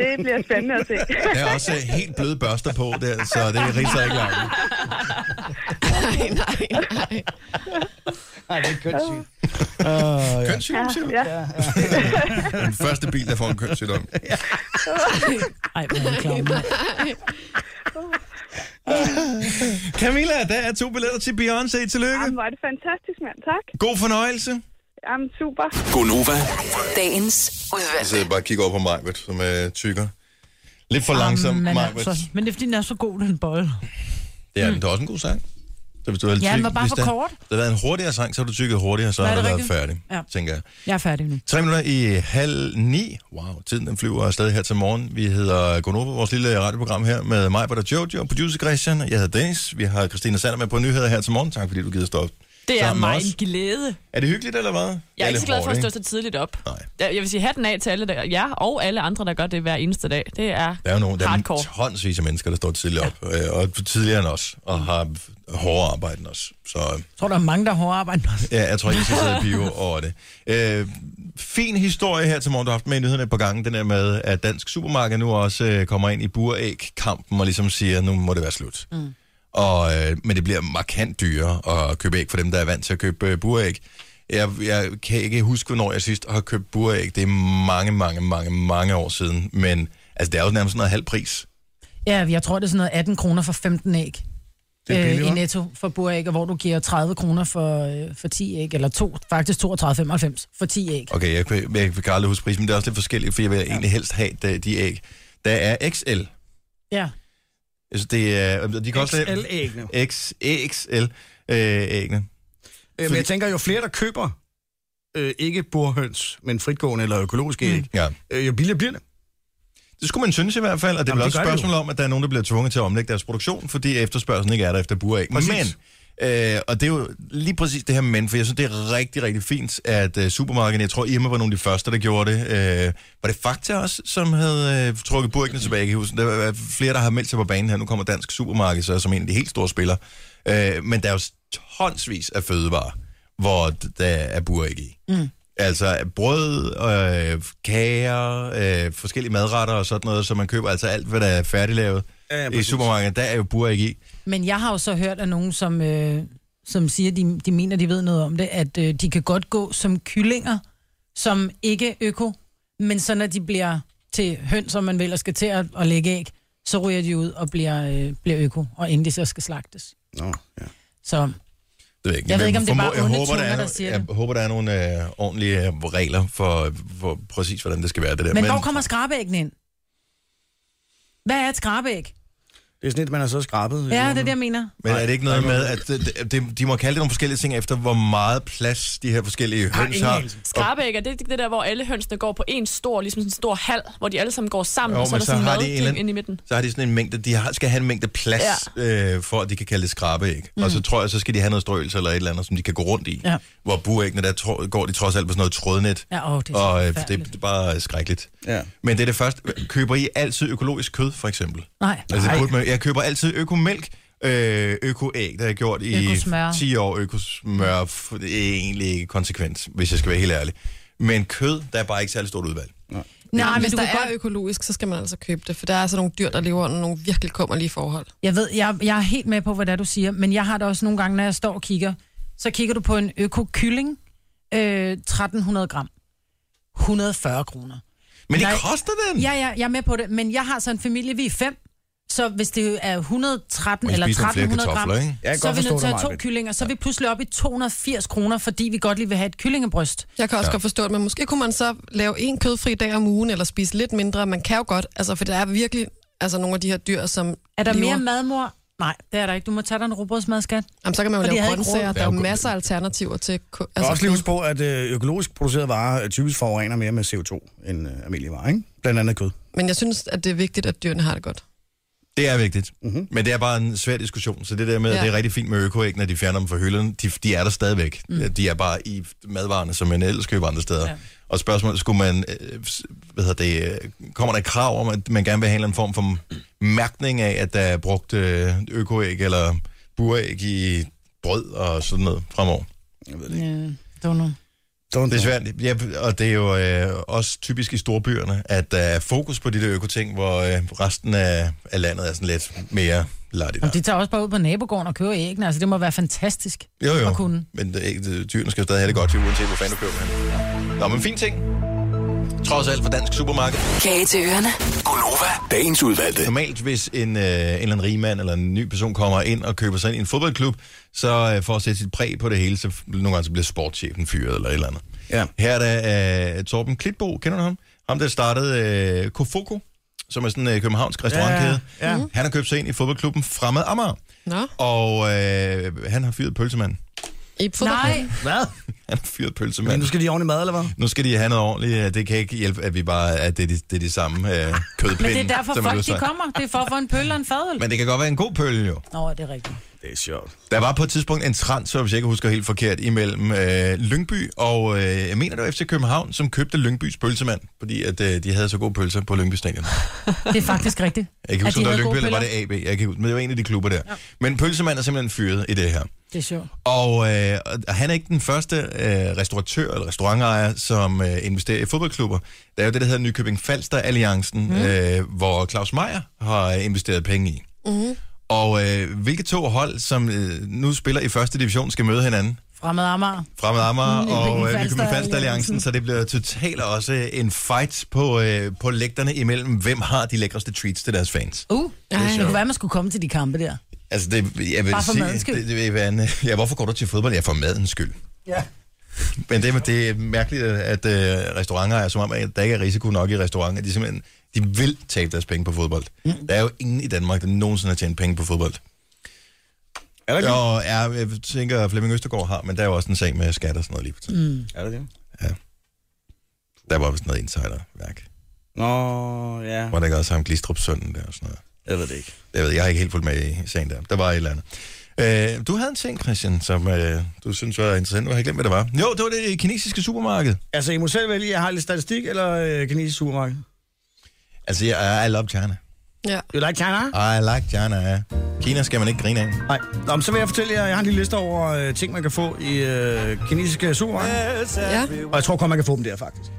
S9: Det bliver spændende at se.
S1: Der er også øh, helt bløde børster på der, så det riser ikke langt.
S5: Nej, nej, nej.
S2: Nej, det er kønssygt.
S1: Kønssygdom, siger du?
S9: Ja.
S1: Den første bil, der får en kønssygdom.
S4: Ej, hvor er det klar, mand.
S1: Camilla, der er to billetter til Beyoncé. Tillykke.
S9: Jamen, var det fantastisk, mand. Tak.
S1: God fornøjelse.
S9: Jamen, super.
S7: Gonova,
S6: Dagens
S1: Jeg
S6: udvalgte.
S1: sidder bare og kigger over på Majbert, som er tykker. Lidt for langsom,
S4: Jamen,
S1: Majbert.
S4: altså, men det er, fordi den er så god, den bolle.
S1: Det er, mm. det er også en god sang. Så hvis du havde
S4: Ja, den var
S1: tykket-
S4: bare
S1: hvis
S4: for
S1: det-
S4: kort.
S1: Det havde været en hurtigere sang, så havde du tykket hurtigere, så
S4: Nej,
S1: havde du
S4: det er
S1: været
S4: rigtigt.
S1: færdig, ja.
S4: Ja.
S1: tænker jeg.
S4: Jeg er færdig nu.
S1: Tre minutter i halv ni. Wow, tiden den flyver afsted her til morgen. Vi hedder Gonova, vores lille radioprogram her med mig, og Jojo, og producer Christian. Jeg hedder Dennis. Vi har Christina Sander med på nyheder her til morgen. Tak fordi du gider stå op.
S3: Det er
S1: sammen med
S3: mig
S1: os.
S3: en glæde.
S1: Er det hyggeligt, eller hvad? Jeg
S3: Jeg er ikke så glad for at stå så tidligt op.
S1: Nej.
S3: Jeg jeg vil sige hatten af til alle der, jer og alle andre, der gør det hver eneste dag. Det er,
S1: Der er jo nogle, der er
S3: hardcore.
S1: tonsvis af mennesker, der står tidligere op, øh, og tidligere end os, og har hårdere arbejde end os. Så øh,
S4: Jeg tror, der er mange, der har hårdt arbejde med os.
S1: ja, jeg tror ikke, jeg skal sidde og pive over det. Øh, fin historie her til morgen, du har haft med i nyhederne et par gange, den der med, at Dansk Supermarked nu også øh, kommer ind i buræg-kampen og ligesom siger, nu må det være slut. Mm. Og, øh, men det bliver markant dyrere at købe æg for dem, der er vant til at købe øh, buræg. Jeg, jeg kan ikke huske, hvornår jeg sidst har købt buræg. Det er mange, mange, mange, mange år siden. Men altså, det er jo nærmest sådan noget halv pris.
S4: Ja, jeg tror, det er sådan noget 18 kroner for 15 æg.
S2: er
S4: Øh,
S2: billigere.
S4: I netto for buræg, og hvor du giver 30 kroner for, øh, for 10 æg, eller to, faktisk 32,95 for 10 æg.
S1: Okay, jeg, kan- jeg kan aldrig huske prisen, men det er også lidt forskelligt, for jeg vil ja. egentlig helst have de, de æg. Der er XL.
S4: Ja.
S1: Altså, det er, og de kan også lave-
S2: XL-æggene.
S1: X, XL øh, ægne.
S2: Øh, men jeg tænker, jo flere, der køber øh, ikke burhøns, men fritgående eller økologiske æg,
S1: Ja.
S2: øh, jo billigere bliver det.
S1: Det skulle man synes i hvert fald, og det
S2: Jamen,
S1: bliver
S2: det
S1: også et
S2: gør det
S1: spørgsmål om, at der er nogen, der bliver tvunget til at omlægge deres produktion, fordi efterspørgselen ikke er der efter buræg.
S2: Præcis.
S1: Men, øh, og det er jo lige præcis det her men, for jeg synes, det er rigtig, rigtig fint, at øh, supermarkederne, jeg tror Irma var nogle af de første, der gjorde det. Øh, var det Fakta også, som havde øh, trukket burægene tilbage i huset? Der er er flere, der har meldt sig på banen her. Nu kommer Dansk Supermarked så som en af de helt store spillere. Øh, men der er jo tonsvis af fødevarer, hvor d- der er buræg i.
S2: Mm.
S1: Altså brød, øh, kager, øh, forskellige madretter og sådan noget, så man køber altså alt, hvad der er færdiglavet
S2: Ja, ja,
S1: i
S2: præcis.
S1: supermarkedet. Der er jo buræg i.
S4: Men jeg har jo så hørt af nogen, som, øh, som siger, de, de mener, de ved noget om det, at øh, de kan godt gå som kyllinger, som ikke er øko, men så når de bliver til høns, som man vil, og skal til at, at lægge æg, så ryger de ud og bliver, øh, bliver øko, og endelig så skal slagtes.
S2: Nå, ja.
S4: Så
S1: Det ved jeg, ikke.
S4: Jeg ved ikke, om det er
S1: Formå-
S4: bare
S1: jeg
S4: onde
S1: håber, der er,
S4: tunger,
S1: no-
S4: der siger
S1: Jeg
S4: det.
S1: håber, der er nogle øh, ordentlige øh, regler for, for præcis, hvordan det skal være, det der.
S4: Men, men hvor kommer skrabeæggene ind? Hvad er et skrabeæg?
S2: Det er sådan et, man har så skrabet. ligesom
S4: Ja, det er det, jeg mener.
S1: men er det ikke noget med, at de, de, de må kalde det nogle forskellige ting efter, hvor meget plads de her forskellige høns har?
S3: Skrabæg er det, det der, hvor alle hønsene går på en stor, ligesom sådan en stor hal, hvor de alle sammen går sammen,
S1: Jo,
S3: og så er
S1: men
S3: der
S1: så
S3: sådan en
S1: har de en eller
S3: madting
S1: anden-
S3: ind i midten.
S1: så har de sådan en mængde, de har, skal have en mængde plads, ja. øh, for at de kan kalde det skrabeæg. Mm. Og så tror jeg, så skal de have noget strøelse eller et eller andet, som de kan gå rundt i.
S4: Ja.
S1: Hvor buæggene, der tror, går de trods alt på sådan noget trådnet.
S4: Ja, åh, det er så
S1: og øh, det,
S4: forfærdeligt.
S1: det er bare skrækkeligt.
S2: Ja.
S1: Men det er det første. Køber I altid økologisk kød, for eksempel?
S4: Nej.
S1: Altså,
S2: Nej.
S1: det burde man, jeg køber altid økomælk, øh, økoæg, det har jeg gjort i
S4: Økosmør.
S1: 10 år. Økosmør, f- det er egentlig ikke konsekvent, hvis jeg skal være helt ærlig. Men kød, der er bare ikke særlig stort udvalg.
S4: Nej, men
S5: Hvis
S4: du
S5: der
S4: kan
S5: er
S4: godt...
S5: økologisk, så skal man altså købe det, for der er altså nogle dyr, der lever under nogle virkelig kummerlige forhold.
S4: Jeg ved, jeg, jeg er helt med på, hvad det er, du siger, men jeg har det også nogle gange, når jeg står og kigger, så kigger du på en øko-kylling, øh, 1300 gram, 140 kroner.
S1: Men det
S4: Nej.
S1: koster den.
S4: Ja, ja, jeg er med på det. Men jeg har så en familie, vi er fem. Så hvis det er 113
S1: Man
S4: eller
S1: spiser nogle flere
S4: 1300 gram,
S1: kartofler, ikke?
S2: Jeg kan
S4: så er
S2: godt
S4: vi
S2: forstå
S4: nødt til
S2: dig,
S4: at have to
S2: Majbrit.
S4: kyllinger. Så er vi pludselig oppe i 280 kroner, fordi vi godt lige vil have et kyllingebryst.
S5: Jeg kan også ja. godt forstå det, men måske kunne man så lave en kødfri dag om ugen, eller spise lidt mindre. Man kan jo godt, altså, for der er virkelig altså, nogle af de her dyr, som
S4: Er der
S5: lever.
S4: mere madmor? Nej, det er der ikke. Du må tage dig en robrødsmad, skat.
S5: Jamen, så kan man
S4: Og
S5: jo
S4: de
S5: lave
S4: havde ikke
S5: grøntsager.
S4: råd.
S5: Der er jo
S1: Ja, okay.
S5: masser af alternativer til... ko-
S2: Jeg
S5: Altså,
S2: også lige huske på, at øh, økologisk producerede varer øh, typisk forurener mere med CO2 end øh, almindelige varer, ikke? Blandt andet kød.
S5: men jeg synes, at det er vigtigt, at dyrene har det godt.
S1: Det er vigtigt.
S2: Mhm.
S1: Men det er bare en svær diskussion, så det der med, ja.
S5: Ja.
S1: at det er rigtig fint med økoæg, når de fjerner dem fra hylden, de, de er der stadigvæk. Mm. De er bare i madvarerne, som man ellers køber andre steder. Ja.
S4: Ja.
S1: Og spørgsmålet, skulle man, øh, s- hvad hedder det, øh, kommer der et krav om, at man gerne vil have en eller anden form for mærkning af, at der er brugt øh, økoæg eller buræg i brød og sådan noget fremover?
S4: Ja, don't know.
S2: Don't
S1: Det er svært, ja, og det er jo øh, også typisk i storbyerne, at der er fokus på de der økoting, hvor øh, resten af, af landet er sådan lidt mere lattigt.
S4: Om de tager også bare ud på nabogården og kører æggene. Altså, det må være fantastisk.
S1: Jo, jo.
S4: at kunne.
S1: Men det, er ikke- det- dyrene skal jo stadig have det godt, jo, uanset hvor fanden du køber dem. Nå, men fin ting. Trods alt for dansk supermarked.
S6: Kage til ørerne.
S7: Gonova, dagens udvalgte.
S1: Normalt, hvis en, øh, en eller anden rig mand eller en ny person kommer ind og køber sig ind i en fodboldklub, så øh, for at sætte sit præg på det hele, så f- nogle gange så bliver sportschefen fyret eller et eller andet.
S2: Ja.
S1: Her er der øh, Torben Klitbo, kender du ham? Ham, der startede øh, Kofoko, som er sådan en øh, københavnsk restaurantkæde.
S2: Ja, ja. Mhm.
S1: Han har købt sig ind i fodboldklubben Fremad Amager,
S5: Nå,
S1: og øh, han har fyret pølsemanden.
S5: i
S4: Nej,
S5: fodbold.
S2: Hvad?
S1: Han har fyret
S2: Men
S1: pølsemanden.
S2: nu skal de ordentligt mad, eller hvad?
S1: Nu skal de have noget ordentligt. øh, Det kan ikke hjælpe, at vi bare at det, er de, det er de samme øh, kødpinde.
S4: men det er derfor
S1: som er
S4: folk de
S1: løsere.
S4: kommer. Det er for at få en pølle og en fadøl.
S1: Men det kan godt være en god pøl, jo.
S4: Nå, det er rigtigt.
S2: Det er sjovt.
S1: Der var på et tidspunkt en transfer, hvis jeg ikke husker helt forkert, imellem øh, Lyngby og, øh, jeg mener, det var FC København, som købte Lyngbys pølsemand, fordi at, øh, de havde så gode pølser på Lyngby Stadion.
S4: Det er faktisk rigtigt.
S1: Jeg kan huske,
S4: de
S1: om det var Lyngby,
S4: havde gode
S1: eller var det AB? Jeg kan ikke huske, men det var en af de klubber der. Ja. Men pølsemand er simpelthen fyret i det her.
S4: Det er sjovt.
S1: Og øh, og han er ikke den første øh, restauratør eller restaurantejer, som øh, investerer i fodboldklubber. Der er jo det, der hedder Nykøbing Falster Alliancen, mm.
S4: Mhm.
S1: øh, hvor Claus Meier har investeret penge i. Mm.
S4: Mhm.
S1: Og øh, hvilke to hold, som øh, nu spiller i første division, skal møde hinanden?
S4: Fremad Amager.
S1: Fremad Amager og øh,
S4: Mhm. Falster
S1: Nykøbing Falster Alliancen,
S4: Alliancen.
S1: så det bliver totalt også en fight på, øh, på lægterne imellem, hvem har de lækreste treats til deres fans.
S4: Uh,
S5: er
S4: det, det
S5: sjovt.
S4: kunne være, man skulle komme til de kampe der.
S1: Altså, det, jeg vil
S4: Bare for
S1: sige,
S4: madens skyld.
S1: Det, det vil være en, ja, hvorfor går du til fodbold? Ja, for madens skyld.
S2: Ja.
S1: Men det, det er mærkeligt, at øh, restauranter er som om, at der ikke er risiko nok i restauranter. De, simpelthen, de vil tabe deres penge på fodbold. Mm. Der er jo ingen i Danmark, der nogensinde har tjent penge på fodbold.
S2: Er der det?
S1: Og er, jeg tænker, at Flemming Østergaard har, men der er jo også en sag med skat og sådan noget lige for tiden. Mm.
S2: Er der det?
S1: Der var vist noget insiderværk.
S2: Nå, ja.
S1: Var der ikke også ham Glistrup sønnen der og sådan noget?
S2: Jeg ved det ikke.
S1: Jeg ved, jeg har ikke helt fulgt med i sagen der. Der var et eller andet. Øh, du havde en ting, Christian, som øh, du synes var interessant. Nu har jeg glemt, hvad det var. Jo, det var det kinesiske supermarked.
S2: Altså, I må selv vælge, jeg har lidt statistik eller øh, kinesisk supermarked.
S1: Altså, jeg, I love China.
S5: Ja.
S2: You like China?
S1: I like China. Kina skal man ikke grine af.
S2: Nej. Nå, men så vil jeg fortælle jer, jeg har en lille liste over øh, ting, man kan få i øh, kinesiske supermarkeder.
S5: ja.
S2: Og jeg tror godt, man kan få dem der, faktisk.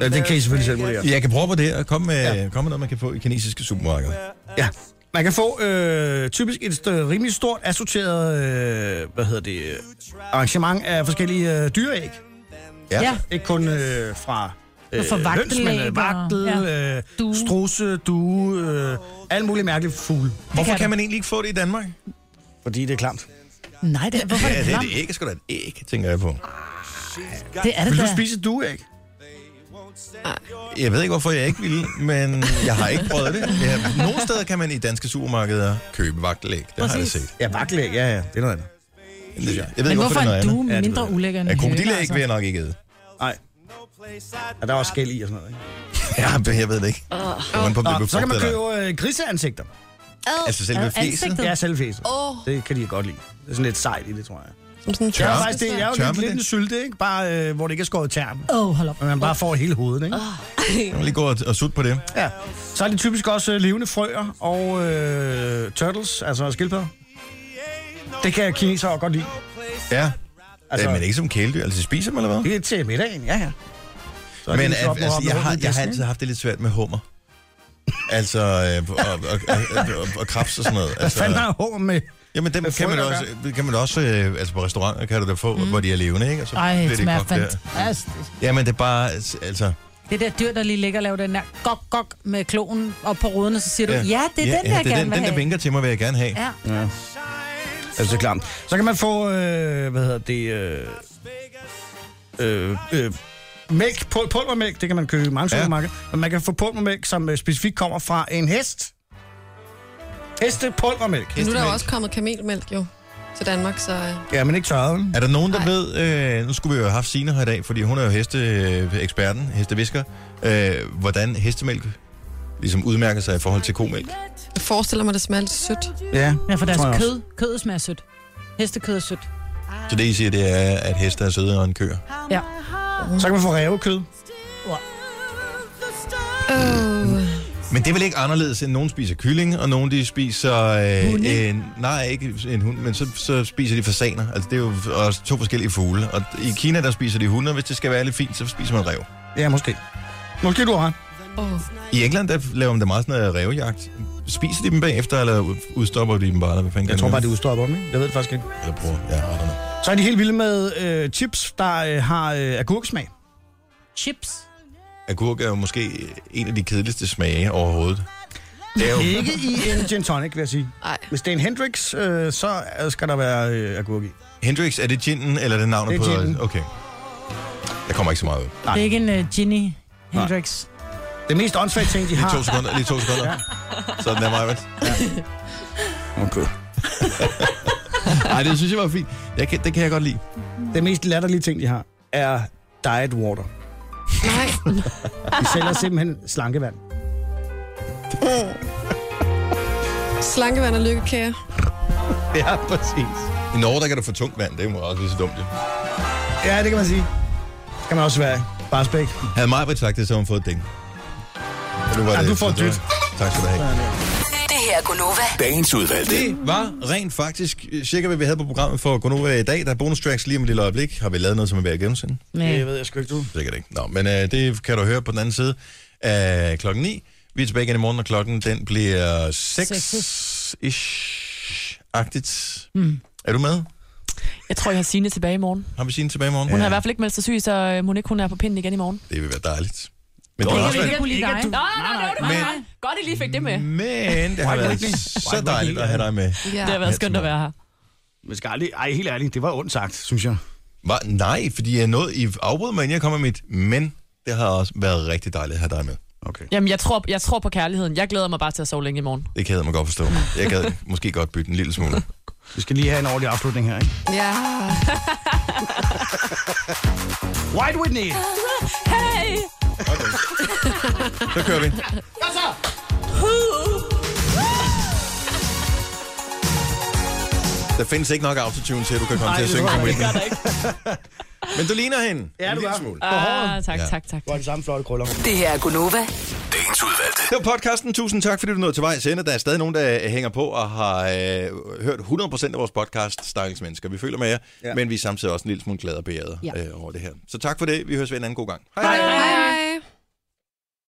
S2: Ja, det kan I selvfølgelig selv vurdere.
S1: Jeg kan prøve på det og komme med, ja. komme med noget, man kan få i kinesiske supermarkeder.
S2: Ja. Man kan få øh, typisk et øh, rimelig stort assorteret øh, hvad hedder det, øh, arrangement af forskellige øh, dyreæg.
S1: Ja.
S4: Ja.
S2: Ikke kun øh, fra øh,
S4: Fra
S2: men
S4: vagtelæg
S2: øh,
S4: og-
S2: vagtel, ja. øh,
S4: Due.
S2: strusse, due, øh, alle mulige mærkelige fugle.
S1: Hvorfor
S4: kan
S1: kan man egentlig ikke få det i Danmark?
S2: Fordi det er klamt.
S4: Nej, det er, hvorfor
S1: Ja,
S4: er det,
S1: det er
S4: klamt?
S1: det æg, sgu da et æg, tænker jeg på.
S4: det er det
S2: Vil du
S4: da.
S2: spise et dueæg?
S1: Jeg ved ikke, hvorfor jeg ikke ville, men jeg har ikke prøvet det. Ja, nogle steder kan man i danske supermarkeder købe vagtelæg. Det har jeg
S4: Præcis.
S1: set.
S2: Ja, vagtelæg, ja, ja. Det er noget andet.
S1: Jeg ved
S4: Men
S1: ikke, hvorfor
S4: hvorfor
S1: det
S4: er
S1: er
S4: en
S1: noget andet.
S2: Ja,
S4: due
S2: det
S4: mindre
S2: ved jeg.
S4: ulækker end
S1: Ja,
S4: en høne,
S1: krokodilleæg
S4: altså?
S1: vil jeg nok ikke æde.
S2: Nej. Ja, der er også skæld i og sådan noget, ikke?
S1: Ja, jeg ved det ikke. Hvordan på,
S2: Nå,
S1: Nå,
S2: så kan man købe øh, griseansigter.
S1: Altså selve
S4: Ad-
S1: fjeset.
S4: ansigtet.
S2: Ja, selvfæset.
S5: Åh,
S2: Det kan de godt lide. Det er sådan lidt sejt i det, tror jeg.
S5: som sådan en
S1: Ja.
S2: Ja,
S5: tørre.
S2: faktisk, det er jo
S1: Tør
S2: lidt,
S1: man
S2: lidt
S1: det?
S2: en sylte, ikke? Bare, øh, hvor det ikke er skåret tern.
S4: Åh, oh, hold op.
S2: Men man bare får hele hovedet, ikke?
S1: Jeg vil lige gå og, og sutte på det.
S2: Ja. Så er det typisk også øh, levende frøer og øh, turtles, altså skildpadder. Det kan kinesere godt lide.
S1: Ja.
S2: Altså,
S1: Altså, men ikke som kæledyr. Altså spiser dem, eller hvad?
S2: det er til middagen, ja, ja. Så er
S1: Men
S2: det, så op-
S1: altså,
S2: op-
S1: jeg, har,
S2: op- op-
S1: jeg har
S2: disken,
S1: altid haft det lidt svært med hummer. Altså, øh, og, og, og, og, og krebs og sådan noget.
S2: Hvad fanden
S1: Altså,
S2: har hummer med?
S1: jamen, dem
S2: Hvad
S1: kan man
S2: frøer
S1: også, kan man også øh, altså på restauranter kan du da få, mm. hvor de er levende, ikke? Og så
S4: Ej,
S1: bliver
S4: det
S1: de
S4: smager
S1: kogt der.
S4: fantastisk.
S1: Jamen, det er bare, altså,
S4: Det der dyr, der lige ligger og laver den der gok, gok med kloen op på ruderne, så siger du, ja, ja det er den, der jeg
S1: det er
S4: gerne
S1: den,
S4: vil
S1: den, der
S4: have.
S1: vinker til mig, vil jeg gerne have.
S4: Ja.
S2: Ja. Altså klart. Så kan man få, øh, hvad hedder det, øh, øh, øh, mælk, pul- pulvermælk, det kan man købe i mange
S1: Ja.
S2: supermarkeder, men man kan få pulvermælk, som øh, specifikt kommer fra en hest. Hestepulvermælk.
S5: Men nu er der jo også kommet kamelmælk jo til Danmark, så... øh,
S2: Ja, men ikke tørret. vel?
S1: Er der nogen, der Ej. ved, øh, nu skulle vi jo have haft Signe her i dag, fordi hun er jo hesteeksperten, hestevisker, øh, hvordan hestemælk ligesom udmærker sig i forhold til komælk.
S5: Jeg forestiller mig, det smager lidt sødt.
S2: Ja,
S4: ja, for deres
S2: tror jeg også.
S4: kød, kødet smager sødt. Hestekød er sødt.
S1: Så det, I siger, det er, at heste er sødere end køer.
S4: Ja.
S2: Så kan man få rævekød.
S5: Øh,
S1: Men det er vel ikke anderledes, end nogen spiser kylling, og nogen de spiser... Øh, en, nej, ikke en hund, men så, så spiser de fasaner. Altså, det er jo også to forskellige fugle. Og i Kina, der spiser de hunde, og hvis det skal være lidt fint, så spiser man rev.
S2: Ja, måske. Måske du har. ret.
S5: åh.
S1: I England, der laver man da meget sådan noget revjagt. Spiser de dem bagefter, eller ud- udstopper de dem bare? Eller hvad fanden
S2: Jeg tror
S1: gør
S2: bare,
S1: de
S2: det udstår dem, ikke? Jeg ved det faktisk ikke.
S1: Eller bruger, ja, I don't know.
S2: Så er de helt vilde med øh, chips, der øh, har øh, agurksmag.
S4: Chips.
S1: Agurk er jo måske en af de kedeligste smage overhovedet. Det er jo,
S2: Ikke i en gin tonic, vil jeg sige.
S5: Ej.
S2: Hvis det er en Hendrix, øh, så øh, skal der være øh, agurk i.
S1: Hendrix, er det ginen, eller er det navnet
S2: Det er
S1: på...
S2: ginen.
S1: Okay. Jeg kommer ikke så meget ud.
S4: Det er ikke en uh, Ginny Hendrix.
S2: Det mest åndssvagt ting, de
S1: Lige
S2: har.
S1: to sekunder, lige to sekunder.
S2: Ah. Ja.
S1: Sådan er mig,
S2: Okay.
S1: Nej, det synes jeg var fint. Jeg kan, det kan jeg godt lide.
S2: Det mest latterlige ting, de har, er diet water.
S5: Nej,
S2: De sælger simpelthen slankevand.
S5: slankevand og lykkekager.
S2: Ja, præcis.
S1: I Norge, der kan du få tungt vand. Det er jo også lige så dumt, jo.
S2: Ja, det kan man sige. Det kan man også være. Bare spæk.
S1: Havde mig sagt det, så havde hun fået et ding. Og nu var
S2: Ja, du får
S1: så det
S2: et
S1: var- Tak skal du have.
S6: Det her er Gunova.
S7: Dagens udvalgte.
S1: Det var rent faktisk øh, cirka, hvad vi havde på programmet for Gonova i dag. Der er bonus tracks lige om et lille øjeblik. Har vi lavet noget, som er ved at gennemsende?
S2: Det
S4: Med
S2: ved jeg sgu ikke, du.
S1: Sikkert ikke. Nå, men øh, det kan du høre på den anden side af klokken 9. Vi er tilbage igen i morgen, og klokken den bliver 6-ish-agtigt. Mm. Er du med?
S3: Jeg tror, jeg har Signe tilbage i morgen.
S1: Har vi Signe tilbage i morgen?
S3: Hun ja. har i hvert fald ikke meldt sig syg, så øh, mon ikke hun er på pinden igen i morgen.
S1: Det vil være dejligt. Men det, har også
S4: ikke,
S1: været,
S4: ikke, ikke, ikke,
S3: Nå, nej, nej, det var
S1: Men-
S3: meget godt. Godt, I lige fik det
S1: Mm.
S3: med.
S1: men det har været så dejligt at have dig med.
S5: Ja.
S3: Det har været skønt at være her.
S2: Men skal aldrig... Ej, helt ærligt, det var ondt sagt, synes jeg.
S1: Var, nej, fordi jeg nåede i afbrud, men jeg kommer med mit men. Det har også været rigtig dejligt at have dig med.
S2: Okay.
S3: Jamen, jeg tror, jeg tror på kærligheden. Jeg glæder mig bare til at sove længe i morgen.
S1: Det kan jeg mig godt forstå.
S3: Mm.
S1: Jeg gad måske godt bytte en lille smule.
S2: Vi skal lige have en ordentlig afslutning her, ikke?
S5: Ja.
S2: White Whitney!
S3: Hey!
S1: Så kører vi. Der findes ikke nok autotune til, at du kan komme
S2: Nej,
S1: til at
S2: det
S1: synge
S2: tror
S1: som
S2: jeg
S3: Det
S1: Whitney.
S3: gør der ikke.
S1: Men du ligner hende.
S2: Ja,
S1: en
S2: du
S1: lille
S2: gør.
S1: smule.
S3: Ah, tak,
S1: Ja.
S3: tak, tak.
S2: Du har de samme flotte krøller.
S6: Det her er Gunova.
S7: Dagens udvalgte.
S1: Det var podcasten. Tusind tak, fordi du nåede til vej senere. Der er stadig nogen, der øh, hænger på og har øh, hørt 100% af vores podcast, Stakkels Mennesker. Vi føler med jer, ja. men vi er samtidig også en lille smule glade og beærede ja. øh, over det her. Så tak for det. Vi høres ved en anden god gang. Hej.
S5: Hej, hej.